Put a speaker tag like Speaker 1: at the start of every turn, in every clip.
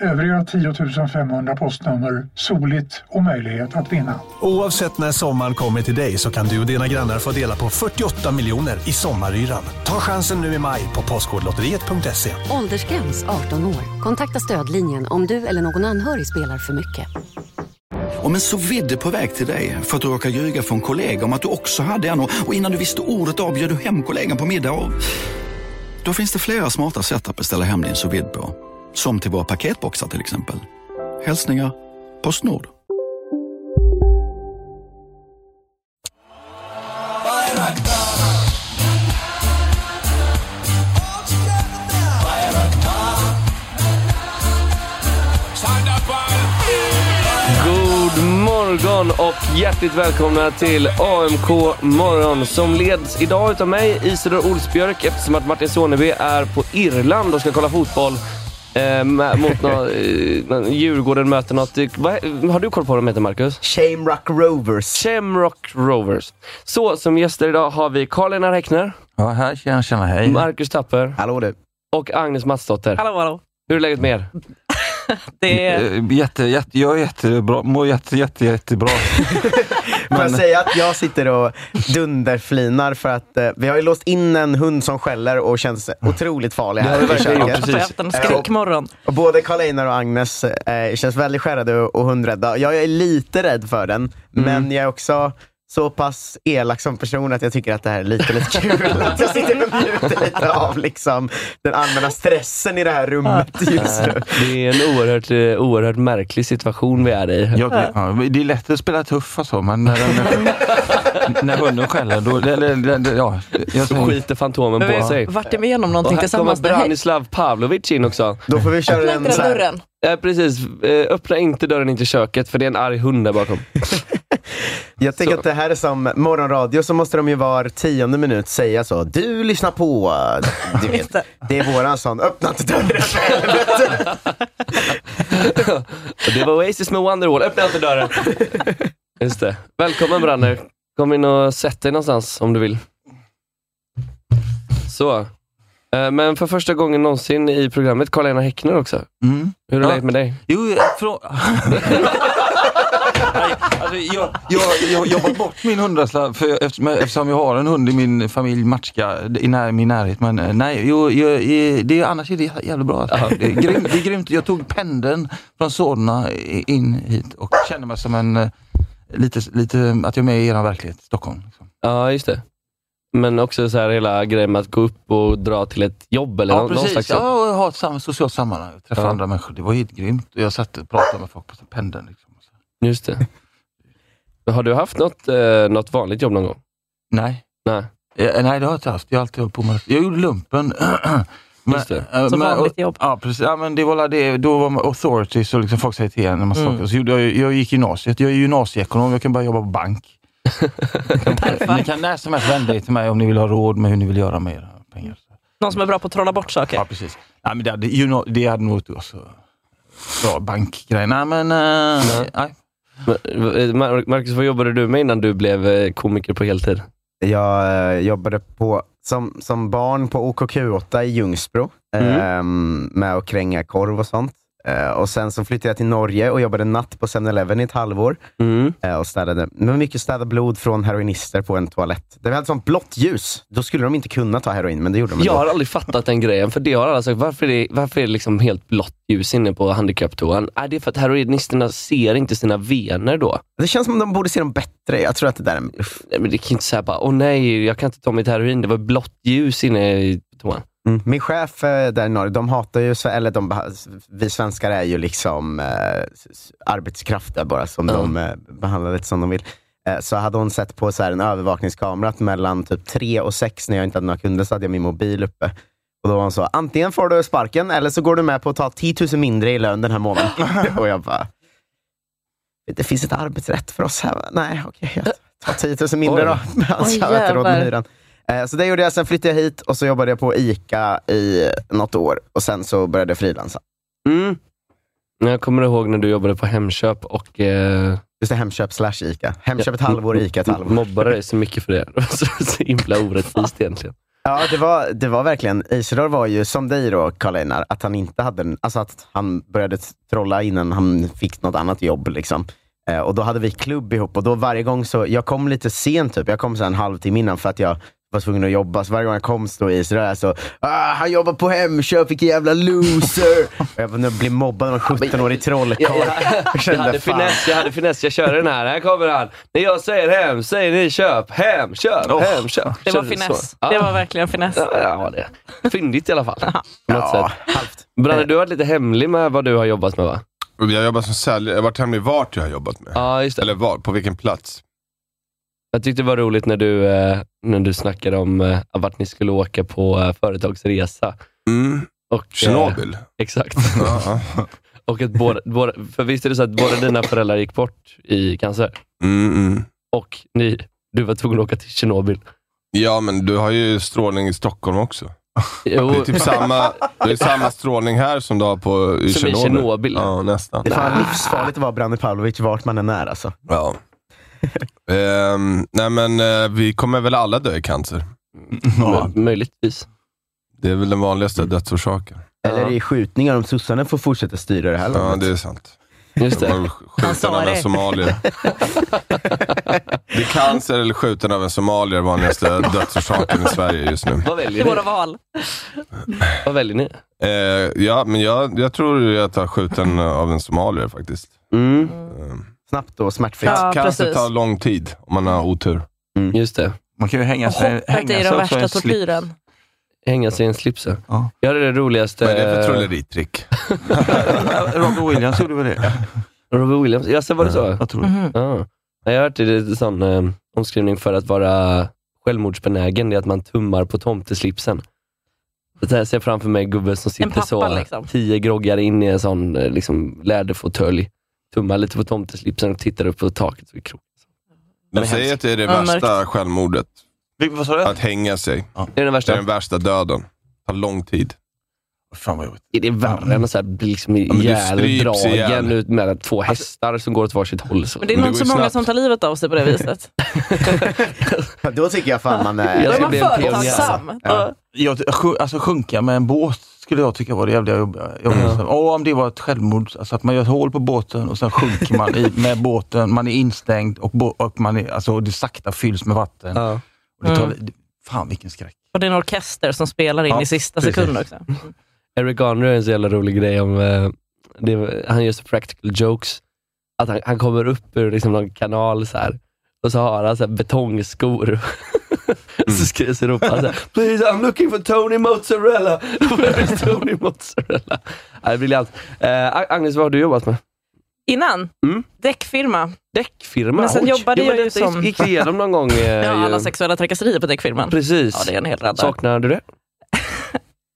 Speaker 1: Övriga 10 500 postnummer, soligt och möjlighet att vinna.
Speaker 2: Oavsett när sommaren kommer till dig så kan du och dina grannar få dela på 48 miljoner i sommaryran. Ta chansen nu i maj på Postkodlotteriet.se.
Speaker 3: Åldersgräns 18 år. Kontakta stödlinjen om du eller någon anhörig spelar för mycket.
Speaker 4: Om en så vidde på väg till dig för att du råkar ljuga från kollega om att du också hade en och och innan du visste ordet av bjöd du hem kollegan på middag och... Då finns det flera smarta sätt att beställa hem din sous vide på. Som till våra paketboxar till exempel. Hälsningar Postnord.
Speaker 5: God morgon och hjärtligt välkomna till AMK morgon som leds idag utav mig Isidor Olsbjörk eftersom att Martin Soneby är på Irland och ska kolla fotboll. Eh, med- mot nå, eh, Djurgården möter något... eh, Vad, har du koll på vad de heter Marcus?
Speaker 6: Shamrock Rovers.
Speaker 5: Shamrock Rovers. Så som gäster idag har vi Karl-Einar Häckner,
Speaker 7: Ja, här tjena, tjena, hej.
Speaker 5: Marcus Tapper
Speaker 6: Hallå du.
Speaker 5: och Agnes Matsdotter.
Speaker 8: Hallå, hallå.
Speaker 5: Hur är läget med er?
Speaker 8: Det är...
Speaker 7: Eh, Jätte, jätte, jag är jättebra, mår jätte, jätte, jättebra.
Speaker 6: Får jag säga att jag sitter och dunderflinar för att eh, vi har ju låst in en hund som skäller och känns otroligt farlig
Speaker 7: har vi
Speaker 6: här i
Speaker 7: verkligen gjort,
Speaker 6: köket. Eh,
Speaker 7: precis.
Speaker 8: På efter en skräckmorgon.
Speaker 6: Och både Karl Einar och Agnes eh, känns väldigt skärrade och, och hundrädda. Jag är lite rädd för den,
Speaker 7: Mm.
Speaker 6: men jag är också så pass elak som person att jag tycker att det här är lite, lite kul. att jag sitter och njuter lite av liksom, den allmänna stressen i det här rummet just nu.
Speaker 5: Eh, Det är en oerhört, eh, oerhört märklig situation vi är i.
Speaker 7: Jag, ja, det är lätt att spela tuff och så, men när, den, när hunden skäller, då... Eller, eller, ja, jag,
Speaker 5: Så skiter Fantomen
Speaker 8: Men vi
Speaker 5: på sig.
Speaker 8: har varit igenom
Speaker 5: Och
Speaker 8: någonting
Speaker 5: här kommer
Speaker 8: tillsammans.
Speaker 5: Branislav Pavlovic in också.
Speaker 6: Då får vi köra
Speaker 8: Öppna
Speaker 6: den
Speaker 8: inte
Speaker 6: så
Speaker 8: den
Speaker 6: här.
Speaker 8: dörren.
Speaker 5: Eh, precis, eh, öppna inte dörren in till köket för det är en arg hund där bakom.
Speaker 6: Jag tänker
Speaker 5: Så.
Speaker 6: att det här är som morgonradio, så måste de ju var tionde minut säga så. Du lyssnar på... Du vet, det är våran sån, öppna inte dörren.
Speaker 5: Och det var Oasis med Wonderwall. Öppna inte dörren! Just det. Välkommen Branne. Kom in och sätt dig någonstans om du vill. Så. Eh, Men för första gången någonsin i programmet, Karl-Einar Häckner också.
Speaker 7: mm.
Speaker 5: Hur är
Speaker 7: Ja.
Speaker 5: läget med dig?
Speaker 7: Jo, från... Alltså, jag, jag, jag, jag var bort min hundraslapp för jag, eftersom, eftersom jag har en hund i min familj, Matska, i när, min närhet. Men eh, nej, jo, jag, eh, det, är- annars är det jä- jävligt bra. Alltså. Det, är grymt, det är grymt. Jag tog pendeln från Solna i- in hit och kände mig som en, eh, lite, lite, att jag är med i er verklighet, Stockholm. Liksom.
Speaker 5: Ja, just det. Men också så här hela grejen med att gå upp och dra till ett jobb eller
Speaker 7: Ja,
Speaker 5: någon, någon
Speaker 7: precis.
Speaker 5: slags
Speaker 7: Ja, och jag har ett sam- socialt sammanhang. Jag träffade
Speaker 5: Ja.
Speaker 7: andra människor. Det var helt grymt. Och Jag satt och pratade med folk på pendeln. Liksom.
Speaker 5: Just det. Har du haft något, eh, något vanligt jobb någon gång?
Speaker 7: Nej.
Speaker 5: Nej.
Speaker 7: Eh, nej, det har jag inte haft. Jag har alltid hållit på med Jag gjorde lumpen. Men-
Speaker 5: Just det.
Speaker 7: eh,
Speaker 8: Som
Speaker 7: men-
Speaker 8: vanligt
Speaker 7: och-
Speaker 8: jobb.
Speaker 7: Ja, precis. Ja, men det var väl det, då var man authority, så liksom folk säger till en en massa
Speaker 8: Mm.
Speaker 7: saker. Så gjorde jag, ju- jag gick gymnasiet. Jag är gymnasieekonom, jag kan bara jobba på bank. kan, ni kan när som helst vända er till mig om ni vill ha råd med hur ni vill göra med era pengar.
Speaker 8: Någon som är bra på att trolla bort saker.
Speaker 7: Ja, precis. Nej, men det, hade, you know, det hade nog varit också bra bankgrej. Nej, men... eh,
Speaker 5: Nej.
Speaker 7: nej.
Speaker 5: Men, eh, Mar- Marcus, vad jobbade du med innan du blev eh, komiker på heltid?
Speaker 6: Jag eh, jobbade på, som, som barn på OKQ8 i Ljungsbro
Speaker 5: Mm.
Speaker 6: ehm, med att kränga korv och sånt. Eh, och Sen så flyttade jag till Norge och jobbade natt på 7-Eleven i ett halvår.
Speaker 5: Mm.
Speaker 6: eh, och städade. Men mycket städa blod från heroinister på en toalett. Det hade sånt blått ljus. Då skulle de inte kunna ta heroin, men det gjorde de
Speaker 5: Jag
Speaker 6: ändå.
Speaker 5: har aldrig fattat den grejen, för det har alla sagt. Varför är det, varför är det liksom helt blått ljus inne på handikapptoan? Är det är för att heroinisterna ser inte sina vener då.
Speaker 6: Det känns som de borde se dem bättre. Jag tror att det där är en bluff.
Speaker 5: Nej, men det kan ju inte säga bara, åh nej, jag kan inte ta mitt heroin. Det var blått ljus inne i toan.
Speaker 6: Mm. Min chef eh, där i Norge, de hatar ju, sve- eller de, beh- vi svenskar är ju liksom eh, s- s- arbetskraft där bara, som de eh, behandlar lite som de vill. Eh, så hade hon sett på så här en övervakningskamera att mellan typ tre och sex, när jag inte hade några kunder, så hade jag min mobil uppe. Och då var hon så, antingen får du sparken eller så går du med på att ta 10 000 mindre i lön den här månaden. och jag bara, det finns ett arbetsrätt för oss här. va? Nej, okej. jag ta 10 000 mindre då.
Speaker 8: Oj,
Speaker 6: Alltså, jag hade inte råd
Speaker 8: jävlar.
Speaker 6: med hyran. Eh, Så det gjorde jag, sen flyttade jag hit och så jobbade jag på ICA i något år och sen så började jag frilansa.
Speaker 5: Mm. Jag kommer ihåg när du jobbade på Hemköp och eh,
Speaker 6: Just det, Hemköp slash ICA. Hemköp ett halvår, ICA ett halvår.
Speaker 5: mobbade dig så mycket för det. Det var så, så himla orättvist egentligen.
Speaker 6: Ja, det var, det var verkligen. Isidor var ju som dig då, Karl Einar, att han inte hade en, alltså att han började trolla innan han fick något annat jobb. Liksom. Eh, och Då hade vi klubb ihop och då varje gång så, jag kom lite sent, typ. jag kom så här en halvtimme innan för att jag var tvungen att jobba. Så varje gång jag kom stod Isidor där så, ah, han jobbar på Hemköp, vilken jävla loser. och jag bara, nu blir mobbad av en 17-årig trollkarl. Jag
Speaker 5: Jag
Speaker 6: kände,
Speaker 5: hade
Speaker 6: fan.
Speaker 5: finess, jag hade finess. Jag kör den här. Här kommer han. När jag säger hem säger ni köp. Hem, köp, hem, köp.
Speaker 8: Oh. Det var
Speaker 5: Körde så.
Speaker 8: finess.
Speaker 5: Ja.
Speaker 8: Det var verkligen finess.
Speaker 5: Ja, ja, det var det. Fyndigt i alla fall. På något
Speaker 6: Ja,
Speaker 5: sätt.
Speaker 6: halvt.
Speaker 5: Branne, du har varit lite hemlig med vad du har jobbat med va?
Speaker 9: Jag jobbar som säljare. Jag Eh. har varit hemlig vart jag har jobbat med.
Speaker 5: Ja, just det.
Speaker 9: Eller var, på vilken plats.
Speaker 5: Jag tyckte det var roligt när du, eh, när du snackade om eh, vart ni skulle åka på eh, företagsresa.
Speaker 9: Mm.
Speaker 5: Och, eh,
Speaker 9: Tjernobyl.
Speaker 5: Exakt.
Speaker 9: Ja.
Speaker 5: Och att båda, båda, för visst är det så att båda dina föräldrar gick bort i cancer?
Speaker 9: Mm, mm.
Speaker 5: Och ni, du var tvungen att åka till Tjernobyl.
Speaker 9: Ja, men du har ju strålning i Stockholm också.
Speaker 5: Jo,
Speaker 9: Det är typ samma, det är samma strålning här som du har på, i
Speaker 5: Som i
Speaker 9: Tjernobyl.
Speaker 5: Tjernobyl.
Speaker 9: Ja, nästan.
Speaker 6: Det är fan livsfarligt att vara Branne Pavlovic vart man än är alltså.
Speaker 9: Ja. Ehm, nej, men eh, vi kommer väl alla dö i cancer.
Speaker 5: mö- möjligtvis.
Speaker 9: Det är väl den vanligaste dödsorsaken.
Speaker 6: Eller i skjutningar om sossarna får fortsätta styra det här
Speaker 9: Ja,
Speaker 6: landet.
Speaker 9: det är sant.
Speaker 5: Just
Speaker 9: Det
Speaker 5: det.
Speaker 9: var väl sk- skjuten av en somalier. Det är cancer eller skjuten av en somalier vanligaste dödsorsaken i Sverige just nu.
Speaker 5: Vad
Speaker 8: Det är
Speaker 5: väljer ni?
Speaker 8: våra val.
Speaker 5: Vad väljer ni?
Speaker 9: Eh, ja, men jag, jag tror jag tar skjuten eh, av en somalier faktiskt.
Speaker 5: Mm,
Speaker 9: Ehm,
Speaker 6: Snabbt och smärtfritt.
Speaker 8: Ja,
Speaker 9: cancer
Speaker 8: precis.
Speaker 9: tar lång tid om man har otur.
Speaker 5: just det.
Speaker 7: Mm. Man kan ju hänga
Speaker 8: Och
Speaker 7: sig,
Speaker 8: hoppet
Speaker 7: hänga
Speaker 8: är
Speaker 7: sig
Speaker 8: den
Speaker 7: också i
Speaker 8: värsta
Speaker 7: en slip.
Speaker 8: tortyren.
Speaker 5: Hänga sig i en slips. ja.
Speaker 7: Ja.
Speaker 5: Jag hade det roligaste...
Speaker 9: Vad är det för trolleritrick?
Speaker 7: Robin Williams gjorde väl det?
Speaker 5: Robert Williams. Jaså, var det så? Mm-hmm.
Speaker 7: Jag tror det.
Speaker 8: Mhm.
Speaker 5: Ja. Nej, Jag har hört det, det är en sån eh, omskrivning för att vara självmordsbenägen, det är att man tummar på tomteslipsen. Det här ser jag framför mig gubben som sitter
Speaker 8: En pappa,
Speaker 5: så,
Speaker 8: liksom.
Speaker 5: tio groggar in i en sån eh, liksom, läderfåtölj, tummar lite på tomteslipsen och tittar upp på taket. Så är det krok.
Speaker 9: De säger att det är det
Speaker 8: Ja,
Speaker 9: värsta självmordet.
Speaker 7: Vilken- Vad sa du?
Speaker 9: Att hänga sig.
Speaker 5: Det är den
Speaker 9: Det
Speaker 5: värsta.
Speaker 9: är den värsta döden. Tar lång tid.
Speaker 7: Fan vad jobbigt.
Speaker 5: Är det värre än att så här bli liksom
Speaker 9: men du stryps
Speaker 5: ihjäldragen
Speaker 9: ihjäl.
Speaker 5: ut mellan två hästar som går åt varsitt håll? Så.
Speaker 8: Men det är
Speaker 9: Men det
Speaker 8: nog
Speaker 9: går
Speaker 8: så
Speaker 9: ju
Speaker 8: många
Speaker 9: snabbt.
Speaker 8: som tar livet av sig på det viset.
Speaker 6: Då tycker jag fan man
Speaker 5: Jag
Speaker 6: är...
Speaker 8: Då
Speaker 5: ska
Speaker 8: är man
Speaker 5: bli en pionjär.
Speaker 8: företagsam. Ja.
Speaker 7: Jag, sj- alltså sjunka med en båt skulle jag tycka var det jävliga jobbiga. jobbiga.
Speaker 5: Ja.
Speaker 7: Och om det var ett självmord, alltså att man gör ett hål på båten och sen sjunker man i, med båten, man är instängd och, bo, och man är, alltså, det sakta fylls med vatten.
Speaker 5: Ja.
Speaker 7: Och det tar,
Speaker 8: Mm.
Speaker 7: det- Fan vilken skräck.
Speaker 8: Och det är en orkester som spelar in
Speaker 7: Ja,
Speaker 8: i sista
Speaker 7: precis.
Speaker 8: sekund också.
Speaker 5: Eric Garner har en så jävla rolig grej om, eh, det, han gör så practical jokes, att han, han kommer upp ur liksom någon kanal så här, och så har han så här betongskor.
Speaker 9: Mm.
Speaker 5: så skriver så ropar han så här, “Please I'm looking for Tony Mozzarella”. Where is Tony Mozzarella? Ja, det är briljant. Eh, Ag- Agnes, vad har du jobbat med?
Speaker 8: Innan,
Speaker 5: Mm.
Speaker 8: däckfirma.
Speaker 5: Däckfirma?
Speaker 8: Men sen
Speaker 5: Oj.
Speaker 8: jobbade
Speaker 5: Jo, men
Speaker 8: jag ju
Speaker 5: detta gick-
Speaker 8: som-
Speaker 5: gick vi igenom någon gång. eh,
Speaker 8: Ja,
Speaker 5: ju.
Speaker 8: alla sexuella trakasserier på däckfirman.
Speaker 5: Precis.
Speaker 8: Ja, det är en hel radda.
Speaker 5: Saknar du det?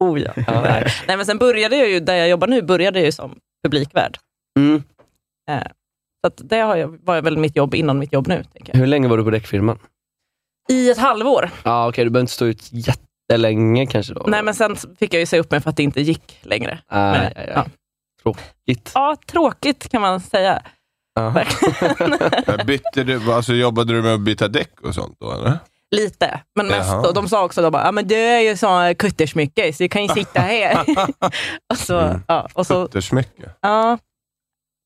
Speaker 8: Oh, ja.
Speaker 5: Ja, nej.
Speaker 8: Nej, men sen började jag ju, där jag jobbar nu, började jag ju som publikvärd. Eh,
Speaker 5: Mm.
Speaker 8: Så att det har jag, var väl mitt jobb innan mitt jobb nu. Tänker jag.
Speaker 5: Hur länge var du på däckfirman?
Speaker 8: I ett halvår.
Speaker 5: Ja, okej, du behöver inte stå ut jättelänge kanske då.
Speaker 8: Nej, men sen fick jag ju säga upp mig för att det inte gick längre.
Speaker 5: Nej,
Speaker 8: Men,
Speaker 5: Ah, ja.
Speaker 8: ja.
Speaker 5: Tråkigt.
Speaker 8: Ja, tråkigt kan man säga.
Speaker 9: Men Bytte du, alltså, jobbade du med att byta däck och sånt då? Eller?
Speaker 8: Lite, men mest.
Speaker 9: Jaha.
Speaker 8: Och de sa också, de bara, ja, men du är ju sån kuttersmycke, så du kan ju sitta här. och så,
Speaker 9: Mm.
Speaker 8: ja, och så,
Speaker 9: Kuttersmycke.
Speaker 8: ja.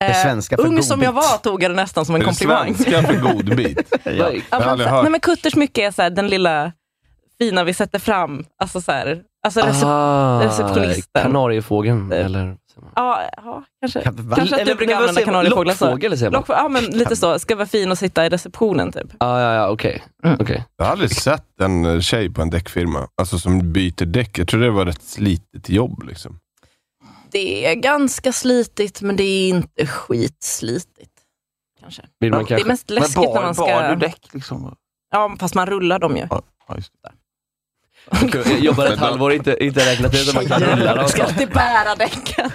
Speaker 8: Eh,
Speaker 6: Det svenska för
Speaker 8: ung som jag
Speaker 6: godbit.
Speaker 8: var tog jag det nästan som en
Speaker 9: Är det
Speaker 8: komplimang.
Speaker 9: svenska för godbit?
Speaker 6: Ja.
Speaker 5: Vad-
Speaker 8: Ja,
Speaker 9: Jag har
Speaker 8: men,
Speaker 9: aldrig
Speaker 8: så-
Speaker 9: hört.
Speaker 8: nej, men kuttersmycke är så här, den lilla fina vi sätter fram. Alltså, så här, alltså recept,
Speaker 5: Ah,
Speaker 8: receptionisten.
Speaker 5: Kanariefågeln, eller?
Speaker 8: ja, ja, kanske.
Speaker 6: Va?
Speaker 8: Kanske att du brukar använda kanariefåglar. så.
Speaker 5: Lockfågel säger man.
Speaker 8: Lock, ja, men lite så. Ska vara fin och sitta i receptionen typ.
Speaker 5: Ah, ja, ja, okej.
Speaker 8: Mm.
Speaker 5: Okej.
Speaker 9: Jag har aldrig sett en eh, tjej på en däckfirma alltså, som byter däck. Jag tror det var ett slitigt jobb. Liksom.
Speaker 8: Det är ganska slitigt, men det är inte skitslitigt. Kanske.
Speaker 5: Vill man
Speaker 8: Det är
Speaker 5: kanske...
Speaker 8: mest läskigt när man ska...
Speaker 7: du däck liksom?
Speaker 8: Ja, fast man rullar dem ju.
Speaker 7: Ja, just det.
Speaker 5: Jag jobbar ett
Speaker 9: Men då-
Speaker 5: halvår, inte, inte räknat ut om man kan rulla dem.
Speaker 8: Ska alltid bära däcken.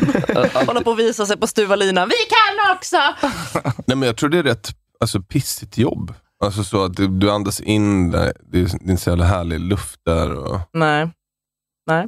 Speaker 8: Hålla på och visa sig på styva linan. Vi kan också!
Speaker 9: Nej, men jag tror det är rätt alltså, pissigt jobb. Alltså så att du, du andas in, det, det är det är inte så jävla härlig luft där. Och...
Speaker 8: Nej. Nej.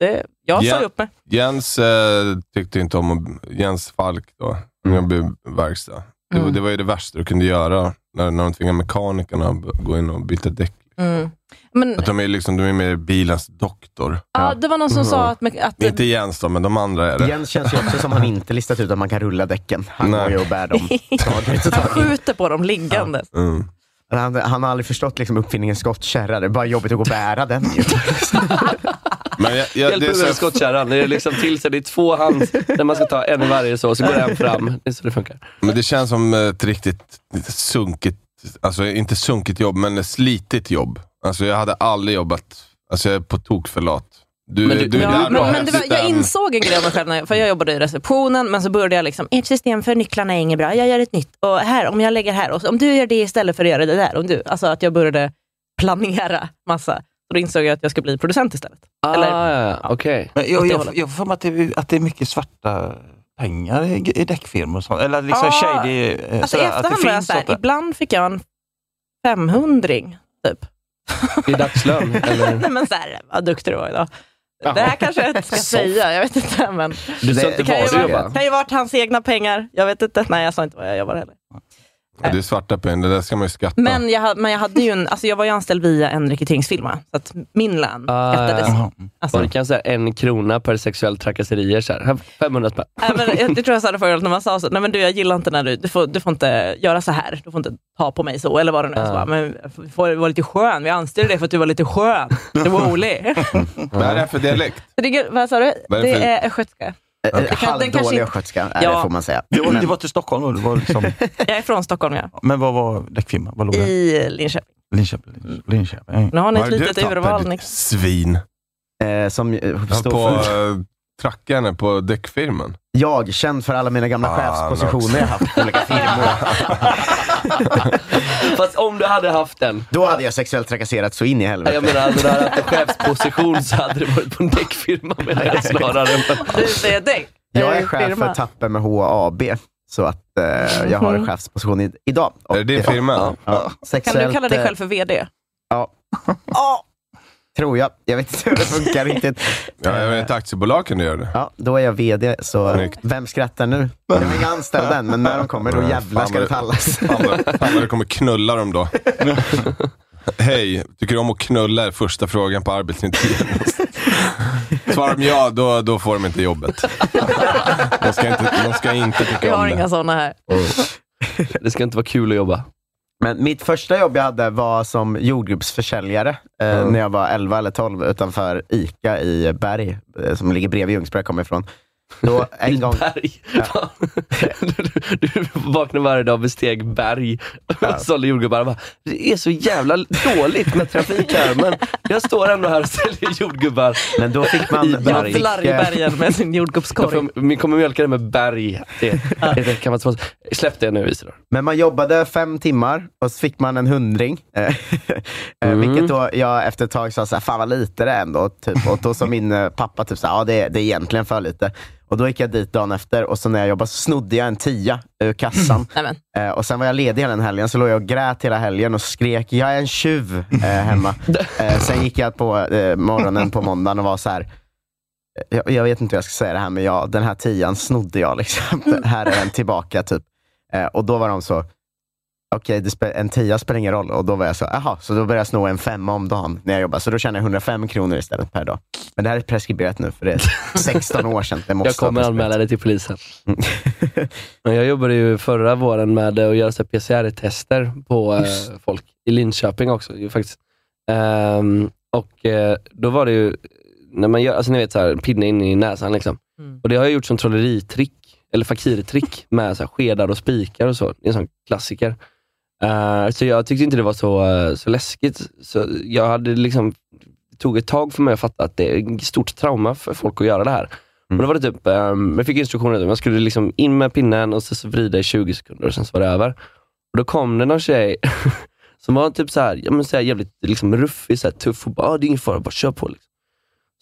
Speaker 8: Det, jag
Speaker 9: Ja.
Speaker 8: sa upp mig.
Speaker 9: Jens eh, tyckte inte om att- Jens Falk då, när jag blev verkstad. Det, var-
Speaker 8: Mm.
Speaker 9: det var ju det värsta du kunde göra, när, när de tvingade mekanikerna att b- gå in och byta däck.
Speaker 8: Mm. Men
Speaker 9: Att de är liksom, de är mer bilens doktor.
Speaker 8: ja, det var någon som sa att, att
Speaker 9: Inte Jens då, men de andra är det.
Speaker 6: Mm. Jens känns ju också som han inte listat ut att man kan rulla däcken. Han
Speaker 9: Nej.
Speaker 6: går ju och bär dem. Taget och
Speaker 8: han
Speaker 6: taget.
Speaker 8: skjuter på dem liggande.
Speaker 9: Mm.
Speaker 6: Han, han har aldrig förstått liksom, uppfinningen skottkärra. Det är bara jobbigt att gå och bära den ju.
Speaker 9: Men jag, jag,
Speaker 5: Hjälp
Speaker 9: det
Speaker 5: mig
Speaker 9: är
Speaker 5: med
Speaker 9: så
Speaker 5: den
Speaker 9: här,
Speaker 5: skottkärran. Det är liksom till sig, det är två hands där man ska ta en i varje så, så går en fram. Det är så det funkar.
Speaker 9: Men det känns som ett riktigt lite sunkigt, alltså inte sunkigt jobb, men ett slitigt jobb. Alltså jag hade aldrig jobbat, alltså jag är på tok för lat. Du,
Speaker 5: Men
Speaker 9: men
Speaker 5: du-
Speaker 9: du, du,
Speaker 5: Ja,
Speaker 9: är
Speaker 8: Ja,
Speaker 9: bra
Speaker 8: men, men det var, jag
Speaker 9: hästen.
Speaker 8: insåg en grej om mig själv, när jag, för jag jobbade i receptionen, men så började jag liksom, ert system för nycklarna är inget bra, jag gör ett nytt. Och här, om jag lägger här, och så, om du gör det istället för att göra det där. Om du, alltså att jag började planera massa. Och då insåg jag att jag ska bli producent istället. Eller-
Speaker 5: Ah, okej.
Speaker 7: Men jag,
Speaker 8: Åt det
Speaker 7: jag,
Speaker 8: hållet.
Speaker 7: jag får för mig att det, att det är mycket svarta pengar i, i däckfirmor och sånt. Eller liksom
Speaker 8: Ja,
Speaker 7: shady... eh,
Speaker 8: Ah. Alltså i
Speaker 7: sådär,
Speaker 8: efterhand var jag
Speaker 7: finns
Speaker 8: såhär,
Speaker 7: sånt där.
Speaker 8: ibland fick jag en 500 typ.
Speaker 5: I dagslön? Eller?
Speaker 8: Nej men såhär, vad duktig du var idag.
Speaker 5: Ja.
Speaker 8: Det här kanske jag inte ska säga, jag vet inte. Men
Speaker 5: Du sa inte
Speaker 8: det kan
Speaker 5: var
Speaker 8: ju,
Speaker 5: du
Speaker 8: vara,
Speaker 5: jobbade?
Speaker 8: kan ju varit hans egna pengar. Jag vet inte. Nej, jag sa inte vad jag jobbar heller.
Speaker 9: Ja, det är svarta pengar, det där ska man ju skatta.
Speaker 8: Men jag, ha- men jag, hade ju en, alltså jag var ju anställd via en rekryteringsfirma, så att min lön
Speaker 5: Ah,
Speaker 8: skattades.
Speaker 5: ja.
Speaker 7: Jaha.
Speaker 5: Var det
Speaker 8: Alltså,
Speaker 5: kanske så här en krona per sexuell trakasserier? Så här. 500 spänn.
Speaker 8: även, jag, det tror jag sa det förra året när man sa så, nej men du jag gillar inte när du, du får, du får inte göra så här, du får inte ta på mig så, eller vad det nu är. Så
Speaker 5: Ah.
Speaker 8: bara, men vi får vara lite skön, vi anställde dig för att du var lite skön. Du var rolig. Mm.
Speaker 9: Vad är det här för
Speaker 5: Mm.
Speaker 9: dialekt?
Speaker 8: Så det, är- vad sa du?
Speaker 9: Vad är det
Speaker 8: Det
Speaker 9: för-
Speaker 8: är
Speaker 6: Eh,
Speaker 8: östgötska.
Speaker 6: Okay.
Speaker 8: Eh, den kanske
Speaker 6: Halvdålig
Speaker 8: inte-
Speaker 6: östgötska är
Speaker 8: Ja.
Speaker 6: det får man säga.
Speaker 7: Det, var,
Speaker 6: Men-
Speaker 7: det var till Stockholm då? Det var liksom,
Speaker 8: Jag är från Stockholm, ja.
Speaker 7: men vad var däckfirman? Vad låg det?
Speaker 8: I Linköping.
Speaker 7: Linköping? Linköping. Mm.
Speaker 8: Nu har ni
Speaker 9: Vad
Speaker 8: ett
Speaker 9: har du
Speaker 8: litet
Speaker 9: tappat,
Speaker 8: urval.
Speaker 9: ditt
Speaker 8: Nick.
Speaker 9: Svin.
Speaker 6: Eh, som eh,
Speaker 9: Jag
Speaker 6: står
Speaker 9: på
Speaker 6: för...
Speaker 9: eh, trackarna på däckfirman.
Speaker 6: Jag, känd för alla mina gamla
Speaker 9: Ah,
Speaker 6: chefspositioner jag haft på olika firmor.
Speaker 5: Fast om du hade haft den.
Speaker 6: Då hade jag sexuellt trakasserat så in i
Speaker 5: Nej, Jag
Speaker 6: helvete.
Speaker 5: menar, hade du haft en chefsposition så hade det varit på en däckfirma menar jag snarare. än på-
Speaker 8: Du säger dig.
Speaker 6: Jag är
Speaker 8: Eh,
Speaker 6: chef
Speaker 8: firma. Mhm.
Speaker 6: för Tapper med HAB. Så att eh, jag har en chefsposition i, idag.
Speaker 9: Är det din
Speaker 6: eh,
Speaker 9: firma?
Speaker 6: Ja, ja.
Speaker 8: Kan
Speaker 6: Sexuellt,
Speaker 8: du kalla dig
Speaker 6: eh,
Speaker 8: själv för Ah! VD?
Speaker 6: Ja. Tror jag. Jag vet inte hur det funkar riktigt.
Speaker 9: Ja, jag vet, ett aktiebolag kan du göra det.
Speaker 6: Ja, då är jag VD, så
Speaker 9: Snyggt.
Speaker 6: vem skrattar nu? Jag har inga anställda än, men när de kommer, då
Speaker 9: Men
Speaker 6: jävlar
Speaker 9: fan
Speaker 6: ska det
Speaker 9: vad-
Speaker 6: tallas.
Speaker 9: Fan vad- fan vad du kommer knulla dem då. Hej, tycker du om att knulla? är första frågan på arbetsintervjun. Svarar de ja, då, då får de inte jobbet. De ska inte, de ska inte
Speaker 8: Vi
Speaker 9: tycka om
Speaker 8: har
Speaker 9: det.
Speaker 8: inga sådana här.
Speaker 5: Det ska inte vara kul att jobba.
Speaker 6: Men mitt första jobb jag hade var som jordgubbsförsäljare eh, när jag var 11 eller 12 utanför ICA i Berg, eh, som ligger bredvid Ljungsbro jag kommer ifrån. Då en gång...
Speaker 5: Berg. Du, du vaknar varje dag och besteg berg och sålde jordgubbar. Bara, Det är så jävla dåligt med trafik här, men jag står ändå här och säljer jordgubbar.
Speaker 6: Men då fick man...
Speaker 5: I
Speaker 6: man
Speaker 5: Berg.
Speaker 6: fick, eh,
Speaker 8: Jodlar i bergen med sin
Speaker 5: Jag
Speaker 8: jordgubbskorg.
Speaker 5: får, vi kommer mjölka det med berg. Det, det kan man sponsra. Släpp det nu Isidor.
Speaker 6: Men man jobbade fem timmar och så fick man en hundring. Eh,
Speaker 5: Mm.
Speaker 6: Vilket då jag efter ett tag sa, såhär, fan vad lite det är ändå. Typ. Och då sa min eh, pappa, typ såhär, ja det, är- det är egentligen för lite. Och då gick jag dit dagen efter och så när jag jobbade så snodde jag en tia ur kassan.
Speaker 8: Nämen.
Speaker 6: Eh, och sen var jag ledig hela den helgen, så låg jag och grät hela helgen och skrek jag är en tjuv eh, hemma. Eh, sen gick jag på eh, morgonen på måndagen och var så här. Jag, jag vet inte hur jag ska säga det här, men jag, den här tian snodde jag. Liksom. Den här är den tillbaka. typ. Eh, och då var de så, okej, det spe- en tia spelar ingen roll. Och då var jag så, jaha, så då började jag sno en femma om dagen när jag jobbade. Så då tjänade jag 105 kronor istället per dag. Men det här är preskriberat nu, för det är 16 år sedan. Det måste
Speaker 5: Jag kommer
Speaker 6: vara preskriberat.
Speaker 5: anmäla dig till polisen. Men Jag jobbade ju förra våren med eh, att göra så här PCR-tester på eh, folk i Linköping också. Ju faktiskt. Ehm, och eh, då var det ju, när man gör, alltså ni vet så här, pinne in i näsan liksom.
Speaker 8: Mm.
Speaker 5: Och det har jag gjort som trolleritrick, eller fakirtrick med så här, skedar och spikar och så. Det är en sån klassiker. Eh, så jag tyckte inte det var så, eh, så läskigt. Så jag hade liksom, det tog ett tag för mig att fatta att det är ett stort trauma för folk att göra det här. Och då var det typ, ehm, jag fick instruktioner, man skulle liksom in med pinnen och så, så vrida i 20 sekunder och sen så var det över. Och då kom det någon tjej som var typ så här, ja, men så här jävligt liksom ruffig, så här tuff och bara, ah, det är ingen fara, bara kör på. Liksom.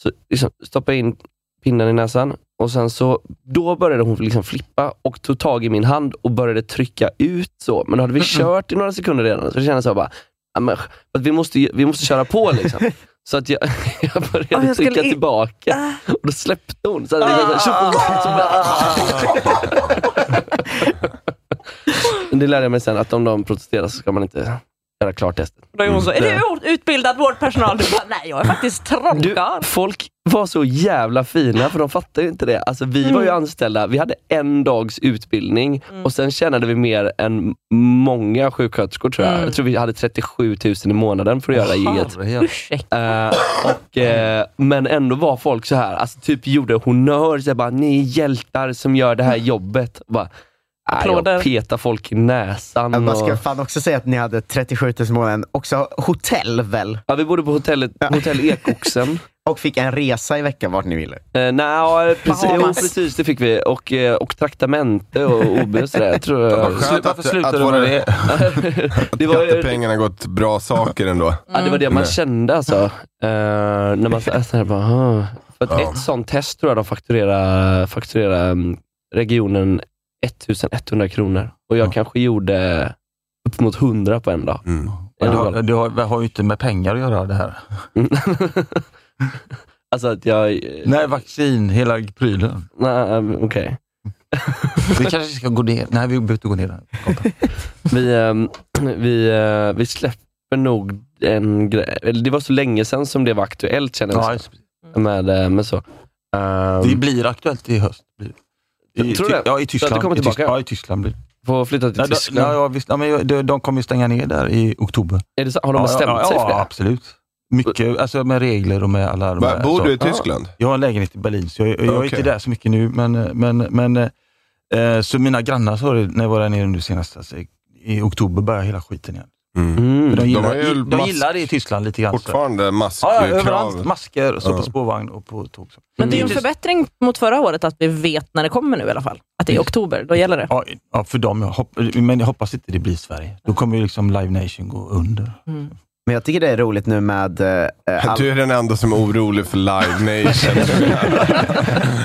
Speaker 5: Så liksom, stoppade jag in pinnen i näsan, Och sen så, då började hon liksom flippa och tog tag i min hand och började trycka ut så. Men då hade vi kört i några sekunder redan, så det kändes så bara, "Ja, men, att vi, måste, ju- vi måste köra på liksom. Så att jag, jag började
Speaker 8: Ah, jag skulle Ah.
Speaker 5: trycka
Speaker 8: in-
Speaker 5: tillbaka och då släppte hon. Så att det var så här, tjoff, så bara- Men Det lärde jag mig sen, att om de protesterar så ska man inte göra klart testet. Mm.
Speaker 8: Då är hon så, är du o- utbildad vårdpersonal? Du bara, nej jag är faktiskt
Speaker 5: Du,
Speaker 8: trollkarl.
Speaker 5: folk var så jävla fina för de fattar ju inte det. Alltså, vi var ju anställda, vi hade en dags utbildning och sen tjänade vi mer än många sjuksköterskor tror jag. Jag tror vi hade 37 000 i månaden för att göra gigget.
Speaker 8: Ursäkta.
Speaker 5: Eh, och, eh, men ändå var folk så här, alltså, typ gjorde honnör, så här, bara, ni är hjältar som gör det här jobbet. Och Bara, "Nej,
Speaker 8: Applåder.
Speaker 5: jag petar folk i näsan.
Speaker 6: Men Man ska
Speaker 5: och,
Speaker 6: fan också säga att ni hade 37 000 i månaden, också hotell väl?
Speaker 5: ja, vi bodde på hotellet, hotell Ekoxen.
Speaker 6: Och fick en resa i veckan vart ni ville.
Speaker 5: Eh, Nej, precis, jo,
Speaker 8: Bahamas.
Speaker 5: precis det fick vi. Och, eh, och traktamente och OB och sådär. Jag tror eh,
Speaker 9: Vad
Speaker 5: jag.
Speaker 9: skönt
Speaker 7: varför
Speaker 9: att,
Speaker 7: slutar
Speaker 9: att
Speaker 7: du
Speaker 9: våra
Speaker 7: med det?
Speaker 5: Det var, ju-
Speaker 9: skattepengarna gått bra saker ändå.
Speaker 5: ja, det var det man
Speaker 9: Mm.
Speaker 5: kände alltså. Eh, när man så, så här, bara, huh. För att
Speaker 9: Ja.
Speaker 5: Ett sånt test tror jag de fakturerar, fakturerar mm, regionen 1100 kronor. Och jag kanske gjorde upp mot 100 på en dag.
Speaker 9: Mm.
Speaker 7: Men Du,
Speaker 5: En dag.
Speaker 7: har- du har, det har ju inte med pengar att göra det här.
Speaker 5: Alltså att jag...
Speaker 7: Nej, vaccin, hela prylen.
Speaker 5: Nej, eh, okej.
Speaker 7: Vi kanske ska gå ner. Nej, vi behöver inte gå ner där.
Speaker 5: Vi, ehm, vi, eh, vi släpper nog en grej. Eller Det var så länge sedan som det var aktuellt känner jag.
Speaker 7: Ja, just det.
Speaker 5: med, eh, med så. Ehm,
Speaker 7: det blir aktuellt i höst. Blir det. I,
Speaker 5: Tror du
Speaker 7: Ty-
Speaker 5: det?
Speaker 7: Ja, i
Speaker 5: Så att
Speaker 7: Tyskland.
Speaker 5: det kommer
Speaker 7: I Tysk-
Speaker 5: tillbaka?
Speaker 7: Ja, i Tyskland blir det.
Speaker 5: Får flytta till
Speaker 7: Nej, de,
Speaker 5: Tyskland.
Speaker 7: nej, ja, visst, ja, men jag- de, de kommer ju stänga ner där i oktober.
Speaker 5: är det så? Har de
Speaker 7: ja,
Speaker 5: bestämt
Speaker 7: ja,
Speaker 5: sig för
Speaker 7: Ja,
Speaker 5: det?
Speaker 7: absolut. Mycket, alltså med regler och med alla de
Speaker 9: Va,
Speaker 7: här-
Speaker 9: Bor
Speaker 7: så.
Speaker 9: du i Tyskland?
Speaker 7: Jag har en lägenhet i Berlin, så jag, jag är
Speaker 9: Okej.
Speaker 7: inte där så mycket nu. Men, men, men, eh, så mina grannar sa det när jag var där nere nu senast, alltså, i oktober började hela skiten igen.
Speaker 9: Mm.
Speaker 5: Mm.
Speaker 7: För De
Speaker 9: har
Speaker 7: gillar,
Speaker 9: ju
Speaker 7: de
Speaker 9: mask-
Speaker 7: gillar det i Tyskland lite grann. så.
Speaker 9: Fortfarande
Speaker 7: Ja, ja,
Speaker 9: maskkrav?
Speaker 7: överallt. Masker, och så
Speaker 9: Ja.
Speaker 7: på spårvagn och på tåg. Mm. Så.
Speaker 8: Men det är ju en
Speaker 5: Mm.
Speaker 8: förbättring mot förra året att vi vet när det kommer nu i alla fall. Att det
Speaker 5: Mm.
Speaker 8: är i oktober, då gäller det.
Speaker 7: Ja, ja, för dem. Jag hopp, men jag hoppas inte det blir Sverige. Då kommer ju liksom Live Nation gå under.
Speaker 6: Men jag tycker det är roligt nu med... eh, eh, all-
Speaker 9: du är den enda som är orolig för Live Nation.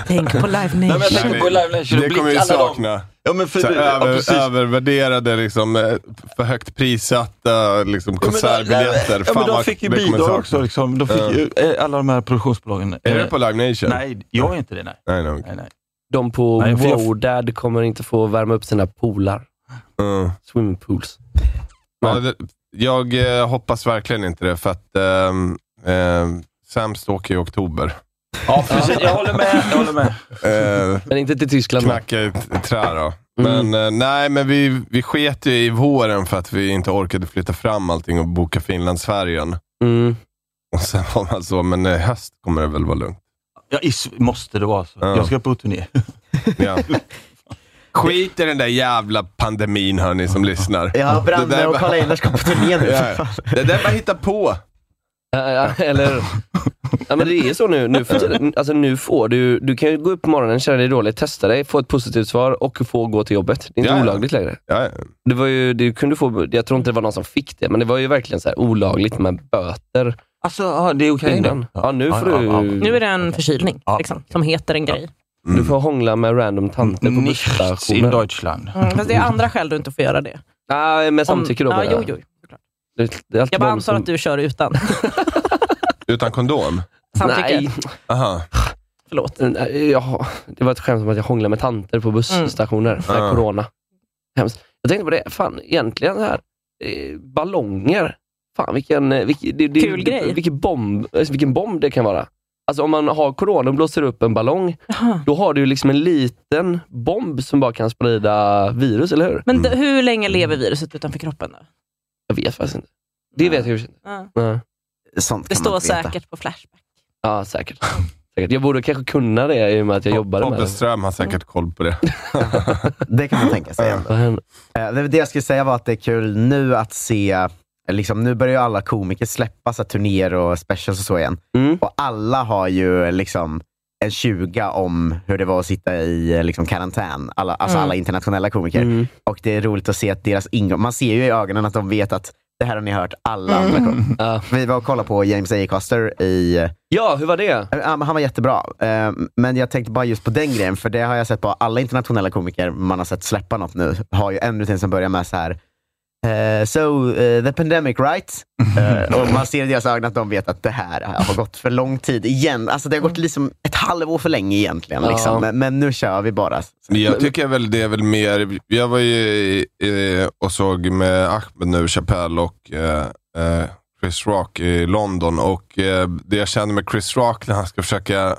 Speaker 8: Tänk på Live
Speaker 7: Nej, men jag
Speaker 8: Nation.
Speaker 7: tänker på Live Nation och
Speaker 9: Det kommer vi
Speaker 7: Blick, alla dem.
Speaker 9: sakna.
Speaker 7: Ja, men för,
Speaker 9: Så här,
Speaker 7: ja,
Speaker 9: över,
Speaker 7: precis.
Speaker 9: övervärderade, liksom, eh, för högt prissatta liksom,
Speaker 7: Ja, men de-
Speaker 9: konsertbiljetter.
Speaker 7: Ja, men
Speaker 9: Fan,
Speaker 7: de
Speaker 9: vad-
Speaker 7: fick ju
Speaker 9: det kommer
Speaker 7: bidrag
Speaker 9: sakna.
Speaker 7: också. Liksom. De fick
Speaker 9: Ja.
Speaker 7: ju, eh, alla de här produktionsbolagen.
Speaker 9: Är
Speaker 7: Eh,
Speaker 9: du på Live Nation?
Speaker 7: Nej, jag är inte det. Nej.
Speaker 9: Nej, nej.
Speaker 7: nej, nej.
Speaker 5: De på
Speaker 7: Nej, för jag-
Speaker 5: Wodad kommer inte få värma upp sina poolar.
Speaker 9: Mm.
Speaker 5: Swimmingpools.
Speaker 9: Ja, det, jag eh, hoppas verkligen inte det, för att ehm, ehm, Sams åker i oktober.
Speaker 7: Ja, precis. Jag håller med. Jag håller med.
Speaker 9: Eh,
Speaker 5: Men inte till Tyskland. Mm.
Speaker 9: knacka i ett trä då. Men, eh, nej, men vi, vi sket ju i våren för att vi inte orkade flytta fram allting och boka Finlandsfärjan.
Speaker 5: Mm.
Speaker 9: Och sen var man så, men i höst kommer det väl vara lugnt.
Speaker 7: Ja, is, måste det vara så.
Speaker 9: Ja.
Speaker 7: Jag ska på turné.
Speaker 9: Ja. Skit i den där jävla pandemin hörni som lyssnar.
Speaker 6: Ja,
Speaker 9: Det där
Speaker 6: Branne och
Speaker 9: bara-
Speaker 6: Karl Einar ska på turné nu. för
Speaker 9: Ja.
Speaker 6: fan.
Speaker 9: Det där bara hitta på.
Speaker 5: Ja, ja, Eller, ja, men det är så nu. Nu, för tiden. alltså, nu får du, du kan ju gå upp på morgonen, känna dig dåligt, testa dig, få ett positivt svar och få gå till jobbet. Det är inte
Speaker 9: Ja, ja.
Speaker 5: olagligt längre.
Speaker 9: Ja,
Speaker 5: Det var ju, det kunde få, jag tror inte det var någon som fick det, men det var ju verkligen så här olagligt med böter
Speaker 7: Alltså, ja, det är okej
Speaker 5: innan. Ja, nu får du...
Speaker 8: Nu är det en förkylning
Speaker 7: Ja.
Speaker 8: liksom, som heter en grej.
Speaker 9: Mm.
Speaker 5: Du får hångla med random tanter på
Speaker 7: Nichts in
Speaker 5: busstationer.
Speaker 7: Deutschland.
Speaker 8: Mm, fast det är andra skäl du inte får göra det.
Speaker 5: Nej, med samtycke då.
Speaker 8: Mm. ja,
Speaker 5: menar
Speaker 8: jo,
Speaker 5: jag.
Speaker 8: jo. såklart.
Speaker 5: Det, det är alltid
Speaker 8: Jag bara
Speaker 5: någon
Speaker 8: antar
Speaker 5: som-
Speaker 8: att du kör utan
Speaker 9: Utan kondom?
Speaker 8: samtycke.
Speaker 5: Nej,
Speaker 9: Aha.
Speaker 8: Förlåt.
Speaker 5: Mm, nej, jag, det var ett skämt om att jag hånglar med tanter på busstationer. Mm.
Speaker 9: Ah.
Speaker 5: Corona. Hemskt. Jag tänkte på det, fan egentligen här, eh, ballonger. Fan vilken, eh, vilken, det, det,
Speaker 8: Kul
Speaker 5: det,
Speaker 8: grej.
Speaker 5: Vilken, bomb, eh, vilken bomb det kan vara. Alltså om man har corona och blåser upp en ballong,
Speaker 8: Jaha.
Speaker 5: då har du ju liksom en liten bomb som bara kan sprida virus, eller hur?
Speaker 8: Men d- hur länge lever viruset utanför kroppen? Då?
Speaker 5: Jag vet faktiskt inte. Det vet jag ju inte.
Speaker 8: Ja.
Speaker 5: Nej.
Speaker 6: Sånt
Speaker 8: Det
Speaker 6: kan man
Speaker 8: står
Speaker 6: inte veta.
Speaker 8: säkert på Flashback.
Speaker 5: Ja, säkert. säkert. Jag borde kanske kunna det i och med att jag jobbade med
Speaker 9: Tobbe
Speaker 5: det.
Speaker 9: Ström har säkert koll på det.
Speaker 6: Det kan man tänka sig. ändå.
Speaker 5: Vad händer?
Speaker 6: Eh, Det, det jag skulle säga var att det är kul nu att se, eh, liksom, nu börjar ju alla komiker släppa så här, turnéer och specials och så igen.
Speaker 5: Mm.
Speaker 6: Och alla har ju eh, liksom en 20 om hur det var att sitta i eh, liksom, karantän. Alla, alltså
Speaker 8: Mm.
Speaker 6: alla internationella komiker.
Speaker 5: Mm.
Speaker 6: Och det är roligt att se att deras ingång, man ser ju i ögonen att de vet att det här har ni hört alla andra gånger.
Speaker 5: Ja.
Speaker 6: Vi var och kollade på James Acaster i,
Speaker 5: Ja, hur var det?
Speaker 6: eh, ja, men han var jättebra. Eh, Men jag tänkte bara just på den grejen, för det har jag sett på alla internationella komiker man har sett släppa något nu, har ju en rutin som börjar med så här eh, so, eh, the pandemic right? Eh, och man ser i deras ögon att de vet att det här har gått för lång tid igen. Alltså det har gått liksom ett halvår för länge egentligen. Liksom.
Speaker 5: Ja.
Speaker 6: Men, men nu kör vi bara.
Speaker 9: Jag tycker väl det är väl mer, jag var ju eh, och såg med Ahmed nu, Chappelle och eh, eh, Chris Rock i London och eh, det jag kände med Chris Rock när han ska försöka,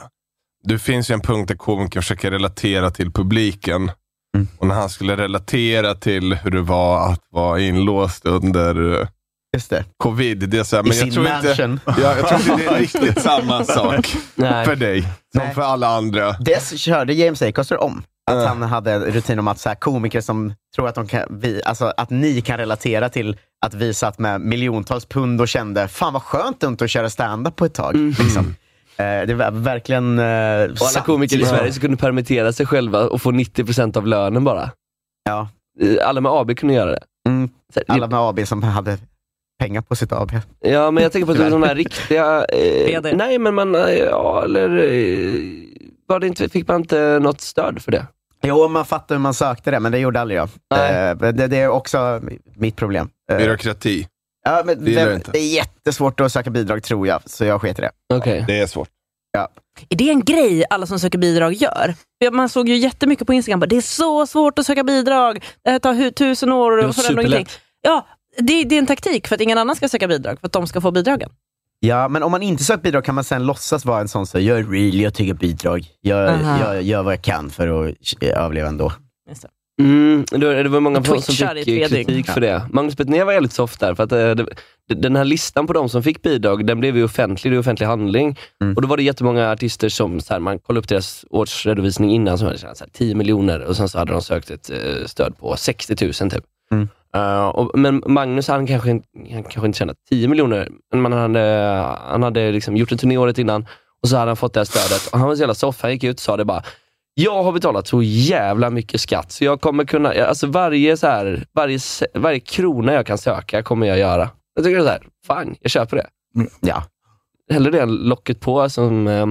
Speaker 9: det finns ju en punkt där komikern försöker relatera till publiken.
Speaker 6: Mm.
Speaker 9: Och när han skulle relatera till hur det var att vara inlåst under eh,
Speaker 6: Just det.
Speaker 9: covid, det är så här,
Speaker 6: I
Speaker 9: men
Speaker 6: sin
Speaker 9: jag tror, inte,
Speaker 6: mansion.
Speaker 9: jag, jag tror inte det är riktigt samma sak
Speaker 5: Nej.
Speaker 9: för dig som
Speaker 6: Nej.
Speaker 9: för alla andra.
Speaker 6: Det körde James Acaster om. Att
Speaker 9: Ja.
Speaker 6: han hade en rutin om att så här, komiker som tror att, de kan, vi, alltså, att ni kan relatera till att vi satt med miljontals pund och kände, fan vad skönt det inte att köra stand-up på ett tag. Liksom. Eh, det var verkligen eh,
Speaker 5: Mhm. Och alla komiker i Sverige som kunde permittera sig själva och få 90% av lönen bara.
Speaker 6: Ja.
Speaker 5: Eh, Alla med AB kunde göra det.
Speaker 6: Mm.
Speaker 5: Så här,
Speaker 6: Alla med AB som hade pengar på sitt AB.
Speaker 5: Ja, men jag tänker på
Speaker 6: Tyvärr.
Speaker 5: typ de här riktiga... Eh,
Speaker 8: VD.
Speaker 5: nej, men man... eh, Ja, eller... Eh, var det inte, fick man inte något stöd för det?
Speaker 6: Jo, man fattar hur man sökte det, men det gjorde aldrig jag.
Speaker 5: Nej.
Speaker 6: Eh, det, det är också mitt problem. Eh,
Speaker 9: Byråkrati,
Speaker 6: ja, men
Speaker 9: det gillar jag
Speaker 6: det,
Speaker 9: inte.
Speaker 6: det är jättesvårt att söka bidrag tror jag, så jag sket i det.
Speaker 5: Okej.
Speaker 9: det är svårt.
Speaker 8: Är det en grej alla som söker bidrag gör? För Man såg ju jättemycket på Instagram, bara, det är så svårt att söka bidrag, det här tar hu- tusen år.
Speaker 5: Det var
Speaker 8: och så där lång tid."
Speaker 5: superlätt.
Speaker 8: Ja, det, det är en taktik för att ingen annan ska söka bidrag, för att de ska få bidragen.
Speaker 6: Ja, men om man inte sökt bidrag kan man sen låtsas vara en sån som, jag är real, jag tycker bidrag. Jag,
Speaker 8: Aha.
Speaker 6: jag gör vad jag kan för att överleva ändå.
Speaker 5: Mm, det, det var många
Speaker 8: Och
Speaker 5: som fick
Speaker 8: twitchar i tre
Speaker 5: eh, kritik
Speaker 8: dygn.
Speaker 5: för det. Magnus Betnér var jävligt soft där. För att, eh, det, den här listan på de som fick bidrag, den blev ju offentlig. Det är offentlig handling.
Speaker 6: Mm.
Speaker 5: Och Då var det jättemånga artister som, så här, man kollade upp deras årsredovisning innan, som hade så här, 10 miljoner och sen så hade de sökt ett eh, stöd på 60 000 typ.
Speaker 6: Mm.
Speaker 5: Eh, och, men Magnus han kanske, inte- han kanske inte tjänade 10 miljoner, men han hade, han hade liksom gjort en turné året innan och så hade han fått det här stödet. Och han var så jävla soft, han gick ut och sa det bara, jag har betalat så jävla mycket skatt, så jag kommer kunna, jag- alltså varje, så här, varje, se- varje krona jag kan söka kommer jag göra. Jag tycker det är så här, fine, jag köper det.
Speaker 6: Ja.
Speaker 5: Hellre det än locket på. Som, eh,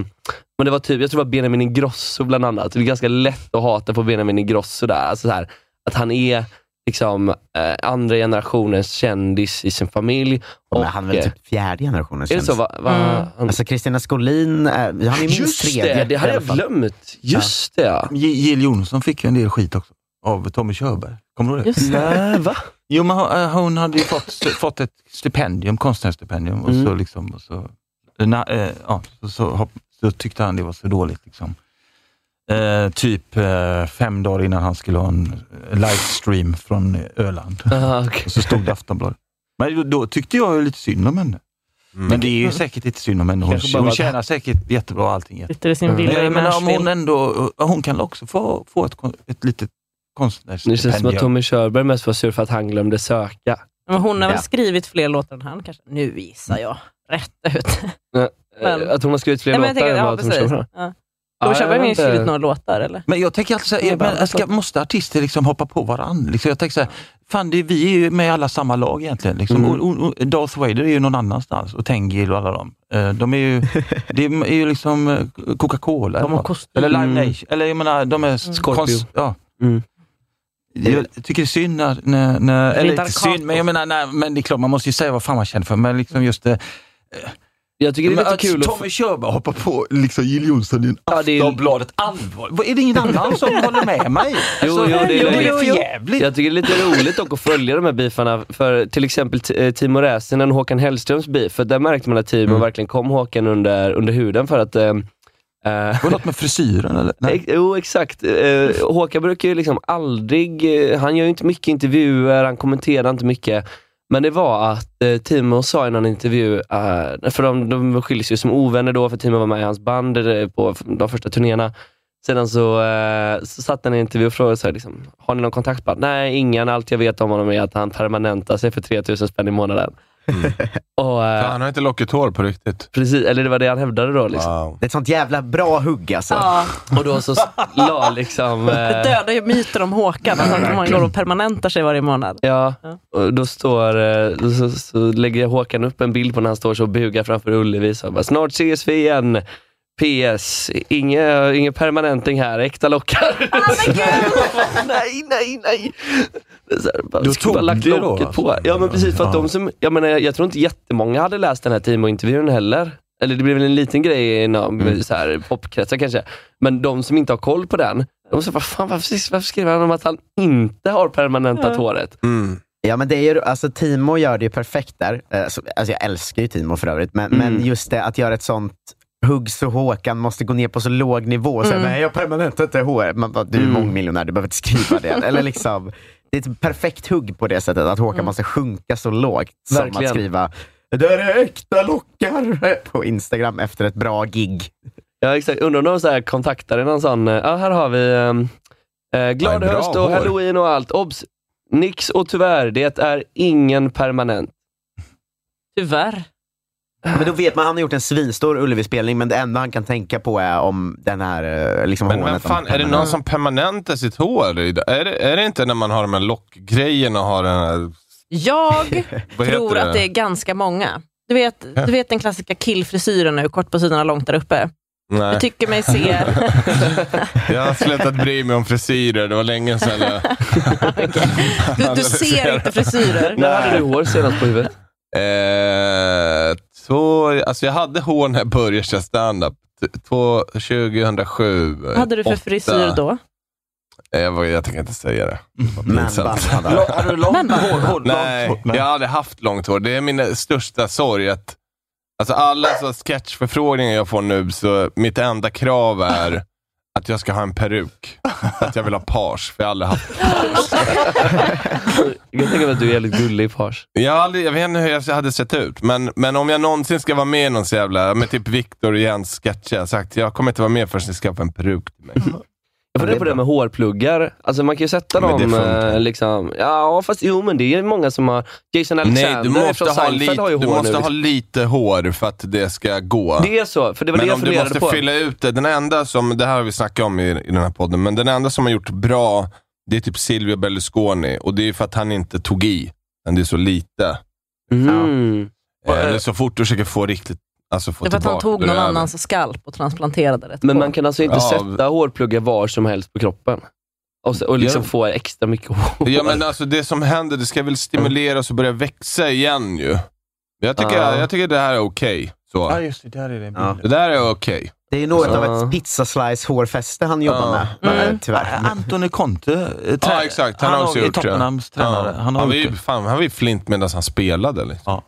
Speaker 5: men det var typ, jag tror det var Benjamin Ingrosso bland annat. Det är ganska lätt att hata på Benjamin Ingrosso där. Alltså så här, att han är liksom eh, andra generationens kändis i sin familj.
Speaker 6: Men han är väl
Speaker 5: eh,
Speaker 6: typ fjärde generationens
Speaker 5: är det så?
Speaker 6: kändis.
Speaker 5: Va, va,
Speaker 8: Mm.
Speaker 5: han,
Speaker 6: Alltså Kristina Skolin, eh, han är minst
Speaker 5: just
Speaker 6: tredje.
Speaker 5: det, det hade
Speaker 6: i alla
Speaker 5: jag
Speaker 6: fall.
Speaker 5: glömt. Just det ja.
Speaker 7: J- Jill Johnson fick ju en del skit också av Tommy Körberg. Kommer du ihåg det?
Speaker 8: Just det.
Speaker 5: Nej, va?
Speaker 7: Jo, men hon, eh, hon hade ju fått, fått ett stipendium, konstnärsstipendium och
Speaker 5: Mm.
Speaker 7: så liksom, och så, na, eh, ja, så, så, hopp- så tyckte han det var så dåligt. Liksom. Eh, typ eh, fem dagar innan han skulle ha en eh, livestream från eh, Öland.
Speaker 5: Aha, okej.
Speaker 7: Och så stod det i Aftonbladet. Men då, då tyckte jag ju lite synd om henne.
Speaker 9: Mm.
Speaker 7: Men det är ju säkert inte synd om henne. Hon,
Speaker 5: Kanske bara
Speaker 7: hon
Speaker 5: var-
Speaker 7: tjänar säkert jättebra allting. Jättebra.
Speaker 8: Sitter i sin
Speaker 5: Mm.
Speaker 8: villa i
Speaker 7: Nej, men om hon
Speaker 8: Nashville.
Speaker 7: ändå, eh, hon kan också få, få ett, kon- ett litet
Speaker 5: Nu känns det som att
Speaker 7: konstnärsstipendium.
Speaker 5: Tommy Körberg mest var sur för att han glömde söka.
Speaker 8: Men hon har väl
Speaker 6: Ja.
Speaker 8: skrivit fler låtar än han kanske? Nu gissar jag rätt ut. Men-
Speaker 5: Eh, Att hon har skrivit fler
Speaker 8: Nej, men jag
Speaker 5: låtar
Speaker 8: tänker,
Speaker 5: än
Speaker 8: ja,
Speaker 5: vad Tommy
Speaker 8: precis.
Speaker 5: Körberg har.
Speaker 8: Ja.
Speaker 5: Ja,
Speaker 8: Tommy
Speaker 5: jag
Speaker 8: Körberg har
Speaker 5: vet
Speaker 8: ju
Speaker 5: inte.
Speaker 8: skrivit några låtar, eller?
Speaker 7: Men jag tänker alltid så här,
Speaker 8: Det är
Speaker 7: eh,
Speaker 8: bara
Speaker 7: men ska,
Speaker 8: anslag.
Speaker 7: måste artister liksom hoppa på varandra? Liksom, jag tänker så här, fan det, är- vi är ju med i alla samma lag egentligen. Liksom.
Speaker 5: Mm.
Speaker 7: Och, och, och Darth Vader är ju någon annanstans och Tengil och alla dem. Eh, De är ju, det är ju liksom eh, Coca-Cola. Mm. eller något.
Speaker 5: kostym.
Speaker 7: eller
Speaker 10: Mm.
Speaker 7: Live Nation. Eller jag menar, de är... s-
Speaker 5: Scorpio.
Speaker 7: ja.
Speaker 5: Mm.
Speaker 7: Jag tycker det är synd när... när, när eller
Speaker 8: inte
Speaker 7: inte
Speaker 8: Arcato.
Speaker 7: synd, men jag menar, nej, men det är klart man måste ju säga vad fan man känner för. Men liksom just det...
Speaker 5: Jag tycker det är
Speaker 7: men
Speaker 5: lite
Speaker 7: att
Speaker 5: kul att
Speaker 7: Tommy Körberg hoppar på liksom Jill Johnson i en
Speaker 5: Ja, det är-
Speaker 7: Aftonbladet allvar. Vad- Är det ingen annan som håller med mig?
Speaker 5: Jo,
Speaker 7: Alltså,
Speaker 5: jo, det är
Speaker 7: det
Speaker 5: löjligt.
Speaker 7: är för jävligt.
Speaker 5: Jag tycker det är lite roligt dock att följa de här beefarna. För till exempel t- eh, Timo Räsänen och Håkan Hellströms beef. För där märkte man att Timo
Speaker 7: Mm.
Speaker 5: verkligen kom Håkan under, under huden för att... Eh, eh,
Speaker 7: Var det något med frisyren eller? Nej.
Speaker 5: ex- jo, exakt. Eh, Håkan brukar ju liksom aldrig... Eh, han gör ju inte mycket intervjuer, han kommenterar inte mycket. Men det var att eh, Timo sa i någon intervju, eh, för de, de skildes ju som ovänner då, för Timo var med i hans band eh, på f- de första turnéerna. Sedan så, eh, så satt han i en intervju och frågade, så här, liksom, har ni någon kontakt? Bara, Nej, ingen. Allt jag vet om honom är att han permanentar sig för 3000 spänn i månaden.
Speaker 6: Mm.
Speaker 5: Och, eh,
Speaker 9: Fan, Han har inte lockigt hår på riktigt.
Speaker 5: precis, eller det var det han hävdade då. Liksom.
Speaker 9: Wow.
Speaker 6: Det är ett sånt jävla bra hugg alltså.
Speaker 8: Ja,
Speaker 5: Och då så s- la liksom...
Speaker 8: det
Speaker 5: Eh,
Speaker 8: dödar ju myten om Håkan, att han man går och permanentar sig varje månad.
Speaker 5: Mm. ja,
Speaker 8: Ja.
Speaker 5: och då står, eh, då så, så lägger Håkan upp en bild på när han står så och bugar framför Ullevi. Så han bara, Snart ses vi igen. PS, inget inge permanenting här, äkta lockar. nej, nej, nej. Det är Så här, bara,
Speaker 7: Då
Speaker 5: skulle bara
Speaker 7: tog
Speaker 5: lagt
Speaker 7: det då,
Speaker 5: locket
Speaker 7: alltså?
Speaker 5: på. Ja, men precis. För att de som, jag, menar, jag, jag tror inte jättemånga hade läst den här Timo-intervjun heller. Eller det blev väl en liten grej inom
Speaker 7: Mm.
Speaker 5: så här, popkretsar kanske. Men de som inte har koll på den, de sa, vad fan, varför, varför skriver han om att han inte har permanentat håret?
Speaker 9: Mm.
Speaker 6: Ja men det är ju, alltså Timo gör det ju perfekt där. Eh, så- Alltså jag älskar ju Timo för övrigt, men, men just det att göra ett sånt hugg så Håkan måste gå ner på så låg nivå. Så här,
Speaker 7: Mm.
Speaker 6: Nej, jag permanentar inte hår. Man bara, du är mångmiljonär, du behöver inte skriva det. Eller liksom, det är ett perfekt hugg på det sättet, att Håkan
Speaker 7: Mm.
Speaker 6: måste sjunka så lågt. Som
Speaker 5: Verkligen.
Speaker 6: att skriva det är äkta lockar på Instagram efter ett bra gig.
Speaker 5: Ja, exakt. Undrar om de så här kontaktade någon sån, eh, ja här har vi ehm, eh,
Speaker 9: Ja,
Speaker 5: glad
Speaker 9: bra
Speaker 5: höst och
Speaker 9: hår.
Speaker 5: halloween och allt. Obs! Nix och tyvärr, det är ingen permanent.
Speaker 8: Tyvärr.
Speaker 6: Ja, Men då vet man, han har gjort en svinstor Ullevi-spelning, men det enda han kan tänka på är om den här eh, liksom
Speaker 9: Men vem
Speaker 6: hånet om
Speaker 9: fan, är det
Speaker 6: pennan.
Speaker 9: någon som permanentar sitt hår? idag? Är det, är det inte när man har de här lockgrejerna och har den här...
Speaker 8: Jag
Speaker 9: Vad heter
Speaker 8: tror
Speaker 9: det?
Speaker 8: att det är ganska många. Du vet, du vet den klassiska killfrisyren nu, kort på sidorna, långt där uppe.
Speaker 9: Nej.
Speaker 8: Jag tycker mig se...
Speaker 9: Jag har slutat bry mig om frisyrer. Det var länge sedan jag...
Speaker 8: Du, du ser inte frisyrer.
Speaker 5: När hade du hår senast på huvudet?
Speaker 9: Eh, två, alltså jag hade hår när jag började köra standup. T- två- 2007.
Speaker 8: Vad hade du för
Speaker 9: åtta.
Speaker 8: frisyr då?
Speaker 9: Eh, Jag, vågar- jag tänker inte säga det.
Speaker 5: Mm.
Speaker 9: Vad
Speaker 6: Men
Speaker 9: pinsamt.
Speaker 6: band, band.
Speaker 7: Alltså, Har du långt hår? hår
Speaker 9: Nej,
Speaker 7: långt hår?
Speaker 9: jag har aldrig haft långt hår. Det är min största sorg. Att, alltså alla så sketchförfrågningar jag får nu, så mitt enda krav är att jag ska ha en peruk. Att jag vill ha page, för jag har aldrig haft
Speaker 5: Jag kan tänka mig att du är jävligt gullig i page.
Speaker 9: Jag, har aldrig, jag vet inte hur jag hade sett ut, men, men om jag någonsin ska vara med i någon så jävla, med typ Viktor och Jens sketcher, jag har sagt jag kommer inte vara med förrän ni skaffar en peruk till mig.
Speaker 5: Jag funderar på det med hårpluggar. Alltså man kan ju sätta
Speaker 9: Men det
Speaker 5: dem...
Speaker 9: funkar.
Speaker 5: eh, Liksom, ja, fast jo men det är många som har... Jason Alexander
Speaker 9: Nej, du måste,
Speaker 5: från
Speaker 9: ha
Speaker 5: Seinfeld
Speaker 9: lite,
Speaker 5: har ju
Speaker 9: du
Speaker 5: hår
Speaker 9: måste
Speaker 5: nu. liksom.
Speaker 9: ha lite hår för att det ska gå.
Speaker 5: Det är så, för det var det
Speaker 9: men
Speaker 5: jag
Speaker 9: om du
Speaker 5: funderade
Speaker 9: måste
Speaker 5: på.
Speaker 9: fylla ut det. Den enda som, det här har vi snackat om i, i den här podden, men den enda som har gjort bra, det är typ Silvio Berlusconi. Och det är för att han inte tog i, men det är så lite.
Speaker 5: Mm.
Speaker 9: Eh, det är så fort du försöker få riktigt, alltså få
Speaker 8: Det var att han
Speaker 9: tillbaka,
Speaker 8: tog
Speaker 9: då är
Speaker 8: någon
Speaker 9: det över.
Speaker 8: annans skalp och transplanterade det.
Speaker 5: Men man kan alltså inte
Speaker 9: Ja.
Speaker 5: sätta hårpluggar var som helst på kroppen. Och, så, och liksom
Speaker 9: Ja.
Speaker 5: få extra mycket hår.
Speaker 9: Ja, men alltså det som händer, det ska väl stimuleras och börja växa igen ju. Jag tycker,
Speaker 5: Ja.
Speaker 9: jag tycker det här är okej.
Speaker 7: Ja,
Speaker 9: Så.
Speaker 7: just det. Där är det.
Speaker 6: Ja.
Speaker 9: Det där är okej.
Speaker 6: Det är något av
Speaker 5: Ja.
Speaker 6: ett pizzaslice hårfäste han jobbar
Speaker 9: Ja.
Speaker 6: med,
Speaker 8: Mm.
Speaker 6: eh, tyvärr. Men-
Speaker 7: Antoni Conte, eh, trä-
Speaker 9: Ja, exakt. Han, har också
Speaker 7: är
Speaker 9: gjort det.
Speaker 7: Tottenhams tränare.
Speaker 9: Ja.
Speaker 7: Han har
Speaker 9: var
Speaker 7: gjort
Speaker 9: ju,
Speaker 7: det.
Speaker 9: fan, han var ju flint medan han spelade. Liksom.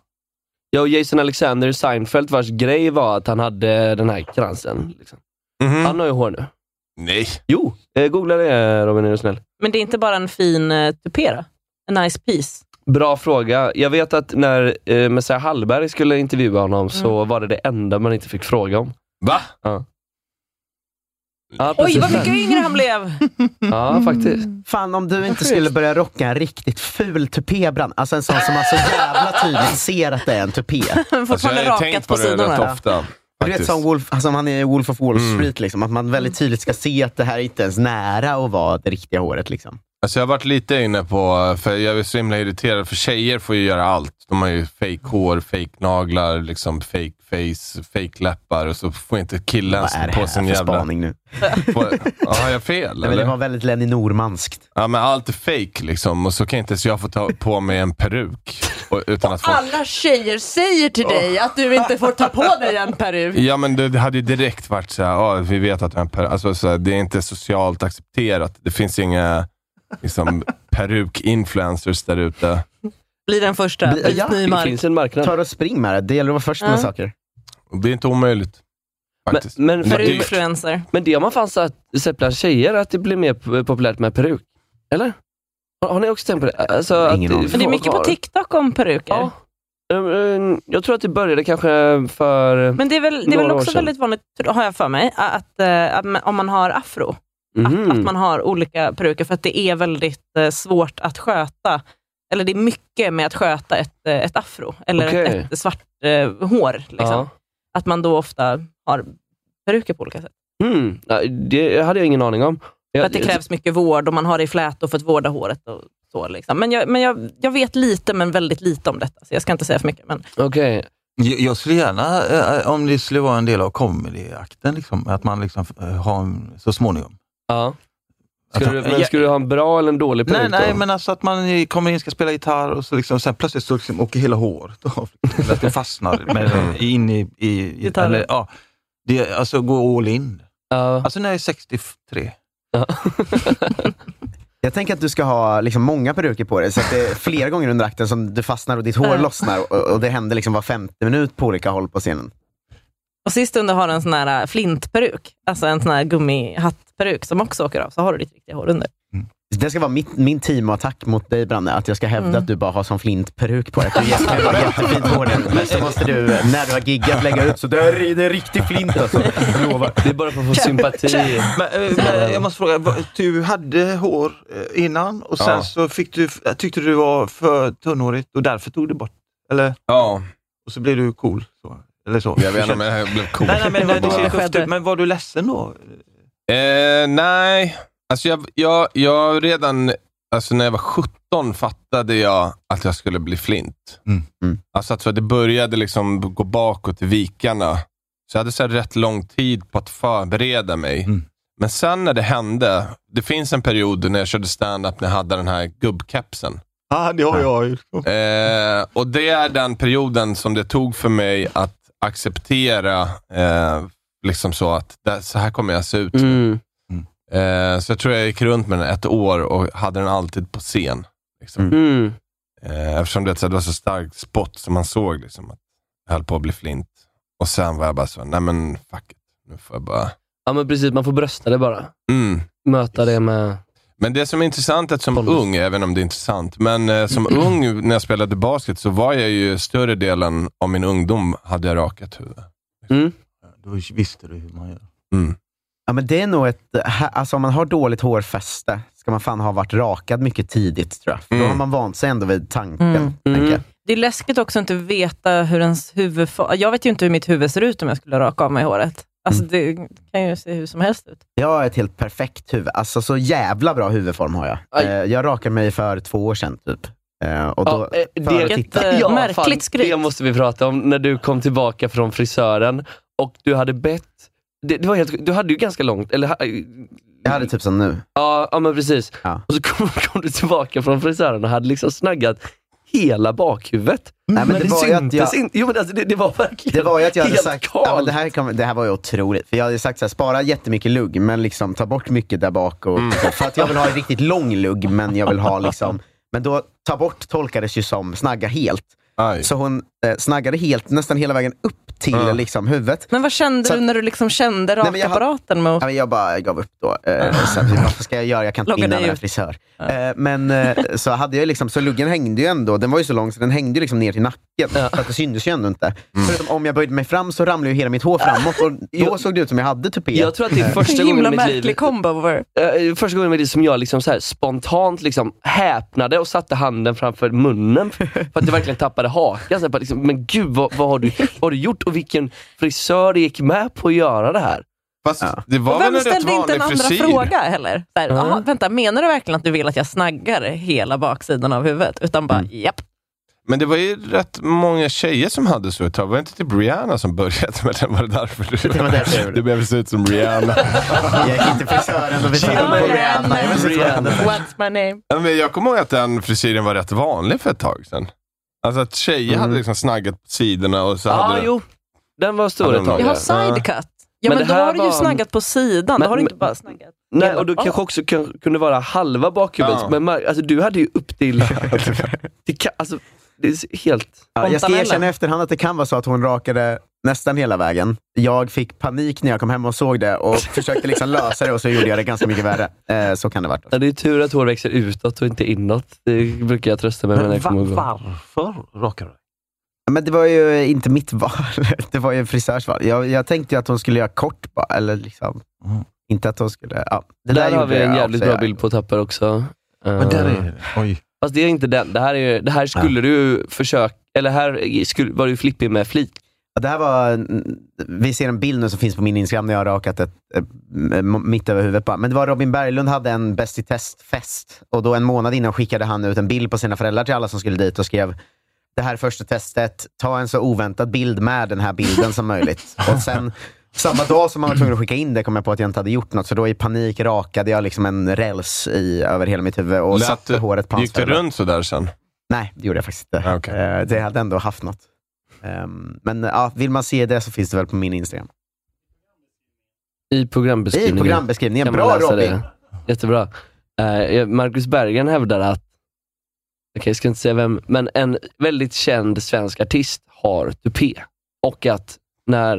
Speaker 5: Jag och Jason Alexander i Seinfeld vars grej var att han hade den här kransen. Liksom.
Speaker 9: Mhm.
Speaker 5: Han har ju hår nu.
Speaker 9: Nej.
Speaker 5: Jo, eh, googla det Robin är du snäll.
Speaker 8: Men det är inte bara en fin eh, tupé då? En nice piece?
Speaker 5: Bra fråga. Jag vet att när eh, Messiah Hallberg skulle intervjua honom
Speaker 8: Mm.
Speaker 5: så var det det enda man inte fick fråga om.
Speaker 9: Va?
Speaker 5: Ja,
Speaker 8: Oj,
Speaker 5: precis.
Speaker 8: vad mycket yngre han Mm. blev!
Speaker 5: Ja, faktiskt.
Speaker 6: Fan, om du inte skulle börja rocka en riktigt ful tupé, Brann. Alltså en sån som man så jävla tydligt ser att det är en tupé.
Speaker 8: Men
Speaker 9: Alltså, jag
Speaker 8: fortfarande
Speaker 9: har ju
Speaker 8: rakat
Speaker 9: tänkt
Speaker 8: på,
Speaker 9: på det rätt
Speaker 8: sidorna.
Speaker 9: ofta.
Speaker 6: Du vet
Speaker 9: faktiskt.
Speaker 6: som Wolf, alltså han är i Wolf of Wall
Speaker 9: Mm.
Speaker 6: Street, liksom, att man väldigt tydligt ska se att det här är inte ens nära att vara det riktiga håret. Liksom.
Speaker 9: Alltså jag har varit lite inne på, för jag är så himla irriterad, för tjejer får ju göra allt. De har ju fake hår, fake naglar, liksom fake face, fake läppar och så får inte killen
Speaker 6: Vad är det
Speaker 9: på
Speaker 6: här
Speaker 9: sin
Speaker 6: för
Speaker 9: jävla...
Speaker 6: spaning nu?
Speaker 9: På, ja, har jag fel?
Speaker 6: Nej, men
Speaker 9: eller?
Speaker 6: det var väldigt Lenny Normanskt.
Speaker 9: Ja, men allt är fake liksom och så kan inte ens jag få ta på mig en peruk. Och, utan att få...
Speaker 8: Alla tjejer säger till dig att du inte får ta på dig en peruk.
Speaker 9: Ja, men det, det hade ju direkt varit så här, "Ja, vi vet att du har en peruk. Alltså, så här, det är inte socialt accepterat. Det finns inga liksom, peruk-influencers där ute.
Speaker 8: Blir den första.
Speaker 6: Bli-
Speaker 8: Bli,
Speaker 6: ja,
Speaker 8: ny
Speaker 5: Det
Speaker 8: mark.
Speaker 5: finns en marknad.
Speaker 6: Tar och spring med det, det gäller att vara först med
Speaker 8: Ja.
Speaker 6: saker.
Speaker 9: Och Det är inte omöjligt.
Speaker 5: Men,
Speaker 9: Faktiskt.
Speaker 5: men,
Speaker 8: För
Speaker 9: Det är-
Speaker 8: influencer.
Speaker 5: men det har man fan sett sett bland tjejer, att det blir mer p- populärt med peruk. Eller? Har, har ni också tänkt på det? Alltså,
Speaker 6: Ingen
Speaker 5: att,
Speaker 6: aning.
Speaker 8: Men det är mycket på
Speaker 5: folk har-
Speaker 8: TikTok om peruker.
Speaker 5: Ja. Ehm, ehm, Jag tror att det började kanske för...
Speaker 8: Men det är väl, det är väl
Speaker 5: Några år
Speaker 8: också
Speaker 5: sedan.
Speaker 8: väldigt vanligt, tror- har jag för mig, att, eh, att man- om man har afro, att,
Speaker 5: Mhm.
Speaker 8: att man har olika peruker, för att det är väldigt eh, svårt att sköta eller det är mycket med att sköta ett, eh, ett afro, eller
Speaker 5: Okej.
Speaker 8: ett, ett svart eh, hår. Liksom.
Speaker 5: Ja.
Speaker 8: Att man då ofta har peruker på olika sätt.
Speaker 5: Mm, nej, det hade jag ingen aning om.
Speaker 8: För
Speaker 5: Jag,
Speaker 8: att det krävs mycket vård och man har det i flätor för att vårda håret. och så. Liksom. Men, jag, men jag, jag vet lite, men väldigt lite om detta, så jag ska inte säga för mycket. Men
Speaker 5: Okej.
Speaker 7: Jag, jag skulle gärna, eh, om det skulle vara en del av comedyakten, liksom, att man liksom, eh, har en, så småningom.
Speaker 5: Ja. Ska
Speaker 7: Att-
Speaker 5: du,
Speaker 7: Ja.
Speaker 5: men ska du ha en bra eller en dålig peruk
Speaker 7: Nej, nej,
Speaker 5: då?
Speaker 7: men alltså att man eh, kommer in ska spela gitarr och så liksom, sen plötsligt så liksom åker hela håret av. Att det fastnar
Speaker 9: Mm.
Speaker 7: med, in i... i
Speaker 8: Gitarren.
Speaker 7: eller, ja, det, alltså gå all in.
Speaker 5: Ja.
Speaker 7: Alltså när jag är 63.
Speaker 6: Jag tänker att du ska ha liksom många peruker på dig, så att det är flera gånger under akten som du fastnar och ditt hår
Speaker 8: Ja.
Speaker 6: lossnar. Och, och det händer liksom var femte minut på olika håll på scenen.
Speaker 8: Och sist under har du en sån här äh, flintperuk, alltså en sån här gummihattperuk som också åker av, så har du ditt riktiga hår under.
Speaker 5: Mm.
Speaker 6: Det ska vara mitt, min teamattack mot dig Branne, att jag ska hävda
Speaker 8: Mm.
Speaker 6: att du bara har som flintperuk på dig. Att du jätte- jättefint hår där. Men så måste du, när du har giggat, lägga ut så det är det är riktig flint alltså. Jag lovar.
Speaker 5: Det är bara för att få sympati.
Speaker 7: Men, eh, men jag måste fråga, vad- du hade hår eh, innan och sen
Speaker 9: Ja.
Speaker 7: så fick du, tyckte du var för tunnhårigt och därför tog du bort Eller?
Speaker 9: Ja,
Speaker 7: Och så blev du cool? Så, eller så?
Speaker 9: jag vet inte om jag blev cool.
Speaker 7: Nej, nej, men, det, det,
Speaker 9: Bara-
Speaker 7: ser tufft
Speaker 8: Skedde.
Speaker 7: ut, men var du ledsen då?
Speaker 9: Eh, nej, alltså jag, jag, jag redan alltså när jag var 17 fattade jag att jag skulle bli flint.
Speaker 7: Mm.
Speaker 6: Mm.
Speaker 9: Alltså att så att det började liksom gå bakåt i vikarna. Så jag hade så här rätt lång tid på att förbereda mig.
Speaker 7: Mm.
Speaker 9: Men sen när det hände, det finns en period när jag körde stand-up när jag hade den här gubbkepsen.
Speaker 7: Ja, det Ah, har jag ju.
Speaker 9: Eh, och det är den perioden som det tog för mig att acceptera eh, liksom så att det, så här kommer jag se ut.
Speaker 5: Mm.
Speaker 9: Eh, så jag tror jag gick runt med den ett år och hade den alltid på scen. Liksom.
Speaker 5: Mm.
Speaker 9: Eh, eftersom det, så här, det var så stark spot som man såg liksom, att jag höll på att bli flint. Och sen var jag bara så, nej men fuck it. Nu får jag bara...
Speaker 5: Ja, men precis. Man får brösta det bara.
Speaker 9: Mm.
Speaker 5: Möta det med...
Speaker 9: Men det som är intressant är att som
Speaker 5: Pondus.
Speaker 9: ung, även om det är intressant, men eh, som ung när jag spelade basket så var jag ju större delen av min ungdom hade jag rakat huvud.
Speaker 7: Då visste du hur man gör.
Speaker 9: Mm.
Speaker 6: Mm. Ja, men det är nog ett... hä- Alltså om man har dåligt hårfäste ska man fan ha varit rakad mycket tidigt tror jag. För Då
Speaker 9: Mm.
Speaker 6: har man vant sig ändå vid tanken.
Speaker 8: Mm.
Speaker 6: tänker jag.
Speaker 8: Det är läskigt också att inte veta hur ens huvud... fa- Jag vet ju inte hur mitt huvud ser ut om jag skulle raka av mig håret. Alltså det kan ju se hur som helst ut.
Speaker 6: Jag har ett helt perfekt huvud. Alltså så jävla bra huvudform har jag.
Speaker 5: Aj.
Speaker 6: Eh, jag rakade mig för två år sedan typ. Eh, och då,
Speaker 5: eh,
Speaker 6: för att
Speaker 8: Vilket,
Speaker 6: titta.
Speaker 8: eh, märkligt skryt.
Speaker 5: Det måste vi prata om. När du kom tillbaka från frisören och du hade bett... Det, det var helt, du hade ju ganska långt, eller... ha-
Speaker 6: Jag hade typ som nu.
Speaker 5: Ja, ja men precis.
Speaker 6: Ja.
Speaker 5: Och så kom, kom du tillbaka från frisören och hade liksom snaggat hela bakhuvudet.
Speaker 6: Nej, men det var ju att jag-
Speaker 5: inte. Jo, men alltså, det, det var verkligen
Speaker 6: Det var ju att jag hade
Speaker 5: helt
Speaker 6: sagt,
Speaker 5: kallt.
Speaker 6: ja, men det, här kom, det här var ju otroligt. För jag hade sagt så här, spara jättemycket lugg, men liksom ta bort mycket där bak. Och, För att jag vill ha en riktigt lång lugg, men jag vill ha liksom... Men då, ta bort tolkades ju som snagga helt.
Speaker 9: Aj.
Speaker 6: Så hon eh, snaggade helt, nästan hela vägen upp till
Speaker 9: Ja.
Speaker 6: liksom, huvudet.
Speaker 8: Men vad kände
Speaker 6: Så-
Speaker 8: du när du liksom kände
Speaker 6: Nej, men jag har-
Speaker 8: rakapparaten? Mot...
Speaker 6: Ja, men jag bara gav upp då.
Speaker 5: Ah.
Speaker 6: Eh, så här, vad ska jag göra? Jag kan inte
Speaker 8: Logga
Speaker 6: vinna
Speaker 8: dig
Speaker 6: med en
Speaker 8: ut.
Speaker 6: frisör. Eh, men eh, så hade jag liksom, så luggen hängde ju ändå. Den var ju så lång så den hängde ju liksom ner till nacken. Så att det syntes ju ändå inte.
Speaker 5: Mm.
Speaker 6: Förutom om jag böjde mig fram så ramlade ju hela mitt hår framåt. Och då
Speaker 5: Jag-
Speaker 6: såg det ut som jag hade tupé. Eh.
Speaker 5: Jag tror att det är första gången i
Speaker 8: Himla
Speaker 5: mitt liv...
Speaker 8: märklig combo.
Speaker 5: Eh, första gången i mitt liv som jag liksom så här spontant liksom häpnade och satte handen framför munnen för att jag verkligen tappade hakan. Så här, bara liksom, men gud, vad, vad, har du, vad har du gjort och vilken frisör gick med på att göra det här?
Speaker 9: Fast
Speaker 6: Ja.
Speaker 9: det var
Speaker 8: Och
Speaker 9: väl
Speaker 8: vem
Speaker 9: en rätt
Speaker 8: ställde inte en
Speaker 9: vanlig
Speaker 8: andra
Speaker 9: frisyr?
Speaker 8: fråga heller? Så här,
Speaker 5: Ja.
Speaker 8: "Jaha, vänta, menar du verkligen att du vill att jag snaggar hela baksidan av huvudet? Utan bara, japp.
Speaker 9: Men det var ju rätt många tjejer som hade så ett tag. Var det inte typ Rihanna som började med den? Var det därför du,
Speaker 6: Det var därför jag gjorde det.
Speaker 9: du behöver se ut som Rihanna?
Speaker 6: Jag gick inte till frisören och visade på Rihanna. Jag visste inte vad jag hade.
Speaker 8: What's my name?
Speaker 9: Ja, Men jag kommer ihåg att den frisyren var rätt vanlig för ett tag sedan. Alltså att tjejer hade liksom snaggat på sidorna och så
Speaker 5: Ja, ah,
Speaker 9: hade...
Speaker 5: jo. Den var stor
Speaker 9: Hade
Speaker 5: ett
Speaker 9: de
Speaker 5: tag.
Speaker 8: Jag
Speaker 9: några?
Speaker 8: har
Speaker 5: ja.
Speaker 8: sidecut. Ja,
Speaker 5: Men
Speaker 8: men,
Speaker 5: det
Speaker 8: då
Speaker 5: här
Speaker 8: har du
Speaker 5: var-
Speaker 8: ju snaggat på sidan.
Speaker 5: Men-
Speaker 8: då har du inte
Speaker 5: men-
Speaker 8: bara snaggat.
Speaker 5: Nej,
Speaker 8: hela
Speaker 5: och då
Speaker 8: bak.
Speaker 5: kanske också kan, kunde vara halva bakhuvudet.
Speaker 9: Ja.
Speaker 5: Men mär- alltså, du hade ju upp till... till ka- alltså, det är helt...
Speaker 6: Ja, jag ska
Speaker 8: Fontanella.
Speaker 6: erkänna i efterhand att det kan vara så att hon rakade nästan hela vägen. Jag fick panik när jag kom hem och såg det och försökte liksom lösa det och så gjorde jag det ganska mycket värre. Eh, så kan det vara.
Speaker 5: Ja, det är tur att hår växer utåt och inte inåt. Det brukar jag trösta mig med när jag kommer igång.
Speaker 7: varför rakar du dig?
Speaker 6: Men det var ju inte mitt val. Det var ju frisörsval. Jag, jag tänkte ju att hon skulle göra kort bara. Eller liksom,
Speaker 7: Mm.
Speaker 6: Inte att hon skulle... Ja, det
Speaker 5: Där, har
Speaker 6: gjorde
Speaker 5: vi en
Speaker 6: jag
Speaker 5: jävligt
Speaker 6: också,
Speaker 5: bra
Speaker 6: ja.
Speaker 5: bild på Tapper också.
Speaker 7: Men där
Speaker 5: Eh,
Speaker 7: är det. Oj.
Speaker 5: Fast det är inte den. Det här, är, det här skulle du försöka... Eller här skulle, var du flippig med flit.
Speaker 6: Ja, Det här var, vi ser en bild nu som finns på min Instagram när jag har rakat ett, eh, m- mitt över huvudet. bara. Men det var Robin Berglund hade en Bäst i test-fest. Och då en månad innan skickade han ut en bild på sina föräldrar till alla som skulle dit och skrev det här är första testet, ta en så oväntad bild med den här bilden som möjligt. Och sen samma dag som man var tvungen att skicka in det kom jag på att jag inte hade gjort något. Så då i panik rakade jag liksom en räls i, över hela mitt huvud och
Speaker 9: Lät
Speaker 6: satte
Speaker 9: du-
Speaker 6: håret på hans
Speaker 9: Gick du
Speaker 6: föräldrar.
Speaker 9: runt sådär sen?
Speaker 6: Nej, det gjorde jag faktiskt inte.
Speaker 9: Ah, okej.
Speaker 6: Eh, Det hade ändå haft något. Ehm, Men ja, vill man se det så finns det väl på min Instagram.
Speaker 5: I
Speaker 6: I
Speaker 5: programbeskrivningen.
Speaker 6: programbeskrivningen.
Speaker 5: kan man
Speaker 6: Bra
Speaker 5: läsa
Speaker 6: Robin!
Speaker 5: det. Jättebra. Eh, Marcus Berggren hävdar att, okej jag ska inte säga vem, men en väldigt känd svensk artist har tupé. Och att när,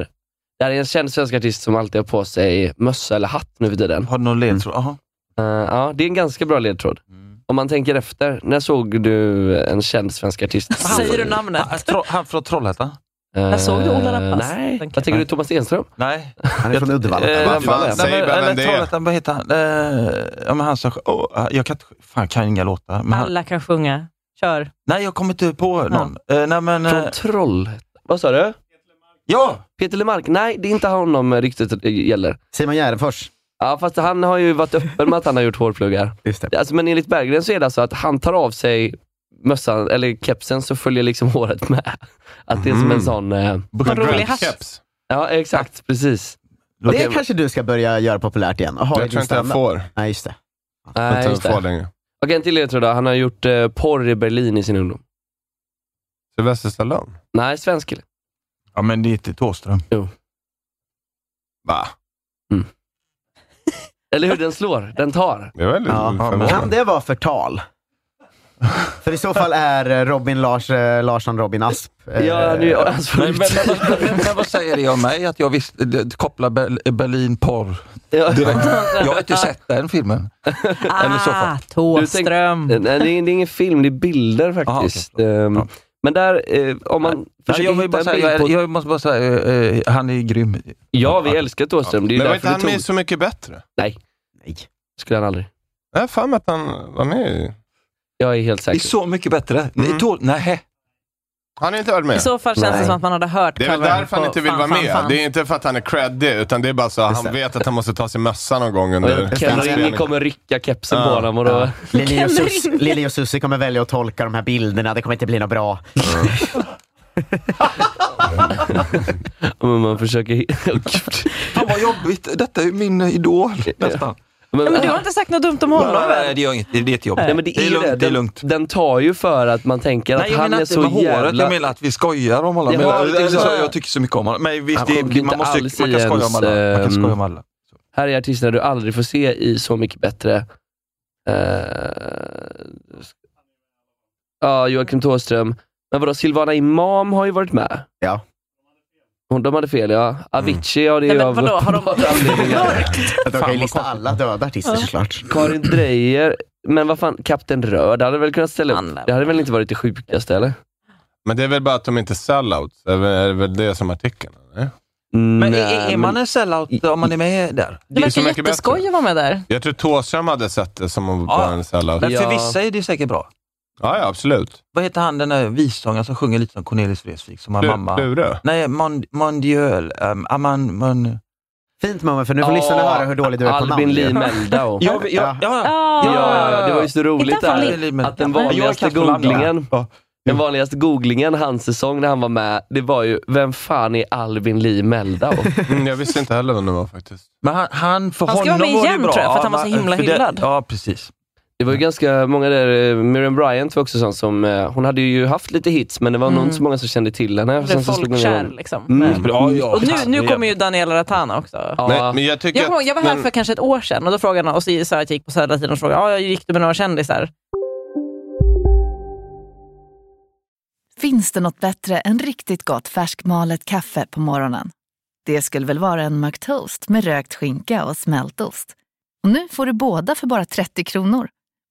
Speaker 5: det här är en känd svensk artist som alltid har på sig mössa eller hatt nu för tiden.
Speaker 7: Har du någon ledtråd? Jaha.
Speaker 5: Eh, ja, det är en ganska bra ledtråd. Om man tänker efter, när såg du en känd svensk artist?
Speaker 8: Säger du namnet?
Speaker 7: Han- Tro- Han från Trollhättan?
Speaker 9: Eh,
Speaker 8: När såg du Ola Rapace?
Speaker 5: Eh, Nej,
Speaker 8: Tänker
Speaker 5: vad tänker du Thomas Enström?
Speaker 7: Nej.
Speaker 6: Han är från Uddevalla.
Speaker 7: Eh,
Speaker 9: Vad fan,
Speaker 7: nej,
Speaker 9: säg
Speaker 7: men-
Speaker 9: bara vem
Speaker 7: eller
Speaker 9: det är.
Speaker 7: Trollhättan, vad heter han? Eh, ja, men han som... åh, jag kan inte... Fan, kan inga låtar. Men han,
Speaker 8: Alla kan sjunga. Kör.
Speaker 7: nej, jag kommer inte på någon. Eh, nej, men... eh,
Speaker 5: Från Trollhättan. Vad sa du?
Speaker 7: ja!
Speaker 5: Peter Lemark? Nej, det är inte honom eh, riktigt eh, gäller.
Speaker 6: Simon Gärdenfors.
Speaker 5: Ja, fast han har ju varit öppen med att han har gjort hårpluggar.
Speaker 6: Just det.
Speaker 5: Alltså, men enligt Berggren så är det alltså att han tar av sig mössan, eller kepsen, så följer liksom håret med. Att det är som en sån... eh,
Speaker 8: Vad rolig hatt.
Speaker 9: Keps.
Speaker 5: Ja, exakt. Precis.
Speaker 6: Det kanske du ska börja göra populärt igen. Aha,
Speaker 9: Jag tror inte jag får.
Speaker 6: Nej, just det.
Speaker 9: Jag
Speaker 5: Nej,
Speaker 9: tror
Speaker 5: just
Speaker 9: inte jag får
Speaker 5: det.
Speaker 9: längre.
Speaker 5: Okej, en till ledtråd då. Han har gjort eh, porr i Berlin i sin ungdom.
Speaker 9: Sylvester Stallone?
Speaker 5: Nej, svensk kille.
Speaker 7: Ja, men det är inte Thåström.
Speaker 9: Va?
Speaker 5: Eller hur? Den slår. Den tar.
Speaker 9: Det är väl
Speaker 6: Ja. Kan det vara förtal? För i så fall är eh, Robin Lars, eh, Larsson Robin Asp. eh,
Speaker 5: Ja, nu är alltså- hans
Speaker 7: Men, men, men, men, men vad säger det om mig att jag visst, det, kopplar Ber- Berlin porr direkt? Jag har inte sett den filmen. Eller så fall.
Speaker 8: Ah, Thåström.
Speaker 5: Nej, det är, det är ingen film. Det är bilder faktiskt. Ehm,
Speaker 7: Ja.
Speaker 5: Men där, eh, om man
Speaker 7: Nej,
Speaker 5: försöker
Speaker 7: jag, vill
Speaker 5: hitta
Speaker 7: bara
Speaker 5: en
Speaker 7: säga,
Speaker 5: bild på...
Speaker 7: jag, jag måste bara säga, eh, eh, han är grym.
Speaker 5: Ja, vi älskar Thåström. Det är
Speaker 9: Men
Speaker 5: ju
Speaker 9: var inte
Speaker 5: därför
Speaker 9: han
Speaker 5: vi tog...
Speaker 9: med Så mycket bättre?
Speaker 5: Nej,
Speaker 6: Nej.
Speaker 5: skulle han aldrig.
Speaker 9: Jag har för mig att han var med i-
Speaker 5: Jag är helt
Speaker 7: Det är
Speaker 5: säker.
Speaker 7: så mycket bättre.
Speaker 9: Mm.
Speaker 7: Mm. Nej.
Speaker 9: Han har inte varit
Speaker 8: I
Speaker 9: med.
Speaker 8: så fall känns det
Speaker 5: Nej.
Speaker 8: som att man hade hört
Speaker 9: Det är väl
Speaker 8: covern
Speaker 9: därför han
Speaker 8: på
Speaker 9: inte vill
Speaker 8: Fan,
Speaker 9: vara
Speaker 8: fan,
Speaker 9: med.
Speaker 8: fan.
Speaker 9: Det är inte för att han är creddig, utan det är bara så att
Speaker 6: Just
Speaker 9: han
Speaker 6: det.
Speaker 9: vet att han måste ta sin mössa någon gång
Speaker 5: Och
Speaker 9: under
Speaker 5: jag- Ken Ringe
Speaker 9: inspelningen.
Speaker 5: kommer rycka kepsen
Speaker 9: Ja.
Speaker 5: på honom och då...
Speaker 6: Ja. Lili och,
Speaker 8: Kan
Speaker 6: Sus-
Speaker 8: ringa.
Speaker 6: Lili och Susie kommer välja att tolka de här bilderna. Det kommer inte bli något bra.
Speaker 5: Men man försöker... Åh, gud.
Speaker 7: Fan vad jobbigt. Detta är min idol nästan.
Speaker 5: men,
Speaker 8: Men du har inte sagt något dumt om honom väl?
Speaker 7: Nej, det gör inget. Det är ett jobb.
Speaker 5: nej, men det, är
Speaker 7: lugnt.
Speaker 5: det.
Speaker 7: Det är
Speaker 5: Den,
Speaker 7: lugnt.
Speaker 5: den tar ju för att man tänker
Speaker 7: Nej,
Speaker 5: att
Speaker 7: jag
Speaker 5: han
Speaker 7: menar
Speaker 5: är
Speaker 7: inte med
Speaker 5: så
Speaker 7: håret. Jag
Speaker 5: jävla...
Speaker 7: menar att vi skojar om alla.
Speaker 5: Ja,
Speaker 7: men,
Speaker 5: det är
Speaker 7: eller,
Speaker 5: så.
Speaker 7: så, jag tycker så mycket om alla. Men visst,
Speaker 5: Han
Speaker 7: det,
Speaker 5: sjunker
Speaker 7: det, man,
Speaker 5: inte
Speaker 7: måste,
Speaker 5: alls
Speaker 7: man
Speaker 5: i
Speaker 7: kan skoja om
Speaker 5: ens,
Speaker 7: alla. Man
Speaker 5: ehm,
Speaker 7: kan skoja om alla.
Speaker 5: Här är artisterna du aldrig får se i Så mycket bättre. Eh, Ja, Joakim Thåström. Men vadå, Silvana Imam har ju varit med.
Speaker 6: Ja.
Speaker 5: Hon, de hade fel
Speaker 7: Mm.
Speaker 5: ja. Avicii, ja det
Speaker 8: Nej,
Speaker 5: är ju
Speaker 8: men
Speaker 5: av
Speaker 8: vadå, har de-
Speaker 5: uppenbara anledningar.
Speaker 6: Jag kan ju
Speaker 7: vad
Speaker 6: lista alla döda artister såklart.
Speaker 5: Karin Dreyer. Men vad fan, Kapten Röd hade väl kunnat ställa
Speaker 8: Han
Speaker 5: upp?
Speaker 8: lär-
Speaker 5: Det hade väl inte varit det sjukaste eller?
Speaker 9: Men det är väl bara att de inte är sellouts. Det är väl- är det väl det som är artikeln? eller?
Speaker 7: Men
Speaker 5: Nej,
Speaker 7: är, är
Speaker 5: Eh, men-
Speaker 7: man en sellout om man är med där?
Speaker 8: Det
Speaker 9: är så
Speaker 8: verkar
Speaker 9: mycket bättre.
Speaker 8: jätteskoj att vara med där.
Speaker 9: Jag tror Thåström hade sett det som om
Speaker 7: Ja.
Speaker 9: bara en sellout.
Speaker 7: Men
Speaker 5: Ja.
Speaker 7: för vissa är det säkert bra.
Speaker 9: Ja, ja absolut.
Speaker 7: Vad heter han den där vissångaren som sjunger lite som Cornelis Vreeswijk, som har
Speaker 9: Du-
Speaker 7: mamma?
Speaker 9: Lure.
Speaker 7: Nej, Mon- Mondial. Um, man, man.
Speaker 6: Fint moment, för nu får
Speaker 5: Ja,
Speaker 6: lyssnarna höra hur dålig du är på namn.
Speaker 5: Albin
Speaker 6: ju.
Speaker 5: Lee Meldau. ja,
Speaker 7: Jag, jag, ja, ja.
Speaker 8: Ja.
Speaker 5: ja, ja, det var ju så roligt
Speaker 8: Inte
Speaker 5: där.
Speaker 8: Albin
Speaker 5: Att den
Speaker 7: Jag är
Speaker 5: vanligaste
Speaker 7: katt på namn, ja.
Speaker 5: googlingen,
Speaker 7: Ja.
Speaker 5: den vanligaste googlingen hans säsong när han var med, det var ju Vem fan är Albin Lee Meldau?
Speaker 9: Mm, jag visste inte heller vem det var faktiskt.
Speaker 7: Men han, han, för
Speaker 8: Han ska vara
Speaker 7: honom
Speaker 8: med
Speaker 7: var det
Speaker 8: igen,
Speaker 7: bra.
Speaker 8: tror jag, för att han var
Speaker 7: Ja,
Speaker 8: så himla
Speaker 7: för det-
Speaker 8: hyllad.
Speaker 7: Ja, precis.
Speaker 5: Det var ju ganska många där, eh, Miriam Bryant var också sån som, eh, hon hade ju haft lite hits men det var nog inte så många som kände till henne.
Speaker 8: Blev
Speaker 5: så slog hon
Speaker 8: Mm. folkkär
Speaker 5: igenom.
Speaker 8: liksom.
Speaker 5: Mm.
Speaker 7: Bra, ja,
Speaker 8: Och nu, nu
Speaker 7: herregud.
Speaker 8: kommer ju Daniela Ratana också.
Speaker 5: Ja.
Speaker 9: Nej, men jag tycker
Speaker 8: Jag, kommer ihåg, jag var här
Speaker 9: men-
Speaker 8: för kanske ett år sedan och då frågade han, och så sa jag att jag gick på Södra Tiden och frågade, ja, jag gick du med några kändisar?
Speaker 11: Finns det något bättre än riktigt gott färskmalet kaffe på morgonen? Det skulle väl vara en McToast med rökt skinka och smältost? Och nu får du båda för bara 30 kronor.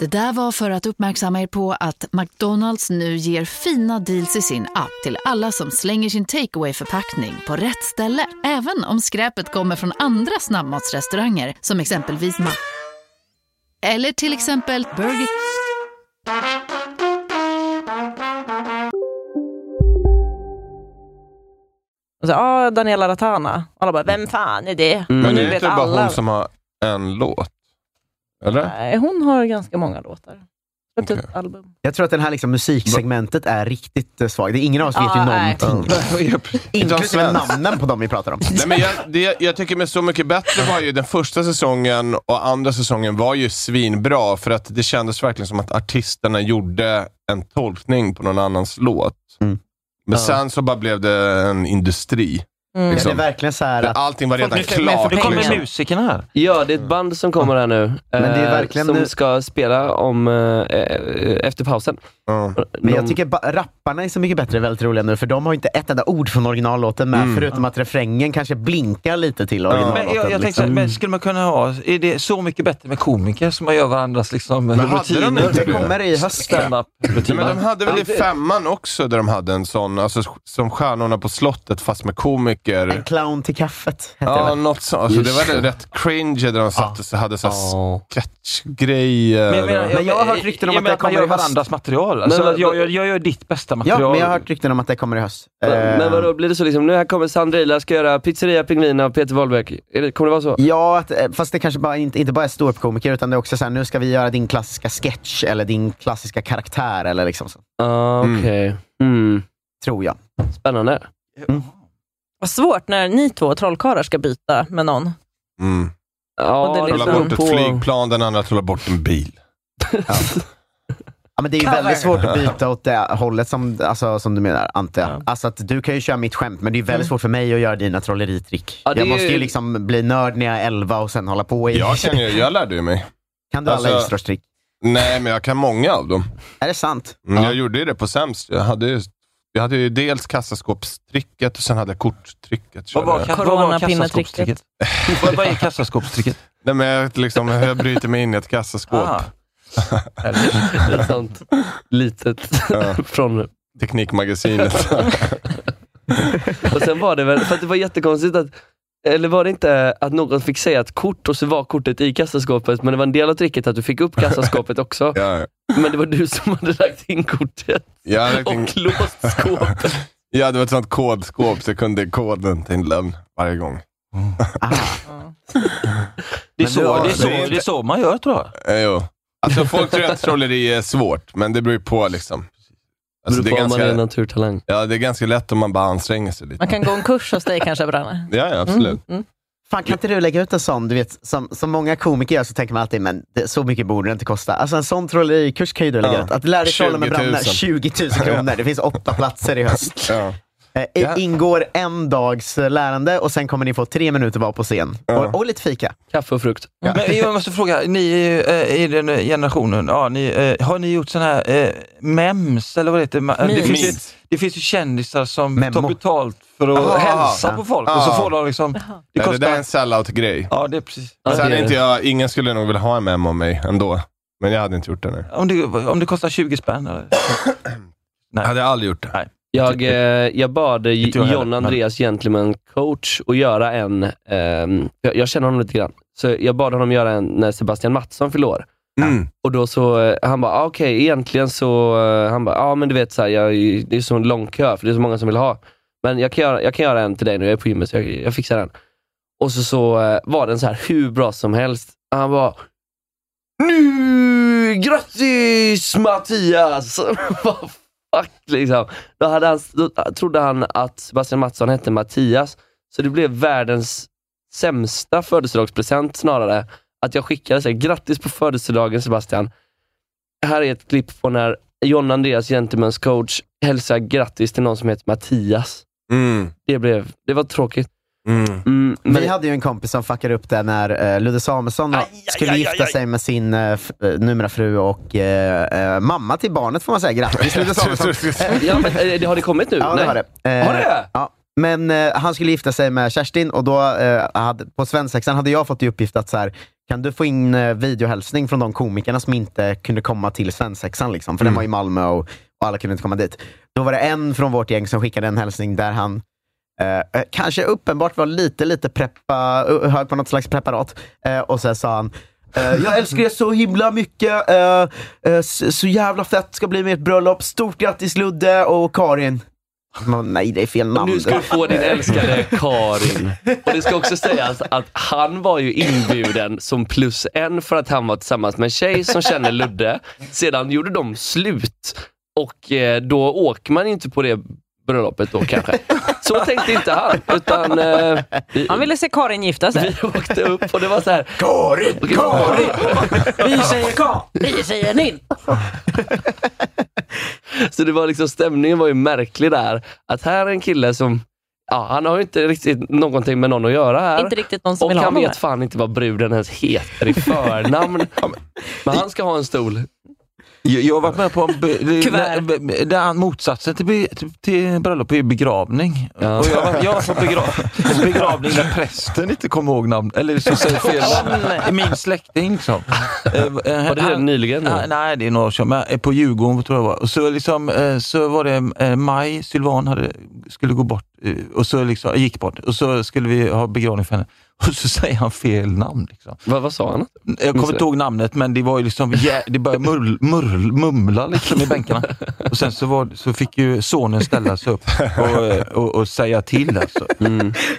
Speaker 11: Det där var för att uppmärksamma er på att McDonalds nu ger fina deals i sin app till alla som slänger sin takeaway förpackning på rätt ställe. Även om skräpet kommer från andra snabbmatsrestauranger som exempelvis Ma... Eller till exempel Burger...
Speaker 8: Och så, ah, Daniela Ratana. Och alla bara, vem fan är det?
Speaker 9: Men
Speaker 8: Och
Speaker 9: det
Speaker 8: nu
Speaker 9: är
Speaker 8: vet
Speaker 9: inte bara
Speaker 8: alla.
Speaker 9: hon som har en låt? Eller?
Speaker 6: Eh,
Speaker 8: Nej, hon har ganska många låtar. Släppt ett album.
Speaker 6: Jag tror att det här liksom musiksegmentet är riktigt eh, svagt. Det är ingen av oss vet ju
Speaker 8: Ja,
Speaker 6: någonting. Inklusive
Speaker 9: Inte alls.
Speaker 6: namnen på dem vi pratar om.
Speaker 9: Nej, men jag, det, jag tycker med Så mycket bättre var ju den första säsongen och andra säsongen var ju svinbra för att det kändes verkligen som att artisterna gjorde en tolkning på någon annans låt. Men
Speaker 6: Mm. Ja.
Speaker 9: sen så bara blev det en industri. liksom.
Speaker 6: Mm. Ja, det är verkligen så här
Speaker 9: För
Speaker 6: att-
Speaker 9: Allting var redan
Speaker 6: Folk-
Speaker 9: klart.
Speaker 7: Nu kommer
Speaker 9: liksom.
Speaker 7: musikerna här.
Speaker 5: Ja, det är ett band som kommer här nu.
Speaker 6: Men det är
Speaker 5: eh,
Speaker 6: verkligen
Speaker 5: som
Speaker 6: nu-
Speaker 5: ska spela om, eh, eh, efter pausen.
Speaker 6: Men jag
Speaker 5: De-
Speaker 6: tycker ba- rapparna i Så mycket bättre är väldigt roliga nu, för de har ju inte ett enda ord från originallåten med,
Speaker 7: Mm.
Speaker 6: förutom att refrängen kanske blinkar lite till originallåten.
Speaker 7: Men jag, jag tänkte,
Speaker 6: liksom.
Speaker 9: Mm.
Speaker 7: men skulle man kunna ha, är det så mycket bättre med komiker som man gör varandras liksom,
Speaker 9: Men hade de
Speaker 7: rutiner?
Speaker 9: inte det? Det kommer i höst. Nej,
Speaker 7: Stand-up-rutiner.
Speaker 9: men de hade väl i
Speaker 7: Ja, det-
Speaker 9: femman också där de hade en sån, alltså, som Stjärnorna på slottet fast med komiker.
Speaker 6: En clown till kaffet hette det
Speaker 9: Ja,
Speaker 6: väl?
Speaker 9: något sånt. Alltså, det
Speaker 6: Just
Speaker 9: var
Speaker 6: det.
Speaker 9: rätt cringe där de satt och så hade så här
Speaker 7: Ja.
Speaker 9: sketchgrejer.
Speaker 7: Men jag, menar,
Speaker 6: Men jag har hört rykten om att det
Speaker 7: man
Speaker 6: kommer
Speaker 7: gör
Speaker 6: i höst.
Speaker 7: varandras material.
Speaker 5: Men
Speaker 7: Alltså,
Speaker 5: vad-
Speaker 7: att jag, jag, jag gör ditt bästa
Speaker 6: Ja,
Speaker 7: material.
Speaker 6: men jag har hört rykten om att det kommer i höst.
Speaker 5: Men,
Speaker 6: Eh,
Speaker 5: men vadå, blir det så liksom, nu här kommer Sandrila, ska göra pizzeria pingvin av Peter Wahlbeck. Är det, kommer det vara så?
Speaker 6: Ja, att, eh, fast det kanske bara, inte, inte bara är ståuppkomiker, utan det är också såhär, nu ska vi göra din klassiska sketch, eller din klassiska karaktär, eller liksom så.
Speaker 5: Ah, Okej. Mm.
Speaker 6: Tror jag.
Speaker 5: Spännande.
Speaker 8: Vad svårt när ni två trollkarlar ska byta med någon.
Speaker 9: Mm.
Speaker 8: Och det
Speaker 5: Ja,
Speaker 9: Trollar
Speaker 5: liksom
Speaker 9: bort ett
Speaker 5: på-
Speaker 9: flygplan, den andra trollar bort en bil.
Speaker 6: Ja, men det är ju
Speaker 9: Cover.
Speaker 6: väldigt svårt att byta åt det hållet som, alltså, som du menar, Ante. Alltså att du kan ju köra mitt skämt, men det är ju väldigt svårt för mig att göra dina trolleritrick.
Speaker 5: Ja, det
Speaker 6: jag
Speaker 5: är
Speaker 6: måste ju
Speaker 5: ju-
Speaker 6: liksom bli nörd när jag är 11 och sen hålla på i...
Speaker 9: Jag känner ju, jag lärde ju mig.
Speaker 6: Kan du
Speaker 9: Alltså-
Speaker 6: alla Elfströms trick?
Speaker 9: Nej, men jag kan många av dem.
Speaker 6: Är det sant?
Speaker 9: Mm, Jag gjorde ju det på sämst. Jag hade ju, jag hade ju dels kassaskåpstricket och sen hade jag korttricket.
Speaker 7: Vad var,
Speaker 9: körde jag.
Speaker 7: vad var
Speaker 8: Coronapinnetrycket.
Speaker 7: kassaskåpstricket? vad, vad är kassaskåpstricket?
Speaker 9: Nej, men jag, liksom, jag bryter mig in i ett kassaskåp.
Speaker 7: Ah.
Speaker 5: Ett sånt litet
Speaker 9: Ja.
Speaker 5: från...
Speaker 9: Teknikmagasinet.
Speaker 5: Och sen var det väl, för att det var jättekonstigt att eller var det inte att någon fick säga ett kort och så var kortet i kassaskåpet, men det var en del av tricket att du fick upp kassaskåpet också.
Speaker 9: ja, ja.
Speaker 5: Men det var du som hade lagt in kortet
Speaker 9: jag, hade tänkt-
Speaker 5: och låst skåpet.
Speaker 9: jag hade ett sånt kodskåp, så jag kunde koden till en lögn varje gång.
Speaker 5: Mm. Ah.
Speaker 7: Det är,
Speaker 6: Men
Speaker 7: så,
Speaker 6: du har-
Speaker 7: det, är så,
Speaker 9: det är inte-
Speaker 7: det är så man gör tror jag.
Speaker 9: Eh, jo. Alltså, folk tror att trolleri är svårt, men det beror ju på. Liksom. Alltså,
Speaker 5: Alltså,
Speaker 9: det,
Speaker 5: Beror
Speaker 9: är
Speaker 5: på om man är en
Speaker 9: ganska,
Speaker 5: naturtalang.
Speaker 9: ja, det är ganska lätt om man bara anstränger sig lite.
Speaker 8: Man kan gå en kurs hos dig kanske, Branne.
Speaker 9: Ja, ja absolut.
Speaker 8: Mm.
Speaker 6: Fan, kan inte du lägga ut en sån, du vet, som, som många komiker gör så tänker man alltid, men det, så mycket borde det inte kosta. Alltså en sån trollerikurs kan ju du lägga
Speaker 9: Ja.
Speaker 6: ut. Att lära dig trolla med
Speaker 9: 20 000.
Speaker 6: brandar, 20 000 kronor. Det finns åtta platser i höst.
Speaker 9: Ja.
Speaker 6: Eh,
Speaker 9: Ja.
Speaker 6: Ingår en dags eh, lärande och sen kommer ni få tre minuter var på scen. Och, och lite fika.
Speaker 5: Kaffe och frukt.
Speaker 7: Men eh, jag måste fråga, ni är ju eh, i den generationen, ja, ni, eh, har ni gjort sådana här eh, mems eller vad det heter? Ma- eh, Det
Speaker 8: Memes.
Speaker 7: finns, ju, det finns ju kändisar som
Speaker 6: Memo.
Speaker 7: tar betalt för att
Speaker 9: Aha.
Speaker 7: hälsa på folk och så
Speaker 9: Ah.
Speaker 7: får de liksom... Det
Speaker 9: Det, det där är
Speaker 7: kostar...
Speaker 9: en sellout-grej.
Speaker 7: Ja, det är precis.
Speaker 5: Ja,
Speaker 9: Sen
Speaker 5: det
Speaker 9: är
Speaker 5: är
Speaker 9: inte
Speaker 5: det.
Speaker 9: jag, ingen skulle nog vilja ha en mem om mig ändå, men jag hade inte gjort det nu.
Speaker 7: Om det, om det kostar 20 spänn eller?
Speaker 9: Jag hade aldrig gjort det.
Speaker 5: Jag, eh, jag bad eh,
Speaker 7: Inte jag heller,
Speaker 5: John
Speaker 7: men-
Speaker 5: Andreas Gentleman Coach att göra en, ehm, jag, jag känner honom lite grann, så jag bad honom göra en när Sebastian Mattsson fyllde år.
Speaker 9: Mm.
Speaker 5: Och då så, eh, han bara, ah, okej, egentligen så, eh, han bara, ja ah, men du vet, så här, jag, det är så en lång kö, för det är så många som vill ha. Men jag kan göra, jag kan göra en till dig nu, jag är på gymmet, så jag, jag fixar den. Och så, så eh, var den så här hur bra som helst. Han bara, nu, Mm, grattis Mattias! Vad fuck liksom. Då, hade han, då trodde han att Sebastian Mattsson hette Mattias, så det blev världens sämsta födelsedagspresent snarare. att jag skickade så här, grattis på födelsedagen Sebastian. Här är ett klipp på när John Andreas, Gentlemen's coach, hälsar grattis till någon som heter Mattias. Det, blev, det var tråkigt. Mm,
Speaker 6: Vi hade ju en kompis som fuckade upp det när eh, Ludde Samuelsson skulle
Speaker 5: aj,
Speaker 6: gifta
Speaker 5: aj.
Speaker 6: sig med sin eh, f- eh, numera fru och eh, eh, mamma till barnet får man säga. Grattis Ludde Samuelsson. Eh,
Speaker 5: ja, men, eh, det har det kommit nu?
Speaker 6: Ja,
Speaker 5: Nej.
Speaker 6: det har det. Eh,
Speaker 5: Har det?
Speaker 6: Ja. Men eh, han skulle gifta sig med Kerstin och då eh, hade, på svensexan hade jag fått i uppgift att så här, kan du få in eh, videohälsning från de komikerna som inte kunde komma till svensexan? Liksom? För den var
Speaker 5: Mm.
Speaker 6: i Malmö och, och alla kunde inte komma dit. Då var det en från vårt gäng som skickade en hälsning där han eh, eh, kanske uppenbart var lite, lite preppa, uh, hög på något slags preparat. Eh, och sen sa han eh, jag älskar er så himla mycket, eh, eh, så, så jävla fett ska bli med ert bröllop. Stort grattis Ludde och Karin. Man, nej, det är fel namn.
Speaker 5: Nu ska du få din älskade Karin. Och det ska också sägas att han var ju inbjuden som plus en för att han var tillsammans med en tjej som känner Ludde. Sedan gjorde de slut och eh, då åker man inte på det bröllopet då kanske. Så tänkte inte han. Utan, eh, vi,
Speaker 8: Han ville se Karin gifta sig.
Speaker 5: vi åkte upp och det var så här.
Speaker 6: Karin!
Speaker 5: Karin!
Speaker 8: Vi säger K, vi säger Ninn.
Speaker 5: Så det var liksom, stämningen var ju märklig där. Att här är en kille som, ja, han har ju inte riktigt någonting med någon att göra här.
Speaker 8: Inte riktigt någon som
Speaker 5: och
Speaker 8: vill ha
Speaker 5: han
Speaker 8: honom
Speaker 5: vet
Speaker 8: här.
Speaker 5: fan inte vad bruden ens heter i förnamn. Men han ska ha en stol.
Speaker 7: Jag, jag har varit med på en be,
Speaker 5: Kuvert.
Speaker 7: där, där motsatsen till, be, till, till bröllop är ju begravning. Och jag har varit- jag har varit på begra- en begravning där prästen inte kommer ihåg namn, eller så säger fel namn. Min släkting liksom. Var
Speaker 5: det nyligen?
Speaker 7: Nej, det är några år sedan, men eh, på Djurgården tror jag det var. Och så, liksom, eh, så var det eh, Maj Sylvan hade, skulle gå bort eh, och så liksom, gick bort och så skulle vi ha begravning för henne. Och så säger han fel namn. Liksom.
Speaker 5: Vad, vad sa han?
Speaker 7: Jag kommer inte ihåg namnet, men det var ju liksom, jä- det började murl, murl, mumla liksom i bänkarna. Och sen så, var, så fick ju sonen ställa sig upp och, eh, och, och säga till. Alltså.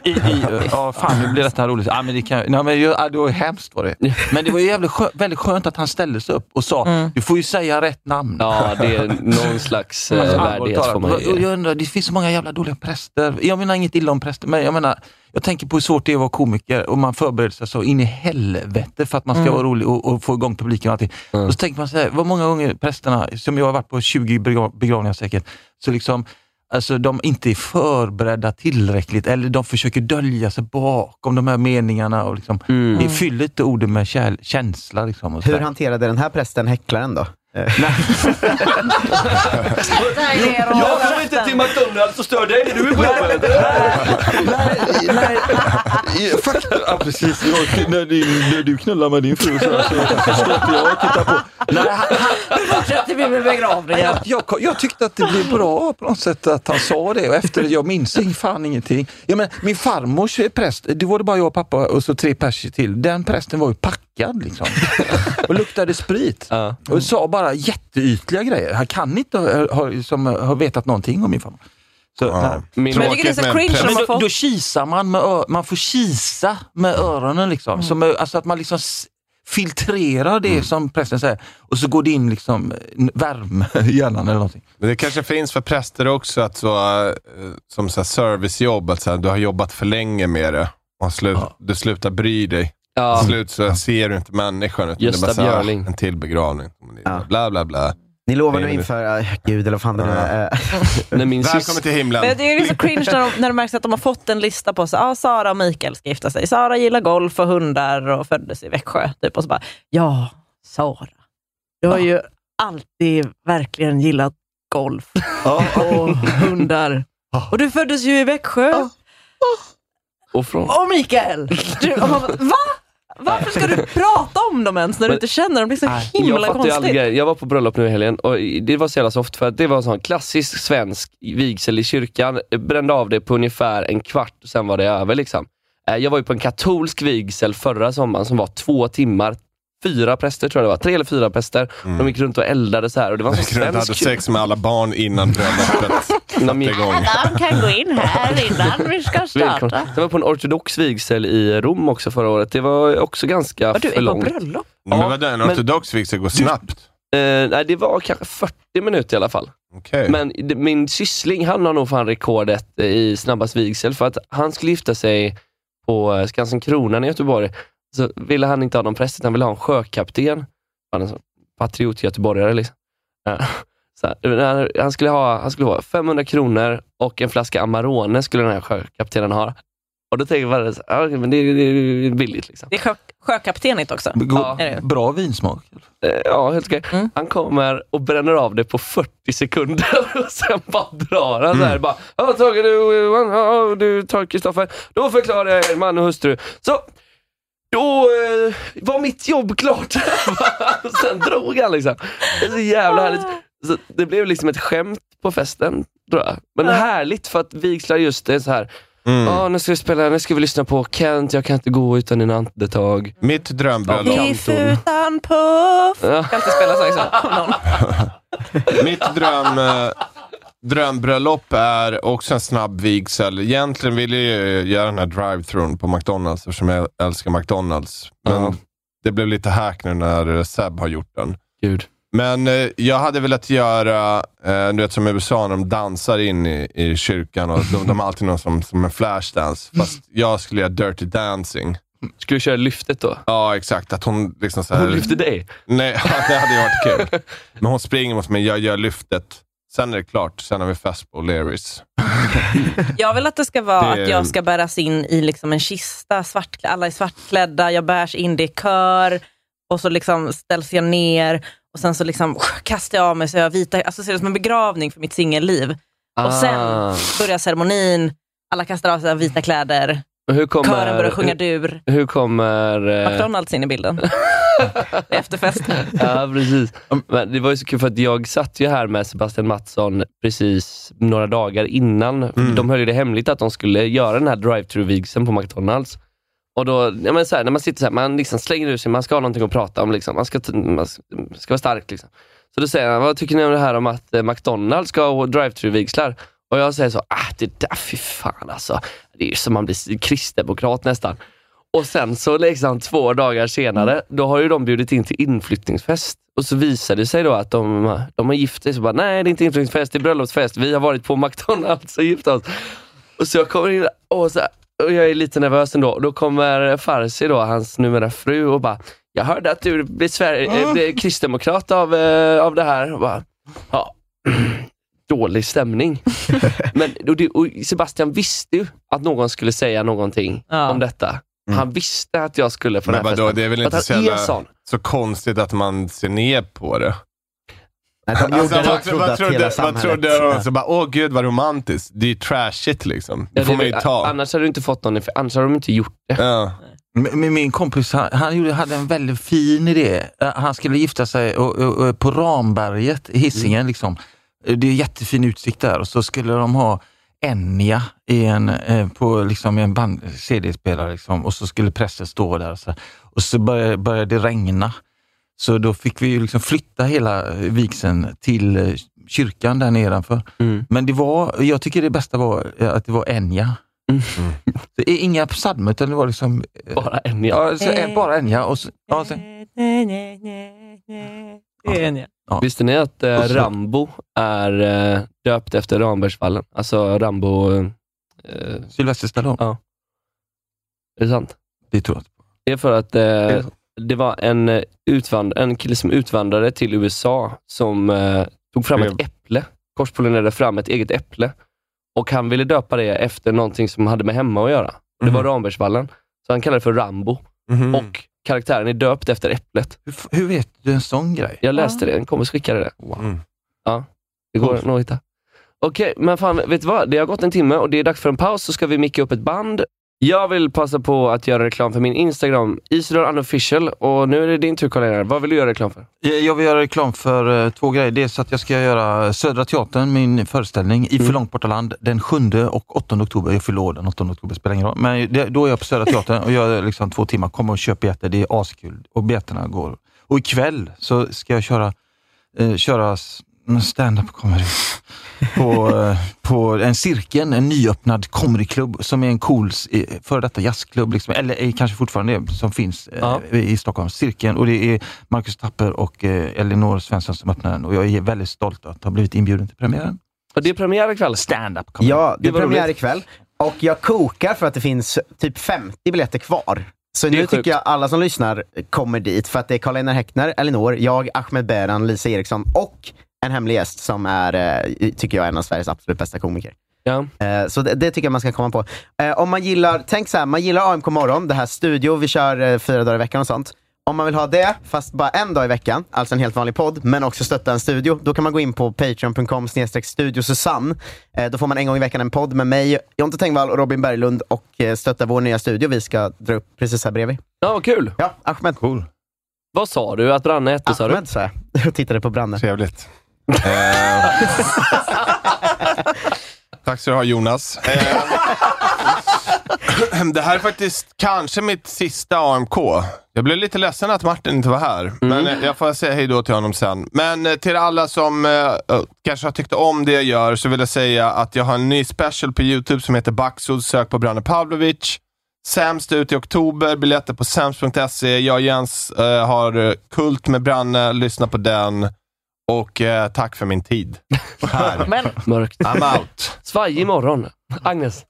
Speaker 7: I, i, ja, fan nu blir detta roligt. Ja, men det, kan, nej, men, ja, det var ju hemskt var det. Men det var ju jävligt skö, väldigt skönt att han ställde sig upp och sa, du får ju säga rätt namn. Alltså,
Speaker 5: Ja, det är någon slags eh, värdighet får man
Speaker 7: Och
Speaker 5: ju.
Speaker 7: Jag undrar, det finns så många jävla dåliga präster. Jag menar inget illa om präster, men jag menar, jag tänker på hur svårt det är att vara komiker och man förbereder sig så in i helvete för att man ska
Speaker 5: Mm.
Speaker 7: vara rolig och, och få igång publiken och allting. Och så tänker man så här, vad många gånger prästerna, som jag har varit på 20 begra- begravningar säkert, så liksom Alltså de inte är förberedda tillräckligt eller de försöker dölja sig bakom de här meningarna. Och liksom, det Fyll inte orden med kär, känsla. Liksom, och så
Speaker 6: Hur
Speaker 7: där.
Speaker 6: hanterade den här prästen häcklaren då? Eh,
Speaker 5: Jag kommer inte till McDonalds och stör dig när du är på jobbet.
Speaker 7: Ja, fakta, ja, precis. Jag, när, din, när du knullar med din fru så, så ska inte jag titta på. Nej, han-
Speaker 8: Nu fortsätter vi med begravningen.
Speaker 7: jag, jag, jag tyckte att det blev bra på något sätt att han sa det och efter det, jag minns ing- fan ingenting. Jag menar, min farmors eh, präst, det var det bara jag och pappa och så tre pers till. Den prästen var ju packad liksom och luktade sprit och sa bara jätteytliga grejer. Han kan inte ha, ha, som, ha vetat någonting om min farmor. Så, nej.
Speaker 5: Min
Speaker 8: Men jag tycker det är så cringe när
Speaker 7: Men
Speaker 8: man
Speaker 7: då,
Speaker 8: får...
Speaker 7: då kisar man med ö- man får kisa med öronen. Liksom.
Speaker 5: Mm.
Speaker 7: Som, ö- alltså att man liksom s- filtrerar det som prästen säger och så går det in liksom eh, n- värme i hjärnan eller någonting.
Speaker 9: Men det kanske finns för präster också, att så, eh, som så här servicejobb, att så här, du har jobbat för länge med det och slut, du slutar bry dig.
Speaker 5: Ja.
Speaker 9: Till slut så ser du inte människan, utan
Speaker 5: Gösta
Speaker 9: det är bara så här,
Speaker 5: Björling.
Speaker 9: en till begravning. Bla, bla, bla.
Speaker 6: Ni lovar
Speaker 9: Nej,
Speaker 6: nu
Speaker 9: men-
Speaker 6: inför, ah, gud eller vad fan det nu är. Eh,
Speaker 5: När min
Speaker 9: Välkommen
Speaker 5: syster,
Speaker 9: till himlen.
Speaker 8: Men jag tycker det är så cringe när de, när de märker att de har fått en lista på sig. Ah, Sara och Mikael ska gifta sig. Sara gillar golf och hundar och föddes i Växjö. Typ. Och så bara, ja, Sara. Du har ju alltid verkligen gillat golf och hundar. Och du föddes ju i Växjö.
Speaker 5: och från.
Speaker 8: Och Mikael! Du, och man bara, va? Varför ska du prata om dem ens när du
Speaker 5: Men-
Speaker 8: inte känner dem? Det blir så himla
Speaker 5: jag fattar ju aldrig
Speaker 8: konstigt.
Speaker 5: grejer. Jag var på bröllop nu i helgen och det var så jävla soft för att det var en sån klassisk svensk vigsel i kyrkan. Jag Brände av det på ungefär en kvart, sen var det över. Liksom. Eh, Jag var ju på en katolsk vigsel förra sommaren som var två timmar. Fyra präster tror jag det var, tre eller fyra präster. De gick runt och eldade så här och det var en sån
Speaker 9: Jag tror inte jag Mm. hade
Speaker 5: svensk
Speaker 9: sex med alla barn innan bröllopet satte
Speaker 5: gick-
Speaker 9: igång.
Speaker 8: Adam kan gå in här innan vi ska
Speaker 5: Välkommen. Jag var på en ortodox vigsel i Rom också förra året. Det var också ganska
Speaker 8: Var du
Speaker 5: för
Speaker 8: är på
Speaker 5: långt.
Speaker 8: bröllop?
Speaker 9: Men
Speaker 5: Ja,
Speaker 9: vadå, en
Speaker 5: men-
Speaker 9: ortodox vigsel går snabbt?
Speaker 5: Eh, nej, det var kanske 40 minuter i alla fall.
Speaker 9: Okej.
Speaker 5: Men d- min syssling, han har nog fan rekordet eh, i snabbast vigsel för att han skulle gifta sig på eh, Skansen Kronan i Göteborg så ville han inte ha någon präst, utan han ville ha en sjökapten. Han är en sån patriot göteborgare. Liksom. Eh, Så här, han, skulle ha, han skulle ha 500 kronor och en flaska Amarone skulle den här sjökaptenen ha. Och då tänker man, så här, "Ah, okej, men det, är- det är billigt. Liksom.
Speaker 8: Det är sjö, sjökaptenigt också.
Speaker 5: Gå-
Speaker 8: Är det?
Speaker 7: Bra vinsmak.
Speaker 5: Eh, Ja, helt okej. Han kommer och bränner av det på 40 sekunder och sen bara drar han så
Speaker 7: Mm.
Speaker 5: här. Bara, ja, Tage, du, Johan, ja, du tar Kristoffer. Då förklarar jag er man och hustru. Så, då eh, var mitt jobb klart. och sen drog han liksom. Det är så jävla härligt. Så det blev liksom ett skämt på festen, tror jag. Men härligt för att vigslar just det är så här.
Speaker 7: Mm.
Speaker 5: Ja, nu ska vi spela, nu ska vi lyssna på Kent, jag kan inte gå utan dina andetag.
Speaker 9: Mitt drömbröllop.
Speaker 8: Biff utan puff.
Speaker 5: Ja.
Speaker 8: Kan inte spela så liksom. av någon.
Speaker 9: Mitt dröm, eh, drömbröllop är också en snabb vigsel. Egentligen ville jag ju göra den här drive-thrun på McDonalds eftersom jag älskar McDonalds. Men det blev lite hack nu när Seb har gjort den.
Speaker 5: Gud.
Speaker 9: Men eh, jag hade velat göra, eh, du vet som i USA när de dansar in i, i kyrkan. Och de, de har alltid någon som, som en flashdance. Fast jag skulle göra dirty dancing.
Speaker 5: Skulle du köra lyftet då?
Speaker 9: Ja, exakt. Att hon liksom så här,
Speaker 5: Hon lyfte dig?
Speaker 9: Nej, det hade ju varit kul. Men hon springer mot mig, jag gör lyftet. Sen är det klart. Sen har vi fest på O'Learys.
Speaker 8: Jag vill att det ska vara
Speaker 9: Det-
Speaker 8: att jag ska bäras in i liksom en kista, svartkl- alla är svartklädda, jag bärs in, det är kör och så liksom ställs jag ner och sen så liksom kastar jag av mig så jag har vita, alltså ser det som en begravning för mitt singelliv. Och sen
Speaker 5: Ah.
Speaker 8: börjar ceremonin, alla kastar av sig vita kläder,
Speaker 5: Men Hur kommer,
Speaker 8: kören börjar sjunga dur,
Speaker 5: Hur, hur kommer... eh,
Speaker 8: McDonalds in i bilden. Efterfesten.
Speaker 5: Ja, precis. Men det var ju så kul för att jag satt ju här med Sebastian Mattsson precis några dagar innan. De höll ju det hemligt att de skulle göra den här drive-through-vigseln på McDonalds. Och då, ja, men så här, när man sitter så här, man liksom slänger ur sig, man ska ha någonting att prata om. Liksom. Man, ska, t- man ska ska vara stark. Liksom. Så då säger han, vad tycker ni om det här om att eh, McDonalds ska ha drive-through-vigslar? Och jag säger så, ah, det där, fy fan alltså. Det är ju som man blir kristdemokrat nästan. Och sen så liksom två dagar senare, då har ju de bjudit in till inflyttningsfest. Och så visar det sig då att de, de har gift sig. Så bara, nej det är inte inflyttningsfest, det är bröllopsfest. Vi har varit på McDonalds och gift oss. Och så jag kommer in och, så, och jag är lite nervös ändå. Och Då kommer Farsi, då, hans numera fru, och bara, jag hörde att du blir, Sver- eh, blir kristdemokrat av, eh, av det här. Och bara, ja, dålig stämning. Men, och det, och Sebastian visste ju att någon skulle säga någonting
Speaker 8: Ja.
Speaker 5: om detta. Han visste att jag skulle på
Speaker 9: Men
Speaker 5: den här
Speaker 9: vadå,
Speaker 5: festen.
Speaker 9: det är väl inte
Speaker 5: att
Speaker 9: så,
Speaker 5: han
Speaker 9: jävla,
Speaker 5: är sån.
Speaker 9: så konstigt att man ser ner på det? Alltså,
Speaker 6: de gjorde det.
Speaker 9: vad,
Speaker 6: Trodde
Speaker 9: vad
Speaker 6: att
Speaker 9: trodde,
Speaker 6: hela
Speaker 9: vad
Speaker 6: samhället-
Speaker 9: trodde de?
Speaker 6: Ja.
Speaker 9: Så bara, åh gud vad romantiskt. Det är ju trashigt liksom. Det
Speaker 5: Ja,
Speaker 9: får
Speaker 5: det
Speaker 9: man
Speaker 5: är
Speaker 9: ju
Speaker 5: väl-
Speaker 9: ta.
Speaker 5: Annars hade du inte fått någon Annars hade de inte gjort det.
Speaker 9: Ja.
Speaker 7: Men men min kompis han, han gjorde, hade en väldigt fin idé. Eh, Han skulle gifta sig och, och, och, på Ramberget i Hisingen.
Speaker 5: Mm.
Speaker 7: Liksom. Eh, Det är jättefin utsikt där och så skulle de ha Enya i en, eh, på liksom i en band, CD-spelare liksom. och så skulle prästen stå där. Och så, och så började, började det regna. Så då fick vi ju liksom flytta hela vigseln till eh, kyrkan där nedanför. Men det var, jag tycker det bästa var eh, att det var Enya. Det är inga psalmer utan det var liksom... eh,
Speaker 5: Bara en ja.
Speaker 7: Ja, så, eh, bara Enya. Och så, ja, sen,
Speaker 8: Det är en, ja.
Speaker 7: ja.
Speaker 5: Visste ni att eh,
Speaker 7: Och så-
Speaker 5: Rambo är eh, döpt efter Rambergsvallen? Alltså Rambo... Eh, eh,
Speaker 7: Sylvester Stallone.
Speaker 5: Ja. är det sant?
Speaker 7: Det tror jag. inte.
Speaker 5: Det är för att
Speaker 7: är
Speaker 5: eh, det var en, eh, utvand- en kille som utvandrade till USA som eh, tog fram ett
Speaker 9: Blev-
Speaker 5: äpple. Korspollinerade fram ett eget äpple. Och han ville döpa det efter någonting som hade med hemma att göra. Och Det var
Speaker 7: Mhm.
Speaker 5: Rambergsvallen. Så han kallade det för Rambo.
Speaker 9: Mhm.
Speaker 5: Och karaktären är döpt efter äpplet.
Speaker 7: Hur, f- hur vet du en sån grej?
Speaker 5: Jag läste det, en kompis skickade det.
Speaker 9: Mm.
Speaker 5: Ja, det går nog att hitta. Okej, men fan, vet du vad? Det har gått en timme och det är dags för en paus, så ska vi micka upp ett band. Jag vill passa på att göra reklam för min Instagram, Isidor Unofficial. Och nu är det din tur Karl Vad vill du göra reklam för?
Speaker 7: Eh, Jag jag vill göra reklam för eh, två grejer. Dels att jag ska göra Södra Teatern, min föreställning, i För långt borta land den 7 och 8 oktober. Jag fyller år den 8 oktober, spelar ingen roll. Men det, då är jag på Södra Teatern och gör liksom två timmar. Kom och köp biljetter, det är askul. Och biljetterna går. Och ikväll så ska jag köra, eh, köra s- stand-up comedy. på, eh, på en cirkeln, en nyöppnad comedyklubb som är en cool s- eh, före detta jazzklubb, liksom, eller eh, kanske fortfarande är, som finns eh,
Speaker 5: Ja.
Speaker 7: i Stockholm. Cirkeln och det är Marcus Tapper och eh, Elinor Svensson som öppnar den och jag är väldigt stolt att ha blivit inbjuden till premiären.
Speaker 5: Och det är premiär ikväll.
Speaker 7: Stand-up comedy.
Speaker 6: Ja, det
Speaker 5: Det
Speaker 6: är
Speaker 5: var
Speaker 6: premiär
Speaker 5: roligt.
Speaker 6: ikväll. Och jag kokar för att det finns typ 50 biljetter kvar.
Speaker 5: Det
Speaker 6: Så
Speaker 5: är
Speaker 6: nu
Speaker 5: sjukt.
Speaker 6: tycker jag alla som lyssnar kommer dit för att det är Karl-Einar Häckner, Elinor, jag, Ahmed Beran, Lisa Eriksson och en hemlig gäst som är, eh, tycker jag, är en av Sveriges absolut bästa komiker. Eh, Så det, det tycker jag man ska komma på. Eh, Om man gillar, tänk så här, man gillar AMK morgon, det här studio, vi kör eh, fyra dagar i veckan och sånt. Om man vill ha det, fast bara en dag i veckan, alltså en helt vanlig podd, men också stötta en studio, då kan man gå in på patreon.com studiosusanne. Eh, Då får man en gång i veckan en podd med mig, Jonte Tengvall och Robin Berglund och eh, stötta vår nya studio vi ska dra upp precis här bredvid.
Speaker 5: Ja, vad kul.
Speaker 6: Ja, Ahmed.
Speaker 7: Cool.
Speaker 5: Vad sa du att Branne hette? sa du?
Speaker 6: Ahmed sa jag och tittade på Branne.
Speaker 9: Trevligt. Eh, Tack ska du ha Jonas. Eh, Det här är faktiskt kanske mitt sista AMK. Jag blev lite ledsen att Martin inte var här, men eh, jag får säga hej då till honom sen. Men eh, till alla som eh, eh, kanske har tyckt om det jag gör så vill jag säga att jag har en ny special på YouTube som heter Baxud. Sök på Branne Pavlovic. Sämst ut i oktober, biljetter på sämst.se. Jag och Jens eh, har eh, Kult med Branne, lyssna på den. Och eh, tack för min tid här.
Speaker 8: Men
Speaker 5: Mörkt.
Speaker 9: I'm out.
Speaker 5: Svajig imorgon. Agnes.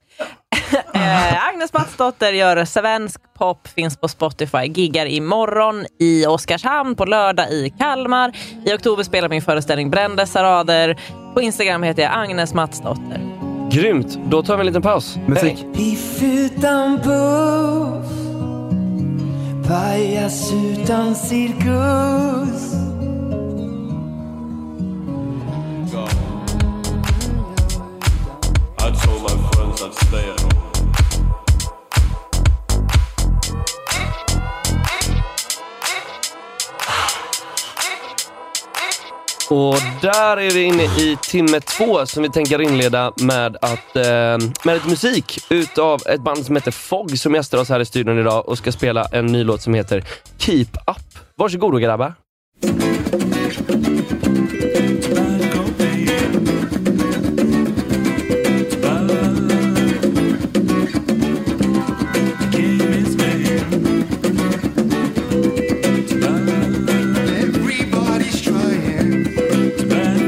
Speaker 8: Eh, Agnes Matsdotter gör svensk pop, finns på Spotify, giggar imorgon i Oskarshamn, på lördag i Kalmar. I oktober spelar min föreställning Brända sarader. På Instagram heter jag Agnes Matsdotter.
Speaker 5: Grymt. Då tar vi en liten paus.
Speaker 6: Musik.
Speaker 12: Biff utan buff Pajas utan cirkus
Speaker 13: I told my friends I'd stay at home.
Speaker 5: Och där är vi inne i timme två som vi tänker inleda med, att, eh, med lite musik utav ett band som heter Fog som gästar oss här i studion idag och ska spela en ny låt som heter Keep Up. Varsågoda grabbar.
Speaker 12: Everybody's trying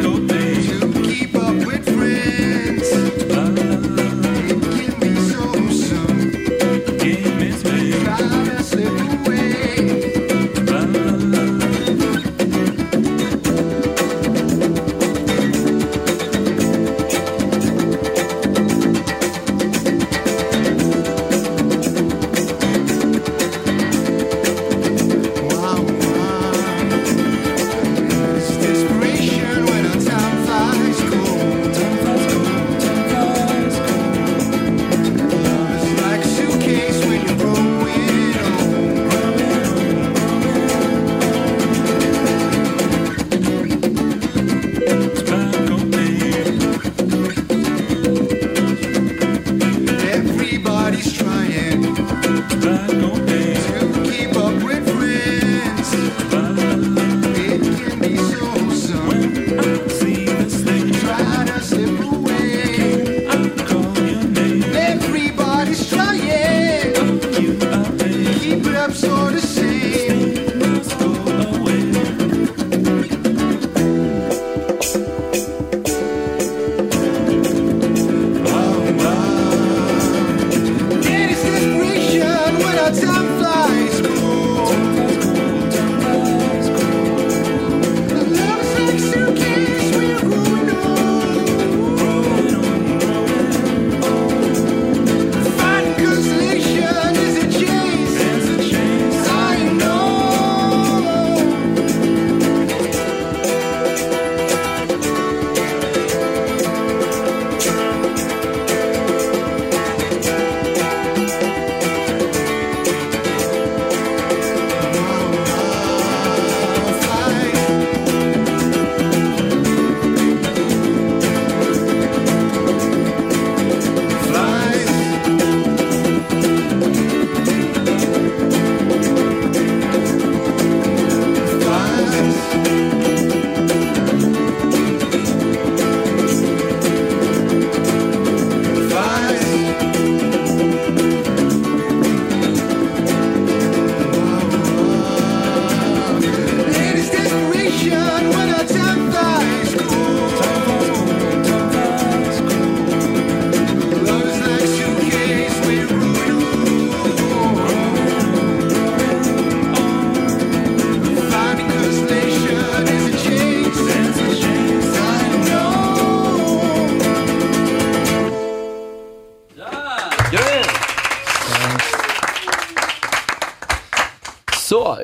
Speaker 12: to keep up with friends It can be so soon Try to slip away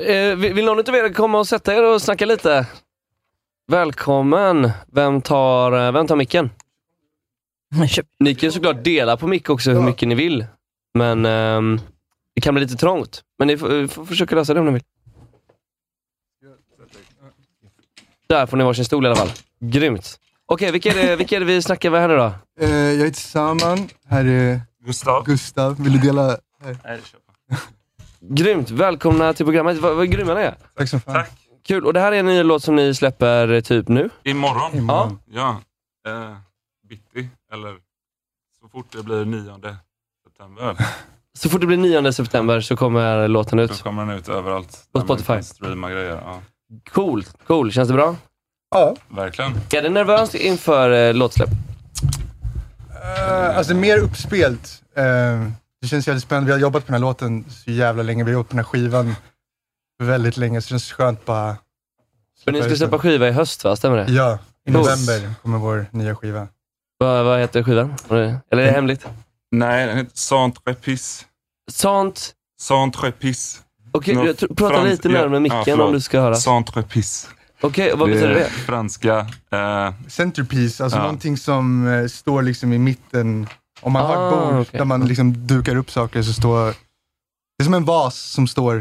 Speaker 5: eh, vill vill någon utav er komma och sätta er och snacka lite? Välkommen. Vem tar, eh, vem tar micken? Ni kan ju såklart dela på mick också hur mycket ni vill. Men ehm, det kan bli lite trångt. Men ni får, får försöka lösa det om ni vill. Där får ni varsin stol i alla fall. Grymt. Okej, vilka, är det- vilka är det vi snackar med här nu då?
Speaker 10: Eh, jag heter Saman. Här är Gustav. Gustav. Vill du dela?
Speaker 5: Nej, Grymt. Välkomna till programmet. Vad, vad grymma ni är.
Speaker 10: Tack så fan.
Speaker 5: Kul. Och det här är en ny låt som ni släpper eh, typ nu?
Speaker 13: Imorgon?
Speaker 5: Ja.
Speaker 13: Ja. Eh, bitti, eller så fort det blir 9 september.
Speaker 5: Så fort det blir 9 september så kommer låten ut.
Speaker 13: Då kommer den ut överallt.
Speaker 5: På
Speaker 13: Där man
Speaker 5: Spotify.
Speaker 13: kan Streama grejer, ja.
Speaker 5: Cool, cool. Känns det bra?
Speaker 10: Ja.
Speaker 13: Verkligen.
Speaker 5: Är det nervöst inför eh, låtsläpp?
Speaker 10: Eh, alltså mer uppspelt. Eh, det känns jävligt spännande. Vi har jobbat på den här låten så jävla länge. Vi har jobbat på den här skivan väldigt länge, så det känns skönt bara...
Speaker 5: Men ni ska släppa skiva i höst va? Stämmer det?
Speaker 10: Ja, i
Speaker 5: Cool.
Speaker 10: november kommer vår nya skiva.
Speaker 5: Vad, vad heter skivan? Eller är det hemligt?
Speaker 13: Nej, den heter Centre Pisse.
Speaker 5: Sant?
Speaker 13: Centre Pisse.
Speaker 5: Okej, jag tror- prata lite närmare micken om du ska höra.
Speaker 13: Centre Pisse.
Speaker 5: Okej, och vad betyder det?
Speaker 13: Franska. Eh,
Speaker 10: Centerpiece, alltså
Speaker 13: Ja.
Speaker 10: någonting som eh, står liksom i mitten. Om man har ett
Speaker 13: Ah,
Speaker 10: bord
Speaker 13: okej.
Speaker 10: där man liksom dukar upp saker så står... Det är som en vas som står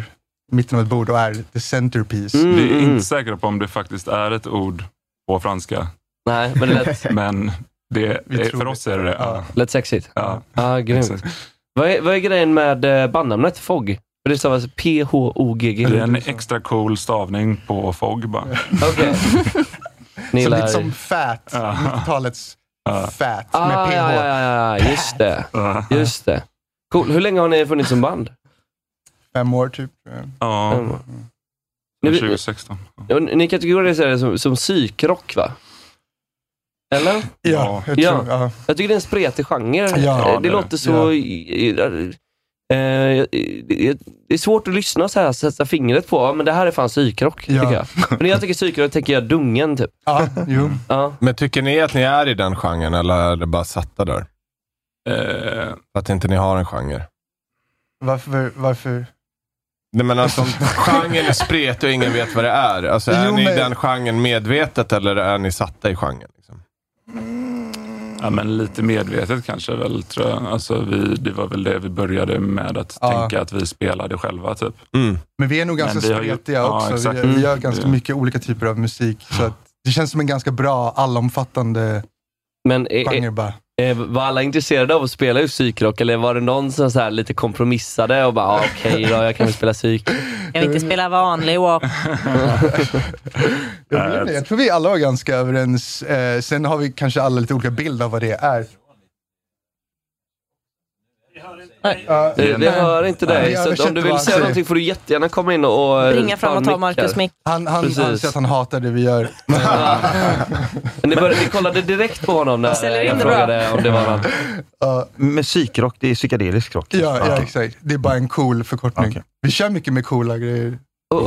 Speaker 10: i mitten av ett bord och är the centerpiece.
Speaker 5: Mm,
Speaker 13: vi är
Speaker 10: mm.
Speaker 13: inte säkra på om det faktiskt är ett ord på franska.
Speaker 5: Nej, men det lät-
Speaker 13: men det,
Speaker 5: Vi
Speaker 13: är,
Speaker 5: tror
Speaker 13: för
Speaker 5: det.
Speaker 13: oss är det det. Ja.
Speaker 5: Lät sexigt? Ja. Ah, grymt. Vad är, vad är grejen med eh, bandnamnet FOG? För det stavas P-H-O-G-G.
Speaker 13: Det är en extra cool stavning på FOG bara.
Speaker 5: Okej. Ni
Speaker 10: Så
Speaker 5: gillar-
Speaker 10: lite som fat, 90-talets fat med
Speaker 5: Ah,
Speaker 10: ph.
Speaker 5: ja, ja, ja, ja, just det. Just det. Cool. Hur länge har ni funnits som band?
Speaker 10: Fem år typ. tror jag.
Speaker 13: Ja.
Speaker 5: Mm.
Speaker 13: Från
Speaker 5: Ni-
Speaker 13: 2016.
Speaker 5: Ja, Ni kategoriserar det som, som psykrock va? Eller?
Speaker 10: Ja, jag tror- ja.
Speaker 5: Jag tycker det är en spretig genre. Eh,
Speaker 10: Ja,
Speaker 5: det,
Speaker 10: det är det.
Speaker 5: låter så... eh, eh, det- det är svårt att lyssna så här, sätta fingret på, ja, men det här är fan psykrock. Tycker jag. Men när jag tänker psykrock tänker jag dungen typ.
Speaker 10: Ja, jo.
Speaker 9: Men tycker ni att ni är i den genren eller är det bara satta där?
Speaker 14: Eh.
Speaker 9: För att inte ni har en genre?
Speaker 10: Varför? varför?
Speaker 9: Nej men alltså, om genren är spretig och ingen vet vad det är. Alltså, är
Speaker 10: Jo,
Speaker 9: ni i
Speaker 10: men-
Speaker 9: den genren medvetet eller är ni satta i genren? liksom?
Speaker 13: Ja, men lite medvetet kanske väl, tror jag. Alltså, vi, det var väl det vi började med, att
Speaker 10: Ja. Mm.
Speaker 13: tänka att vi spelade själva. Typ.
Speaker 10: Men vi är nog ganska
Speaker 13: Men vi har ju-
Speaker 10: spretiga
Speaker 13: ja,
Speaker 10: också.
Speaker 13: exakt.
Speaker 10: vi, vi gör
Speaker 13: Mm.
Speaker 10: ganska
Speaker 13: Det-
Speaker 10: mycket olika typer av musik. Så att det känns som en ganska bra, allomfattande
Speaker 5: Men är,
Speaker 10: genre bara.
Speaker 5: Eh, Var alla intresserade av att spela just psykrock eller var det någon som så här lite kompromissade och bara ah, okej då, jag kan väl spela psyk.
Speaker 8: Jag vill inte spela vanlig walk.
Speaker 10: Jag, vet inte, jag tror vi alla var ganska överens. Eh, sen har vi kanske alla lite olika bild av vad det är. Ja,
Speaker 5: Vi, vi
Speaker 10: men-
Speaker 5: hör inte
Speaker 10: Vi
Speaker 5: dig, så att
Speaker 10: översätter
Speaker 5: om du
Speaker 10: vad
Speaker 5: vill
Speaker 10: han
Speaker 5: säga
Speaker 10: säger.
Speaker 5: någonting får du jättegärna komma in och... eh,
Speaker 8: Bringa fram och ta Marcus
Speaker 5: mick
Speaker 8: mick.
Speaker 10: Han, han
Speaker 5: Precis.
Speaker 10: anser att han hatar det vi gör.
Speaker 5: Ja. Men ni, började, ni kollade direkt på honom när
Speaker 10: Ställer
Speaker 5: jag
Speaker 10: inte
Speaker 5: frågade
Speaker 10: bra.
Speaker 5: om det var han.
Speaker 14: Med psykrock, det är psykedelisk rock.
Speaker 10: Ja, ja, exakt. Det är bara en cool förkortning. Vi kör mycket med coola grejer.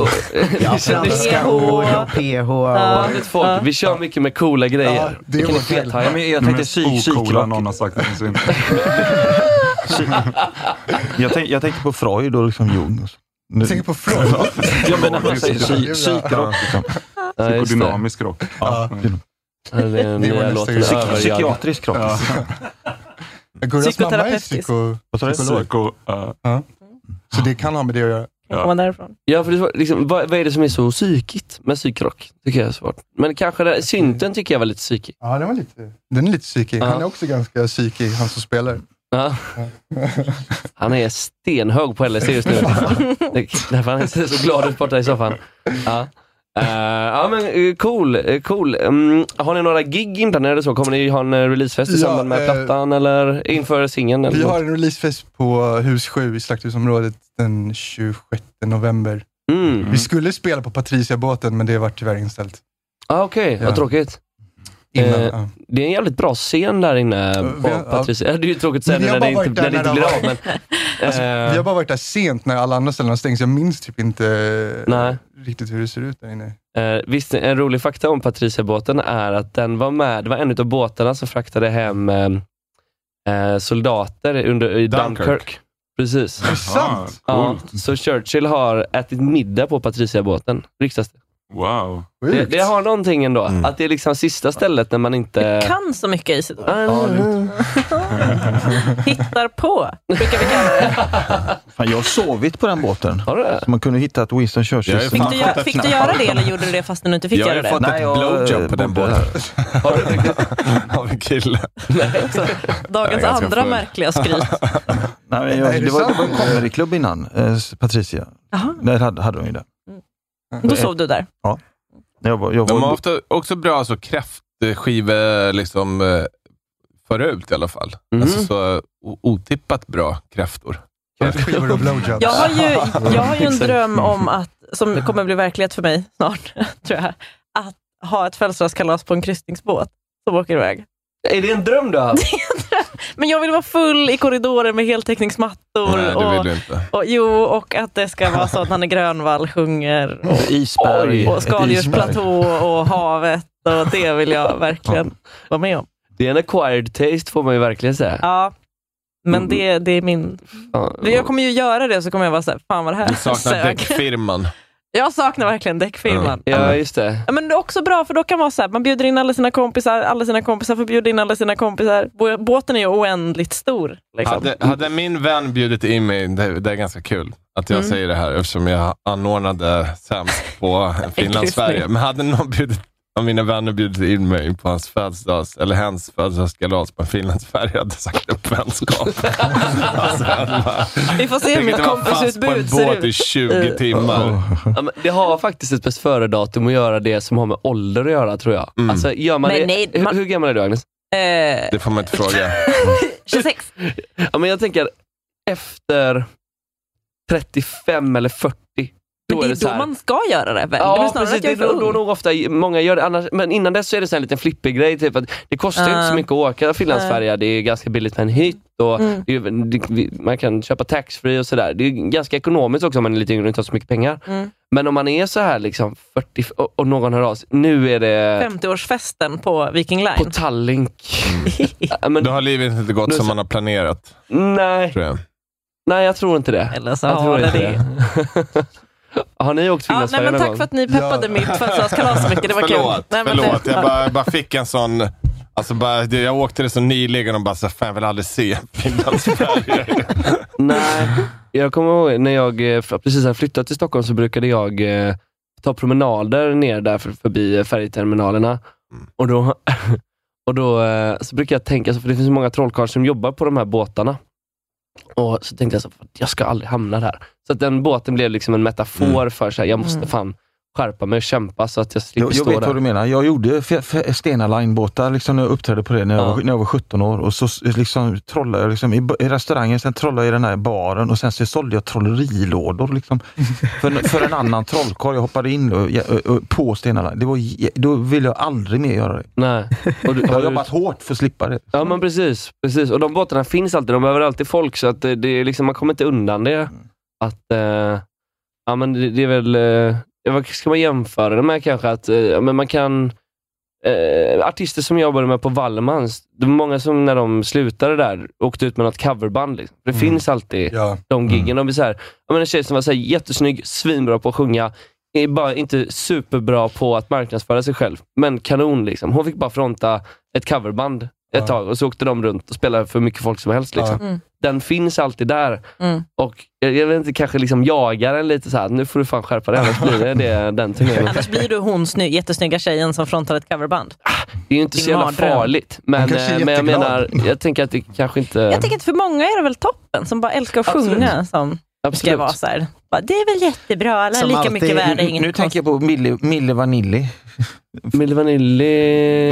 Speaker 14: Ja,
Speaker 10: franska
Speaker 14: ord och PH.
Speaker 5: Vanligt folk, vi kör mycket med coola grejer.
Speaker 10: Ja, det
Speaker 5: Vilken
Speaker 10: var
Speaker 5: är fet
Speaker 10: fel.
Speaker 5: haj.
Speaker 14: Ja, men jag
Speaker 13: Det
Speaker 5: Mm.
Speaker 14: tänkte
Speaker 13: mest
Speaker 14: psy-
Speaker 13: ocoola
Speaker 14: psykrock.
Speaker 13: någon har sagt någonsin.
Speaker 14: Jag, tänk, jag tänker på Freud och liksom Jung. Och så. Nu.
Speaker 10: tänker på Freud?
Speaker 14: ja, men när man säger psy- psykrock. Liksom.
Speaker 5: Ja, just det.
Speaker 13: Psykodynamisk rock.
Speaker 10: Ja.
Speaker 5: Ja, Det är
Speaker 14: Det var
Speaker 5: nya
Speaker 14: nästa
Speaker 5: låten
Speaker 14: grej. Psyk-
Speaker 5: Överjagd.
Speaker 14: psykiatrisk rock.
Speaker 5: Ja.
Speaker 10: Gurras mamma är
Speaker 8: Psykoterapeutisk.
Speaker 10: psyko...
Speaker 14: Vad sa du?
Speaker 13: Psyko... ja.
Speaker 10: Så det kan ha med det att göra.
Speaker 8: Kommer man därifrån?
Speaker 5: Ja, för det är svårt, liksom, vad, vad är det som är så psykigt med psykrock? Tycker jag är svårt. Men kanske det, synten tycker jag var lite psykig.
Speaker 10: Ja, den var lite... Den är lite psykig.
Speaker 5: Ja.
Speaker 10: Han är också ganska psykig, han som spelar.
Speaker 5: Ja. Han är stenhög på LSD just nu. Därför han ser så glad ut borta i soffan. Ja. Eh, ja men eh, cool, eh, cool. Mm, har ni några gig inplanerade så? Kommer ni ha en eh, releasefest i
Speaker 10: Ja,
Speaker 5: samband med
Speaker 10: eh,
Speaker 5: plattan eller inför singeln? eller
Speaker 10: Vi
Speaker 5: något?
Speaker 10: har en releasefest på Hus 7 i Slakthusområdet den 26 november. Vi skulle spela på Patriciabåten, men det vart tyvärr inställt.
Speaker 5: Ah, Okej,
Speaker 10: Ja.
Speaker 5: vad tråkigt.
Speaker 10: Innan,
Speaker 5: Eh,
Speaker 10: ja. Eh,
Speaker 5: Det är en jävligt bra scen där inne. på
Speaker 10: ja.
Speaker 5: Patricia. Det är ju tråkigt att säga
Speaker 10: Men vi
Speaker 5: det
Speaker 10: har
Speaker 5: när det
Speaker 10: bara
Speaker 5: inte, när
Speaker 10: varit
Speaker 5: det
Speaker 10: där
Speaker 5: inte
Speaker 10: när
Speaker 5: blir
Speaker 10: de
Speaker 5: av. Men,
Speaker 10: Alltså,
Speaker 5: eh,
Speaker 10: vi har bara varit där sent när alla andra ställen har stängt, så jag minns typ inte
Speaker 5: Nej.
Speaker 10: riktigt hur det ser ut där inne.
Speaker 5: Eh, visst, en rolig fakta om Patriciabåten är att den var med, det var en av båtarna som fraktade hem eh, eh, soldater under, i Dunkirk.
Speaker 9: Dunkirk.
Speaker 5: Precis. Är
Speaker 10: sant?
Speaker 5: Ja, så Churchill har ätit middag på Patriciabåten. Riksdags.
Speaker 13: Wow.
Speaker 5: Det, det har någonting ändå.
Speaker 10: Mm.
Speaker 5: Att det är liksom sista stället när man inte...
Speaker 8: Kan så mycket Isidor. Hittar på.
Speaker 14: Fan, jag har sovit på den båten.
Speaker 5: Har du det?
Speaker 14: Så man kunde hitta ett Winston Churchill.
Speaker 8: Fick du, gö- fick du göra det eller gjorde du det fast du inte fick
Speaker 14: Jag har
Speaker 8: göra det?
Speaker 14: fått ett Nej, jag- blowjob på den båten.
Speaker 9: Av en kille.
Speaker 8: Dagens andra märkliga skryt.
Speaker 14: Nej, men
Speaker 8: Är
Speaker 14: jag,
Speaker 8: det
Speaker 14: det, var, det var en
Speaker 8: sant?
Speaker 14: comedyklubb innan, eh, Patricia.
Speaker 8: Jaha. Mm.
Speaker 14: Där hade, hade hon ju det.
Speaker 8: Då sov du där.
Speaker 14: Ja. Jag var, jag var,
Speaker 9: De har ofta, också bra så kräftskive, liksom eh, förut i alla fall.
Speaker 14: Mm.
Speaker 9: Alltså så o- otippat bra kräftor.
Speaker 10: Kräftskivor och blowjobs.
Speaker 8: Jag har ju, jag har ju en dröm om att, som kommer bli verklighet för mig snart, tror jag, att ha ett födelsedagskalas på en kryssningsbåt som åker iväg.
Speaker 5: Är det en dröm du har haft?
Speaker 8: Men jag vill vara full i korridoren med heltäckningsmattor.
Speaker 9: Nej, det
Speaker 8: och,
Speaker 9: vill du inte.
Speaker 8: och, jo, och att det ska vara så att Nanne Grönvall sjunger. Och,
Speaker 14: Isberg.
Speaker 8: och skaldjursplatå och havet. Och det vill jag verkligen vara med om.
Speaker 5: Det är en acquired taste får man ju verkligen säga. Mm.
Speaker 8: Ja, men det, det är min... Jag kommer ju göra det, så kommer jag vara såhär, fan vad det här
Speaker 9: Du saknar
Speaker 8: sög."
Speaker 9: däckfirman.
Speaker 8: Jag saknar verkligen däckfirman.
Speaker 5: Ja, just det.
Speaker 8: Ja, men det är också bra, för då kan man, så här, man bjuder in alla sina kompisar, alla sina kompisar får bjuda in alla sina kompisar. Bå- Båten är ju oändligt stor. Liksom.
Speaker 9: Hade, hade min vän bjudit in mig, det, det är ganska kul att jag
Speaker 8: Mm.
Speaker 9: säger det här eftersom jag anordnade sämst på Finland-Sverige. Men hade någon bjudit, av mina vänner bjudit in mig på hans födelsedags, eller hens födelsedagskalas på Finland-Sverige, hade jag sagt upp vänskapen. alltså, jag hade bara-
Speaker 8: Vi får se
Speaker 9: Jag
Speaker 8: hur mitt
Speaker 9: tänkte vara fast på en
Speaker 8: kompisutbud ser
Speaker 9: båt i
Speaker 8: ut.
Speaker 9: 20 timmar.
Speaker 5: Eh, oh. Ja, men det har faktiskt ett bäst före-datum att göra det som har med ålder att göra, tror jag. Alltså, gör man
Speaker 8: Men
Speaker 5: det,
Speaker 8: nej,
Speaker 5: hur, hur gammal är du, Agnes?
Speaker 8: Eh,
Speaker 9: Mm. Det får man inte fråga.
Speaker 8: 26.
Speaker 5: Ja, men jag tänker, efter 35 eller 40, då
Speaker 8: Det
Speaker 5: är
Speaker 8: är
Speaker 5: det så
Speaker 8: då
Speaker 5: här,
Speaker 8: man ska göra det väl? det är väl
Speaker 5: Ja,
Speaker 8: snarare
Speaker 5: precis.
Speaker 8: att jag
Speaker 5: Det
Speaker 8: är
Speaker 5: är
Speaker 8: för
Speaker 5: då, då
Speaker 8: ung.
Speaker 5: nog ofta många gör det. Annars, men innan dess så är det så här en liten flippig grej. Typ, att det kostar ju inte så
Speaker 8: Ah.
Speaker 5: mycket att åka Finlandsfärja. Det är ganska billigt med en hytt. Och
Speaker 8: Mm.
Speaker 5: det är, ju- det, vi- man kan köpa taxfree och sådär. Det är ju ganska ekonomiskt också om man är lite yngre och inte har så mycket pengar.
Speaker 8: Mm.
Speaker 5: Men om man är så här liksom 40 och, och någon hör av sig. Nu är
Speaker 14: Eh.
Speaker 5: det
Speaker 8: 50-årsfesten på Viking Line.
Speaker 5: på Tallink.
Speaker 8: Mm.
Speaker 9: Då har livet inte gått som man har planerat,
Speaker 5: Nej.
Speaker 9: tror jag.
Speaker 5: Nej, jag tror inte det.
Speaker 8: Eller så
Speaker 5: jag tror
Speaker 8: har det det.
Speaker 5: har ni åkt
Speaker 8: Ja, nej,
Speaker 5: Finlandsfärja
Speaker 8: men
Speaker 5: någon
Speaker 8: tack
Speaker 5: gång?
Speaker 8: för att ni peppade mitt födelsedagskalas så mycket. Det var kul.
Speaker 9: förlåt,
Speaker 8: Nej, men det-
Speaker 9: förlåt. Jag bara, bara fick en sån... Alltså bara, det- jag åkte det så nyligen och bara, så, här, fan jag vill aldrig se Finlandsfärjor.
Speaker 5: Nej, jag kommer ihåg när jag eh, precis hade flyttat till Stockholm så brukade jag eh, ta promenader ner där för, förbi eh, färjeterminalerna.
Speaker 9: Mm.
Speaker 5: Och då, och då eh, så brukar jag tänka, så- för det finns så många trollkarlar som jobbar på de här båtarna. Och så tänkte jag, så, "Fan, jag ska aldrig hamna där. Så att den båten blev liksom en metafor för så här, jag måste
Speaker 14: Mm.
Speaker 5: fan skärpa mig och kämpa så att jag slipper
Speaker 14: Jag, jag
Speaker 5: stå
Speaker 14: vet
Speaker 5: där.
Speaker 14: vad du menar. Jag gjorde f- f- Stena Line-båtar liksom, när jag uppträdde på det när jag,
Speaker 5: Ja.
Speaker 14: var, när jag var 17 år. Och så s- liksom, trollade jag liksom, i, b- i restaurangen, sen trollade jag i den här baren och sen så sålde jag trollerilådor liksom, för, en- för en annan trollkarl. Jag hoppade in och, och, och, på Stena Line. Det var, j- då ville jag aldrig mer göra det.
Speaker 5: Nej. Och du,
Speaker 14: Jag har
Speaker 5: du-
Speaker 14: jobbat hårt för att slippa det.
Speaker 5: Ja men precis, precis. Och de båtarna finns alltid. De behöver alltid folk, så att det, det är liksom, man kommer inte undan det. Att, eh, ja, men det, det är väl, eh, vad ska man jämföra det med kanske? Att, eh, ja, men man kan, eh, artister som jag jobbade med på Wallmans, det var många som när de slutade där åkte ut med något coverband. Liksom. Det finns alltid de giggen. De är så här, ja, men en tjej som var så här, jättesnygg, svinbra på att sjunga, är bara inte superbra på att marknadsföra sig själv, men kanon. liksom. Hon fick bara fronta ett coverband ett tag och så åkte de runt och spelade för mycket folk som helst. Liksom.
Speaker 8: Ja. Mm.
Speaker 5: Den finns alltid där.
Speaker 8: Mm.
Speaker 5: Och jag, jag vet inte, kanske liksom jagar en lite så här. nu får du fan skärpa dig, annars blir det, det den turnén.
Speaker 8: Annars blir du hon sny- jättesnygga tjejen som frontar ett coverband.
Speaker 5: Det är ju inte
Speaker 8: Din
Speaker 5: så jävla
Speaker 8: mardröm.
Speaker 5: farligt,
Speaker 8: Hon
Speaker 5: men,
Speaker 8: kanske är
Speaker 5: eh, men jag
Speaker 8: jätteglad.
Speaker 5: menar, jag tänker att det kanske inte...
Speaker 8: Jag tänker att för många är det väl toppen som bara älskar att
Speaker 5: Absolut.
Speaker 8: sjunga. Som ska
Speaker 5: Absolut.
Speaker 8: vara så här. Bara, det är väl jättebra, alla är
Speaker 14: Som
Speaker 8: lika
Speaker 14: alltid-
Speaker 8: mycket värda.
Speaker 14: Nu,
Speaker 8: Inget
Speaker 14: nu tänker jag på Milli, Milli Vanilli.
Speaker 5: Milli Vanilli...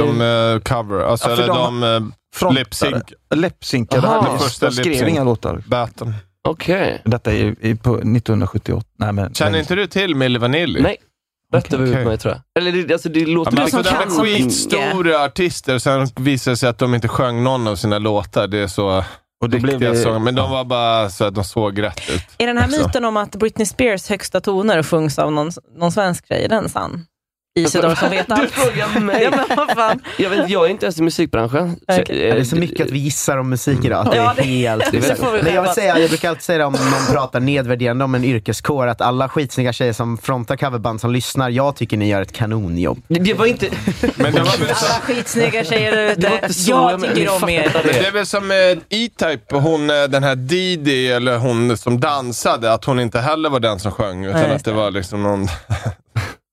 Speaker 9: De eh, cover, alltså
Speaker 14: Ja, för
Speaker 9: eller de,
Speaker 14: de-
Speaker 9: de lipsync.
Speaker 14: Läppsynkade.
Speaker 9: Aha.
Speaker 14: Aha,
Speaker 9: Den första
Speaker 14: de skrev
Speaker 9: lip-sync.
Speaker 14: inga låtar.
Speaker 9: Batten.
Speaker 5: Okej.
Speaker 14: Detta är ju- är på 1978. Nej, men,
Speaker 9: Känner inte du till Milli Vanilli?
Speaker 5: Nej. Rätt över huvudet på mig tror jag. Eller det, alltså, det låter...
Speaker 9: Ja, men liksom, de är skitstora artister, sen visade det sig att de inte sjöng någon av sina låtar. Det är så och
Speaker 14: blev
Speaker 9: riktiga
Speaker 14: det-
Speaker 9: sånger. Men de var bara så att de såg rätt ut.
Speaker 8: Är den här
Speaker 9: Alltså.
Speaker 8: myten om att Britney Spears högsta toner sjungs av någon, någon svensk tjej, är den sann?
Speaker 14: Alltså,
Speaker 8: Isidor som vet allt. Du
Speaker 5: frågar mig.
Speaker 8: Ja, men vad fan.
Speaker 5: Jag, vet, jag är inte ens i musikbranschen. eh,
Speaker 6: Ja, det är så mycket att vi gissar om musik idag. Att
Speaker 5: Ja,
Speaker 6: det
Speaker 5: det-
Speaker 6: är helt...
Speaker 5: det får vi
Speaker 6: Men jag,
Speaker 5: själva.
Speaker 6: vill säga, jag brukar alltid säga det om någon pratar nedvärderande om en yrkeskår, att alla skitsnygga tjejer som frontar coverband som lyssnar, jag tycker ni gör ett kanonjobb.
Speaker 5: Det var inte...
Speaker 9: Men det var väl så...
Speaker 8: Alla skitsnygga tjejer där
Speaker 9: Det var
Speaker 8: ute.
Speaker 9: inte så
Speaker 8: Jag
Speaker 9: jag
Speaker 8: tycker om er.
Speaker 9: Det är väl som eh, E-Type, hon, eh, den här Didi, eller hon som dansade, att hon inte heller var den som sjöng, utan
Speaker 8: Nej,
Speaker 9: att det var liksom någon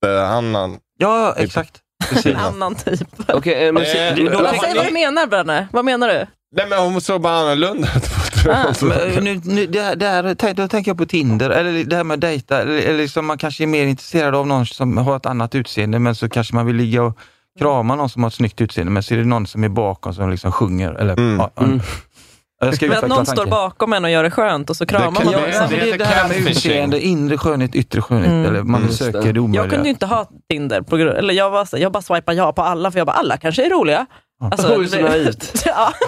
Speaker 9: eh, annan. Typ. Eh,
Speaker 14: Ja, exakt.
Speaker 8: En annan typ.
Speaker 5: Okej,
Speaker 9: men...
Speaker 5: eh,
Speaker 8: Men Säg vad du menar Brenne. Vad menar du?
Speaker 9: Nej men hon såg bara annorlunda ut.
Speaker 14: Ah. Men, nu, nu, det här, det här, tänk- då tänker jag på Tinder, eller det här med att dejta, eller, eller liksom man kanske är mer intresserad av någon som har ett annat utseende, men så kanske man vill ligga och krama någon som har ett snyggt utseende, men så är det någon som är bakom som liksom sjunger. Eller, ja, ja. Jag ska
Speaker 8: Mm. Men att
Speaker 14: utveckla
Speaker 8: någon
Speaker 14: tanken.
Speaker 8: står bakom liksom, en och gör det skönt och så kramar man
Speaker 14: Ja,
Speaker 8: någon.
Speaker 14: men
Speaker 5: Alltså,
Speaker 14: det, är det här med utseende, inre skönhet, yttre skönhet,
Speaker 8: Mm.
Speaker 14: eller man
Speaker 8: Just
Speaker 14: söker det omöjliga.
Speaker 8: Jag kunde ju inte ha Tinder, på grund, eller jag, var, så- jag bara swipade ja på alla, för jag bara, alla kanske är roliga. Alltså,
Speaker 5: Oj, så
Speaker 8: det-
Speaker 5: naivt.
Speaker 8: ja.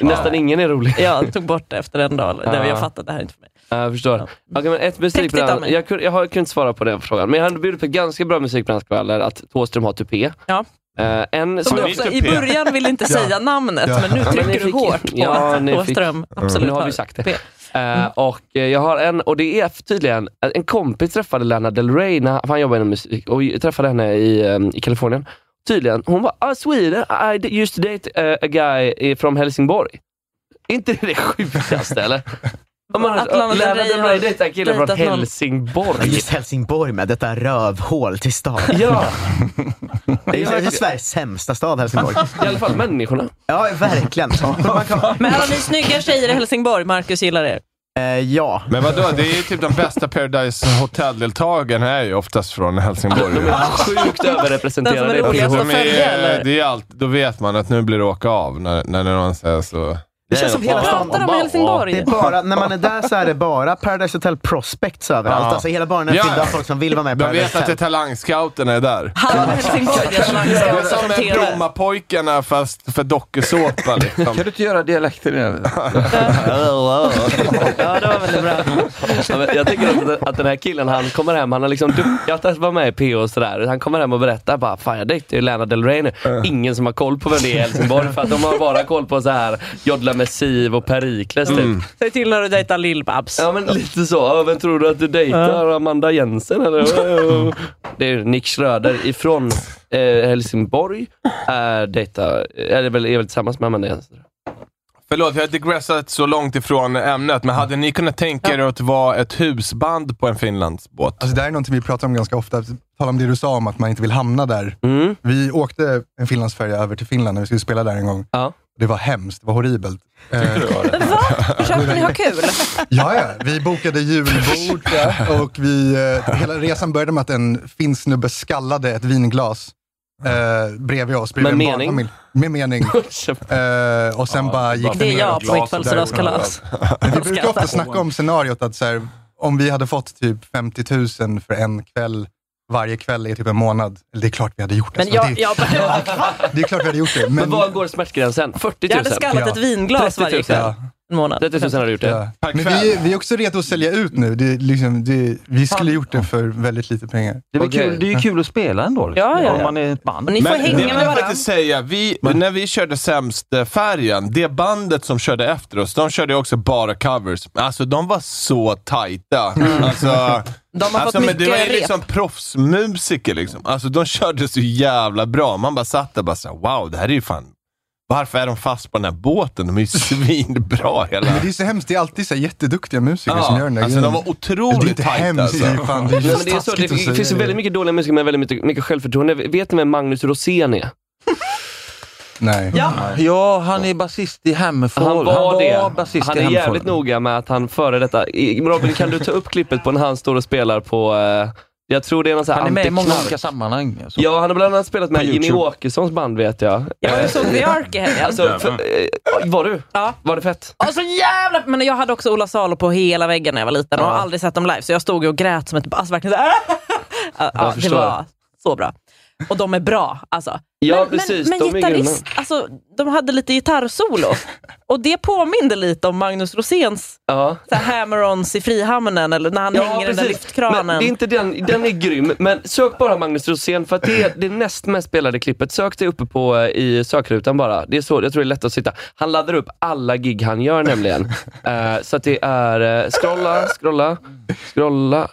Speaker 5: Nästan ingen är rolig.
Speaker 8: Ja, tog bort det efter en dag. Där
Speaker 5: Ja.
Speaker 8: jag fattade, det här är inte för mig.
Speaker 5: Ja, jag förstår. Okej, men ett
Speaker 8: Tekniskt av
Speaker 5: musikbransch.
Speaker 8: mig.
Speaker 5: Jag, kunde- jag, har- jag kunde inte svara på den frågan, men jag hade bjudit på ganska bra musikbranschkvällar, att Thåström har tupé.
Speaker 8: Ja.
Speaker 5: Eh, en
Speaker 8: Som du också i början ville inte säga namnet, men nu
Speaker 5: Ja, ni
Speaker 8: trycker du
Speaker 5: fick-
Speaker 8: hårt på
Speaker 5: ja,
Speaker 8: att
Speaker 5: ni fick-
Speaker 8: Åström absolut
Speaker 5: Nu har
Speaker 8: har
Speaker 5: vi sagt det.
Speaker 8: P.
Speaker 5: Eh, och eh, jag har en, och det är tydligen, eh, en kompis träffade Lana Del Rey, när han, för han jobbar inom musik, och jag träffade henne i, eh, i Kalifornien. Tydligen, hon var ah, Sweden, I d- used to date eh, a guy eh, from Helsingborg. inte det sjukaste eller? Om man-
Speaker 8: Att Lana Del
Speaker 5: Lana
Speaker 8: Rey
Speaker 5: Del
Speaker 8: har
Speaker 5: Rey dejtar en kille från
Speaker 8: dejtat någon-
Speaker 5: Helsingborg.
Speaker 6: Ja, Just Helsingborg med, detta rövhål till stad.
Speaker 5: Ja.
Speaker 6: Det är, det är Sveriges sämsta stad, Helsingborg.
Speaker 5: I alla fall människorna.
Speaker 6: Ja, verkligen. Man kan-
Speaker 8: Men alla ni snygga tjejer i Helsingborg, Marcus gillar er.
Speaker 5: Eh,
Speaker 6: ja.
Speaker 9: Men vadå, det är ju typ de bästa Paradise Hotel-deltagarna är ju oftast från Helsingborg.
Speaker 5: De är sjukt
Speaker 8: Den som
Speaker 5: överrepresenterade.
Speaker 8: är
Speaker 5: i
Speaker 8: roligast
Speaker 9: De
Speaker 8: att följa
Speaker 9: är,
Speaker 8: eller?
Speaker 9: Alltså, eh, det är allt, då vet man att nu blir det åka av när, när någon säger så.
Speaker 6: Det känns som hela stan...
Speaker 8: Pratar de i Helsingborg?
Speaker 6: Det är bara, när man är där så är det bara Paradise Hotel Prospects överallt.
Speaker 9: Ja.
Speaker 6: Alltså hela baren är
Speaker 9: Ja.
Speaker 6: fylld av folk som vill vara med i
Speaker 9: De
Speaker 6: Paradise
Speaker 9: vet att det
Speaker 6: Hotel.
Speaker 9: är talangscouterna är där.
Speaker 8: Han var Helsingborg, jag tror han
Speaker 9: Det är
Speaker 8: ska
Speaker 9: som med
Speaker 8: rapportera.
Speaker 9: Brommapojkarna fast för dokusåpa liksom.
Speaker 14: Kan du inte göra dialekten igen?
Speaker 8: Ja, det var väldigt bra.
Speaker 5: Ja, men jag tycker att, att den här killen, han kommer hem, han har liksom duckat att vara med i PO och sådär. Han kommer hem och berättar bara, fan jag dejtar ju Lana Del Rey nu. Ingen som har koll på vem det är i Helsingborg för att de har bara koll på så här Jodla med Siv och Perikles typ.
Speaker 10: Mm.
Speaker 8: Säg till när du dejtar Lill-Babs.
Speaker 5: Ja men lite så, Ja, vem tror du att du dejtar? Amanda Jensen eller? Det är Nick Schröder ifrån eh, Helsingborg. Är, dejtar, är, väl, är väl tillsammans med Amanda Jensen.
Speaker 9: Förlåt, jag har digressat så långt ifrån ämnet, men hade ni kunnat tänka er att vara ett husband på en Finlandsbåt?
Speaker 10: Alltså det här är någonting vi pratar om ganska ofta. Tala om det du sa om att man inte vill hamna där. Vi åkte en Finlandsfärja över till Finland när vi skulle spela där en gång. Det var hemskt, det var horribelt. Eh,
Speaker 8: Försökte ni ha kul?
Speaker 10: Ja, ja. Vi bokade julbord och vi, eh, hela resan började med att en finsk snubbe skallade ett vinglas eh, bredvid oss. Bredvid
Speaker 5: Med
Speaker 10: en
Speaker 5: mening?
Speaker 10: barnfamilj. Med mening. Eh, och sen bara gick
Speaker 8: Det är
Speaker 10: ner
Speaker 8: jag
Speaker 10: ett
Speaker 8: på mitt
Speaker 10: glas och
Speaker 8: födelsedagskalas.
Speaker 10: där- Vi brukar ofta snacka om scenariot att så här, om vi hade fått typ 50 000 för en kväll varje kväll i typ en månad. Det är klart vi hade gjort det.
Speaker 8: Men
Speaker 10: Alltså,
Speaker 8: jag,
Speaker 10: det,
Speaker 8: jag,
Speaker 10: det är klart vi hade gjort det.
Speaker 5: Men
Speaker 10: Men,
Speaker 5: var går smärtgränsen? 40 000?
Speaker 8: jag hade skallat ett vinglas
Speaker 5: 30 000.
Speaker 8: varje kväll. En månad.
Speaker 5: 30 000 hade du gjort det?
Speaker 10: men vi, vi är också redo att sälja ut nu. Det, är liksom, det, vi skulle gjort det för väldigt lite pengar.
Speaker 14: Det, är väl kul, det är ju kul att spela ändå, liksom,
Speaker 8: Ja, ja, ja.
Speaker 14: om man är ett band.
Speaker 8: Och ni får
Speaker 9: Men det
Speaker 8: hänga med
Speaker 9: vill jag
Speaker 8: varandra.
Speaker 9: faktiskt säga, vi, när vi körde sämst eh, färjan, det bandet som körde efter oss, de körde också bara covers. Alltså de var så tajta. Alltså,
Speaker 8: Mm. De har fått
Speaker 9: alltså, men det
Speaker 8: mycket
Speaker 9: var ju
Speaker 8: rep.
Speaker 9: liksom proffsmusiker liksom. Alltså de körde så jävla bra. Man bara satt där och bara så här, wow, det här är ju fan... Varför är de fast på den här båten? De är ju svinbra hela...
Speaker 10: Men det är så hemskt. Det är alltid så här jätteduktiga musiker
Speaker 9: Ja,
Speaker 10: som gör den där
Speaker 9: alltså de
Speaker 10: grejen.
Speaker 9: var otroligt
Speaker 10: Det är inte
Speaker 9: tajta,
Speaker 10: hemskt.
Speaker 9: alltså.
Speaker 10: det är Fan, det är
Speaker 5: Ja,
Speaker 10: just
Speaker 5: men det är så, det
Speaker 10: taskigt att säga
Speaker 5: finns ju väldigt mycket dåliga musiker med väldigt mycket, mycket självförtroende. Vet ni vem Magnus Rosén är?
Speaker 10: Nej.
Speaker 14: Ja, han är basist i Hammerfall.
Speaker 5: Han var, det.
Speaker 14: basist
Speaker 5: Han
Speaker 14: i
Speaker 5: är
Speaker 14: Hammerfall.
Speaker 5: jävligt noga med att han före detta... I- Robin, kan du ta upp klippet på när han står och spelar på... eh, jag tror det är någon sån här
Speaker 14: Han är med i många
Speaker 5: antiknark.
Speaker 14: olika sammanhang. alltså.
Speaker 5: Ja, han har bland annat spelat med
Speaker 14: På
Speaker 5: Jimmy
Speaker 14: YouTube.
Speaker 5: Åkessons band vet jag.
Speaker 8: Jag var
Speaker 5: Eh,
Speaker 8: ju såg The Ark i helgen.
Speaker 5: alltså, för, eh, var du?
Speaker 8: Ja.
Speaker 5: Var det fett?
Speaker 8: Och så jävla... Men jag hade också Ola Salo på hela väggen när jag var liten och har aldrig sett dem live, så jag stod ju och grät som ett... Alltså verkligen så här, ja,
Speaker 5: Jag
Speaker 8: Det
Speaker 5: förstår.
Speaker 8: var "Äh!" så bra. Och de är bra. Alltså.
Speaker 5: Ja,
Speaker 8: men,
Speaker 5: precis,
Speaker 8: Men,
Speaker 5: de
Speaker 8: men
Speaker 5: är
Speaker 8: gitarrist,
Speaker 5: grymma.
Speaker 8: alltså, de hade lite gitarrsolo. Och det påminde lite om Magnus Roséns
Speaker 5: ja.
Speaker 8: hammer-ons i Frihamnen, eller när han hänger i den där lyftkranen.
Speaker 5: Men det är inte den, den är grym, men sök bara Magnus Rosén för att det är det näst mest spelade klippet. Sök det uppe på, eh, i sökrutan bara. Det är så, jag tror det är lätt att sitta. Han laddar upp alla gig han gör nämligen. Eh, så att det är, eh, scrolla, scrolla, scrolla.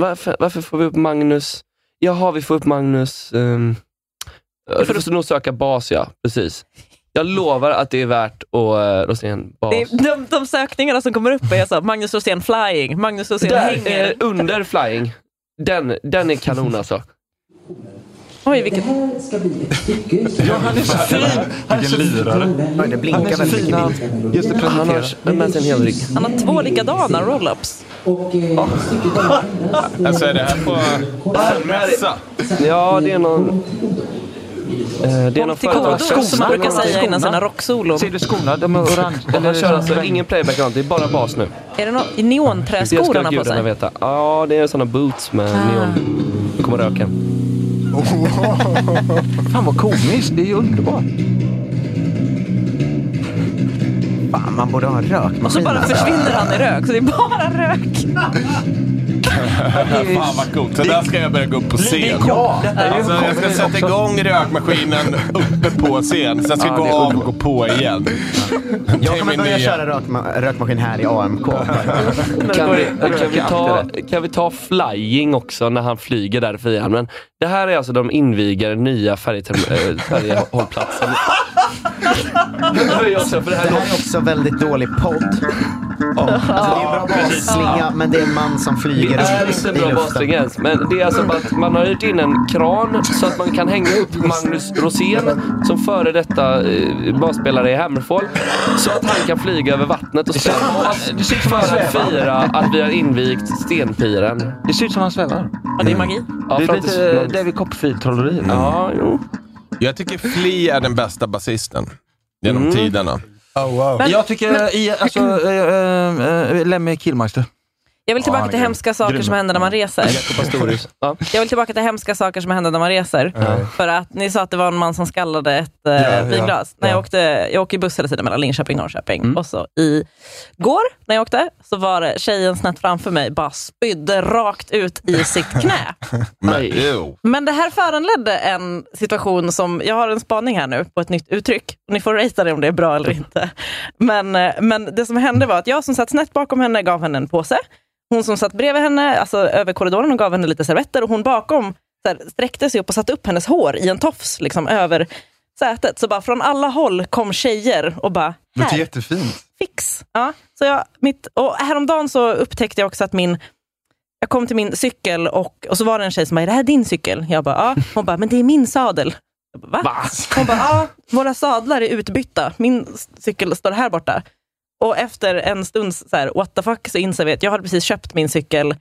Speaker 5: Varför, varför får vi upp Magnus? Jaha, vi får upp Magnus. Um, du får nog söka bas ja, precis. Jag lovar att det är värt att eh, Rosén bas.
Speaker 8: Det är, de, de sökningarna som kommer upp är så här, Magnus Rosén flying, Magnus Rosén
Speaker 5: Där,
Speaker 8: hänger.
Speaker 5: eh, under flying. Den, den är kanon alltså.
Speaker 8: Oj, vilket...
Speaker 5: Ja, han är så fin! Han är så lirare.
Speaker 6: Oj, det blinkar väldigt mycket bild.
Speaker 5: Just det, han har med sig en hel rigg.
Speaker 8: Han har två likadana roll-ups.
Speaker 9: Alltså är det här på mässa?
Speaker 5: Ja, det är någon... eh, Det är någon
Speaker 8: till kodo,
Speaker 5: företagskurs.
Speaker 8: som man brukar säga innan sina rocksolon.
Speaker 5: Ser
Speaker 8: Ser
Speaker 5: du skorna? De är
Speaker 14: orange.
Speaker 5: Han kör alltså ingen playback, det är bara bas nu.
Speaker 8: Är det no-
Speaker 5: Det ska
Speaker 8: neonträskor han har på
Speaker 5: gudarna
Speaker 8: sig?
Speaker 5: veta. Ja, det är sådana boots med
Speaker 8: Ah.
Speaker 5: neon. Nu kommer röken.
Speaker 14: Fan vad komiskt, det är ju underbart.
Speaker 6: Fan, man borde ha en rökmaskin.
Speaker 8: Och så bara
Speaker 6: alltså.
Speaker 8: försvinner han i rök, så det är bara rök.
Speaker 9: Fan vad coolt. Så där ska jag börja gå upp på scen.
Speaker 14: Ja, detta är ju
Speaker 9: Alltså, jag ska
Speaker 14: coolt.
Speaker 9: sätta igång rökmaskinen uppe på scen. Sen ska jag gå av och gå på igen.
Speaker 6: Jag kommer börja köra rökma- rökmaskin här i AMK.
Speaker 5: Kan vi, Eh, kan, vi ta, kan vi ta flying också när han flyger där i Frihamnen? Det här är alltså de inviger nya färjeterm- eh, färjehållplatsen. jag också, för det, här
Speaker 6: är också väldigt dålig podd. Alltså, det är en bra basslinga, men det är en man som flyger
Speaker 5: Det är
Speaker 6: upp
Speaker 5: inte en
Speaker 6: i
Speaker 5: bra
Speaker 6: luften.
Speaker 5: bassträng ens, men det är alltså bara att man har hyrt in en kran så att man kan hänga upp Magnus Rosén som före detta eh, basspelare i Hammerfall så att han kan flyga över vattnet och spela bas för att fira att vi har invigt Stenpiren.
Speaker 14: Det ser ut som han svävar.
Speaker 8: Ja, det är magi.
Speaker 5: Ja,
Speaker 14: det är
Speaker 5: fram tills-
Speaker 14: lite David Copperfield-trolleri.
Speaker 5: Ja, jo.
Speaker 9: Jag tycker Fli är den bästa basisten genom tiderna.
Speaker 7: Mm.
Speaker 10: Oh, wow.
Speaker 8: Men-
Speaker 14: jag tycker
Speaker 8: men-
Speaker 14: i, alltså, äh, äh, Lemmy Killmeister.
Speaker 8: Jag vill tillbaka
Speaker 14: Ja,
Speaker 8: till
Speaker 14: grym.
Speaker 8: hemska saker
Speaker 14: Grym.
Speaker 8: som händer när man reser.
Speaker 5: Pastorius. Ja.
Speaker 8: Jag vill tillbaka till hemska saker som händer när man reser.
Speaker 5: Ja.
Speaker 8: För att ni sa att det var en man som skallade ett eh,
Speaker 5: Ja,
Speaker 8: vinglas.
Speaker 5: ja,
Speaker 8: När jag,
Speaker 5: ja. Mm.
Speaker 8: åkte, jag åker ju buss hela tiden mellan Linköping och Norrköping. Och så igår när jag åkte så var det tjejen snett framför mig bara spydde rakt ut i sitt knä.
Speaker 9: Men, jo.
Speaker 8: Men det här föranledde en situation som, jag har en spaning här nu på ett nytt uttryck. Och ni får ratea det om det är bra eller inte. Men, eh, men det som hände var att jag som satt snett bakom henne gav henne en påse. Hon som satt bredvid henne, alltså över korridoren, hon gav henne lite servetter och hon bakom så här, sträckte sig upp och satte upp hennes hår i en tofs liksom, över sätet. Så bara från alla håll kom tjejer och bara,
Speaker 10: Det låter
Speaker 8: här,
Speaker 10: jättefint.
Speaker 8: fix. Ja, så jag, mitt, och häromdagen så upptäckte jag också att min jag kom till min cykel och, och så var det en tjej som bara, är det här din cykel? Jag bara, ja. Hon bara, men det är min sadel. Jag bara, Va? Hon bara, ja, våra sadlar är utbytta. Min s- cykel står här borta. Och efter en stunds så här, what the fuck, så inser vi att jag hade precis köpt min cykel.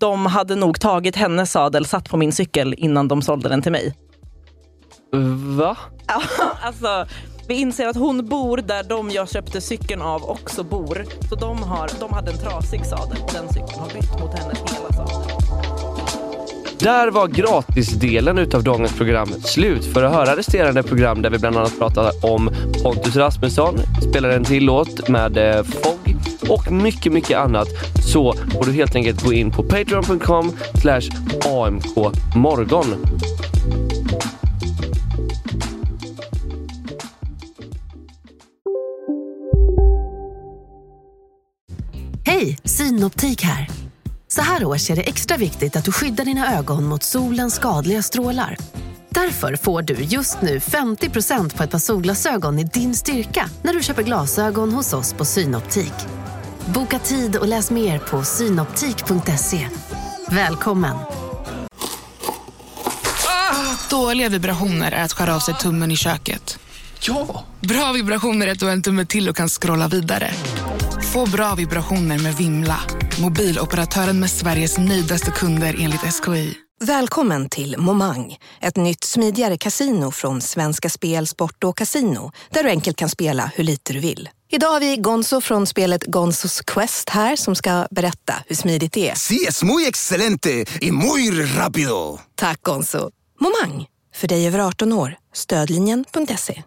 Speaker 8: De hade nog tagit hennes sadel, satt på min cykel innan de sålde den till mig.
Speaker 5: Va?
Speaker 8: Ja, alltså, vi inser att hon bor där de jag köpte cykeln av också bor. Så de, har, de hade en trasig sadel och den cykeln har bytt mot hennes hela sadel.
Speaker 5: Där var gratisdelen utav dagens program slut. För att höra resterande program där vi bland annat pratar om Pontus Rasmusson, spelar en till låt med eh, Fogg och mycket, mycket annat så får du helt enkelt gå in på patreon.com slash amkmorgon.
Speaker 15: Hej, Synoptik här. Så här års är det extra viktigt att du skyddar dina ögon mot solens skadliga strålar. Därför får du just nu 50% på ett par solglasögon i din styrka när du köper glasögon hos oss på Synoptik. Boka tid och läs mer på synoptik.se. Välkommen!
Speaker 16: Ah! Dåliga vibrationer är att skära av sig tummen i köket. Ja! Bra vibrationer är att du har en tumme till och kan scrolla vidare. Få bra vibrationer med Vimla. Mobiloperatören med Sveriges nöjdaste kunder enligt SKI.
Speaker 17: Välkommen till Momang, ett nytt smidigare casino från Svenska Spel, Sport och Casino där du enkelt kan spela hur lite du vill. Idag har vi Gonzo från spelet Gonzos Quest här som ska berätta hur smidigt det är.
Speaker 18: Sí, es muy excelente y muy rápido.
Speaker 17: Tack Gonzo. Momang, För dig över 18 år, stödlinjen.se.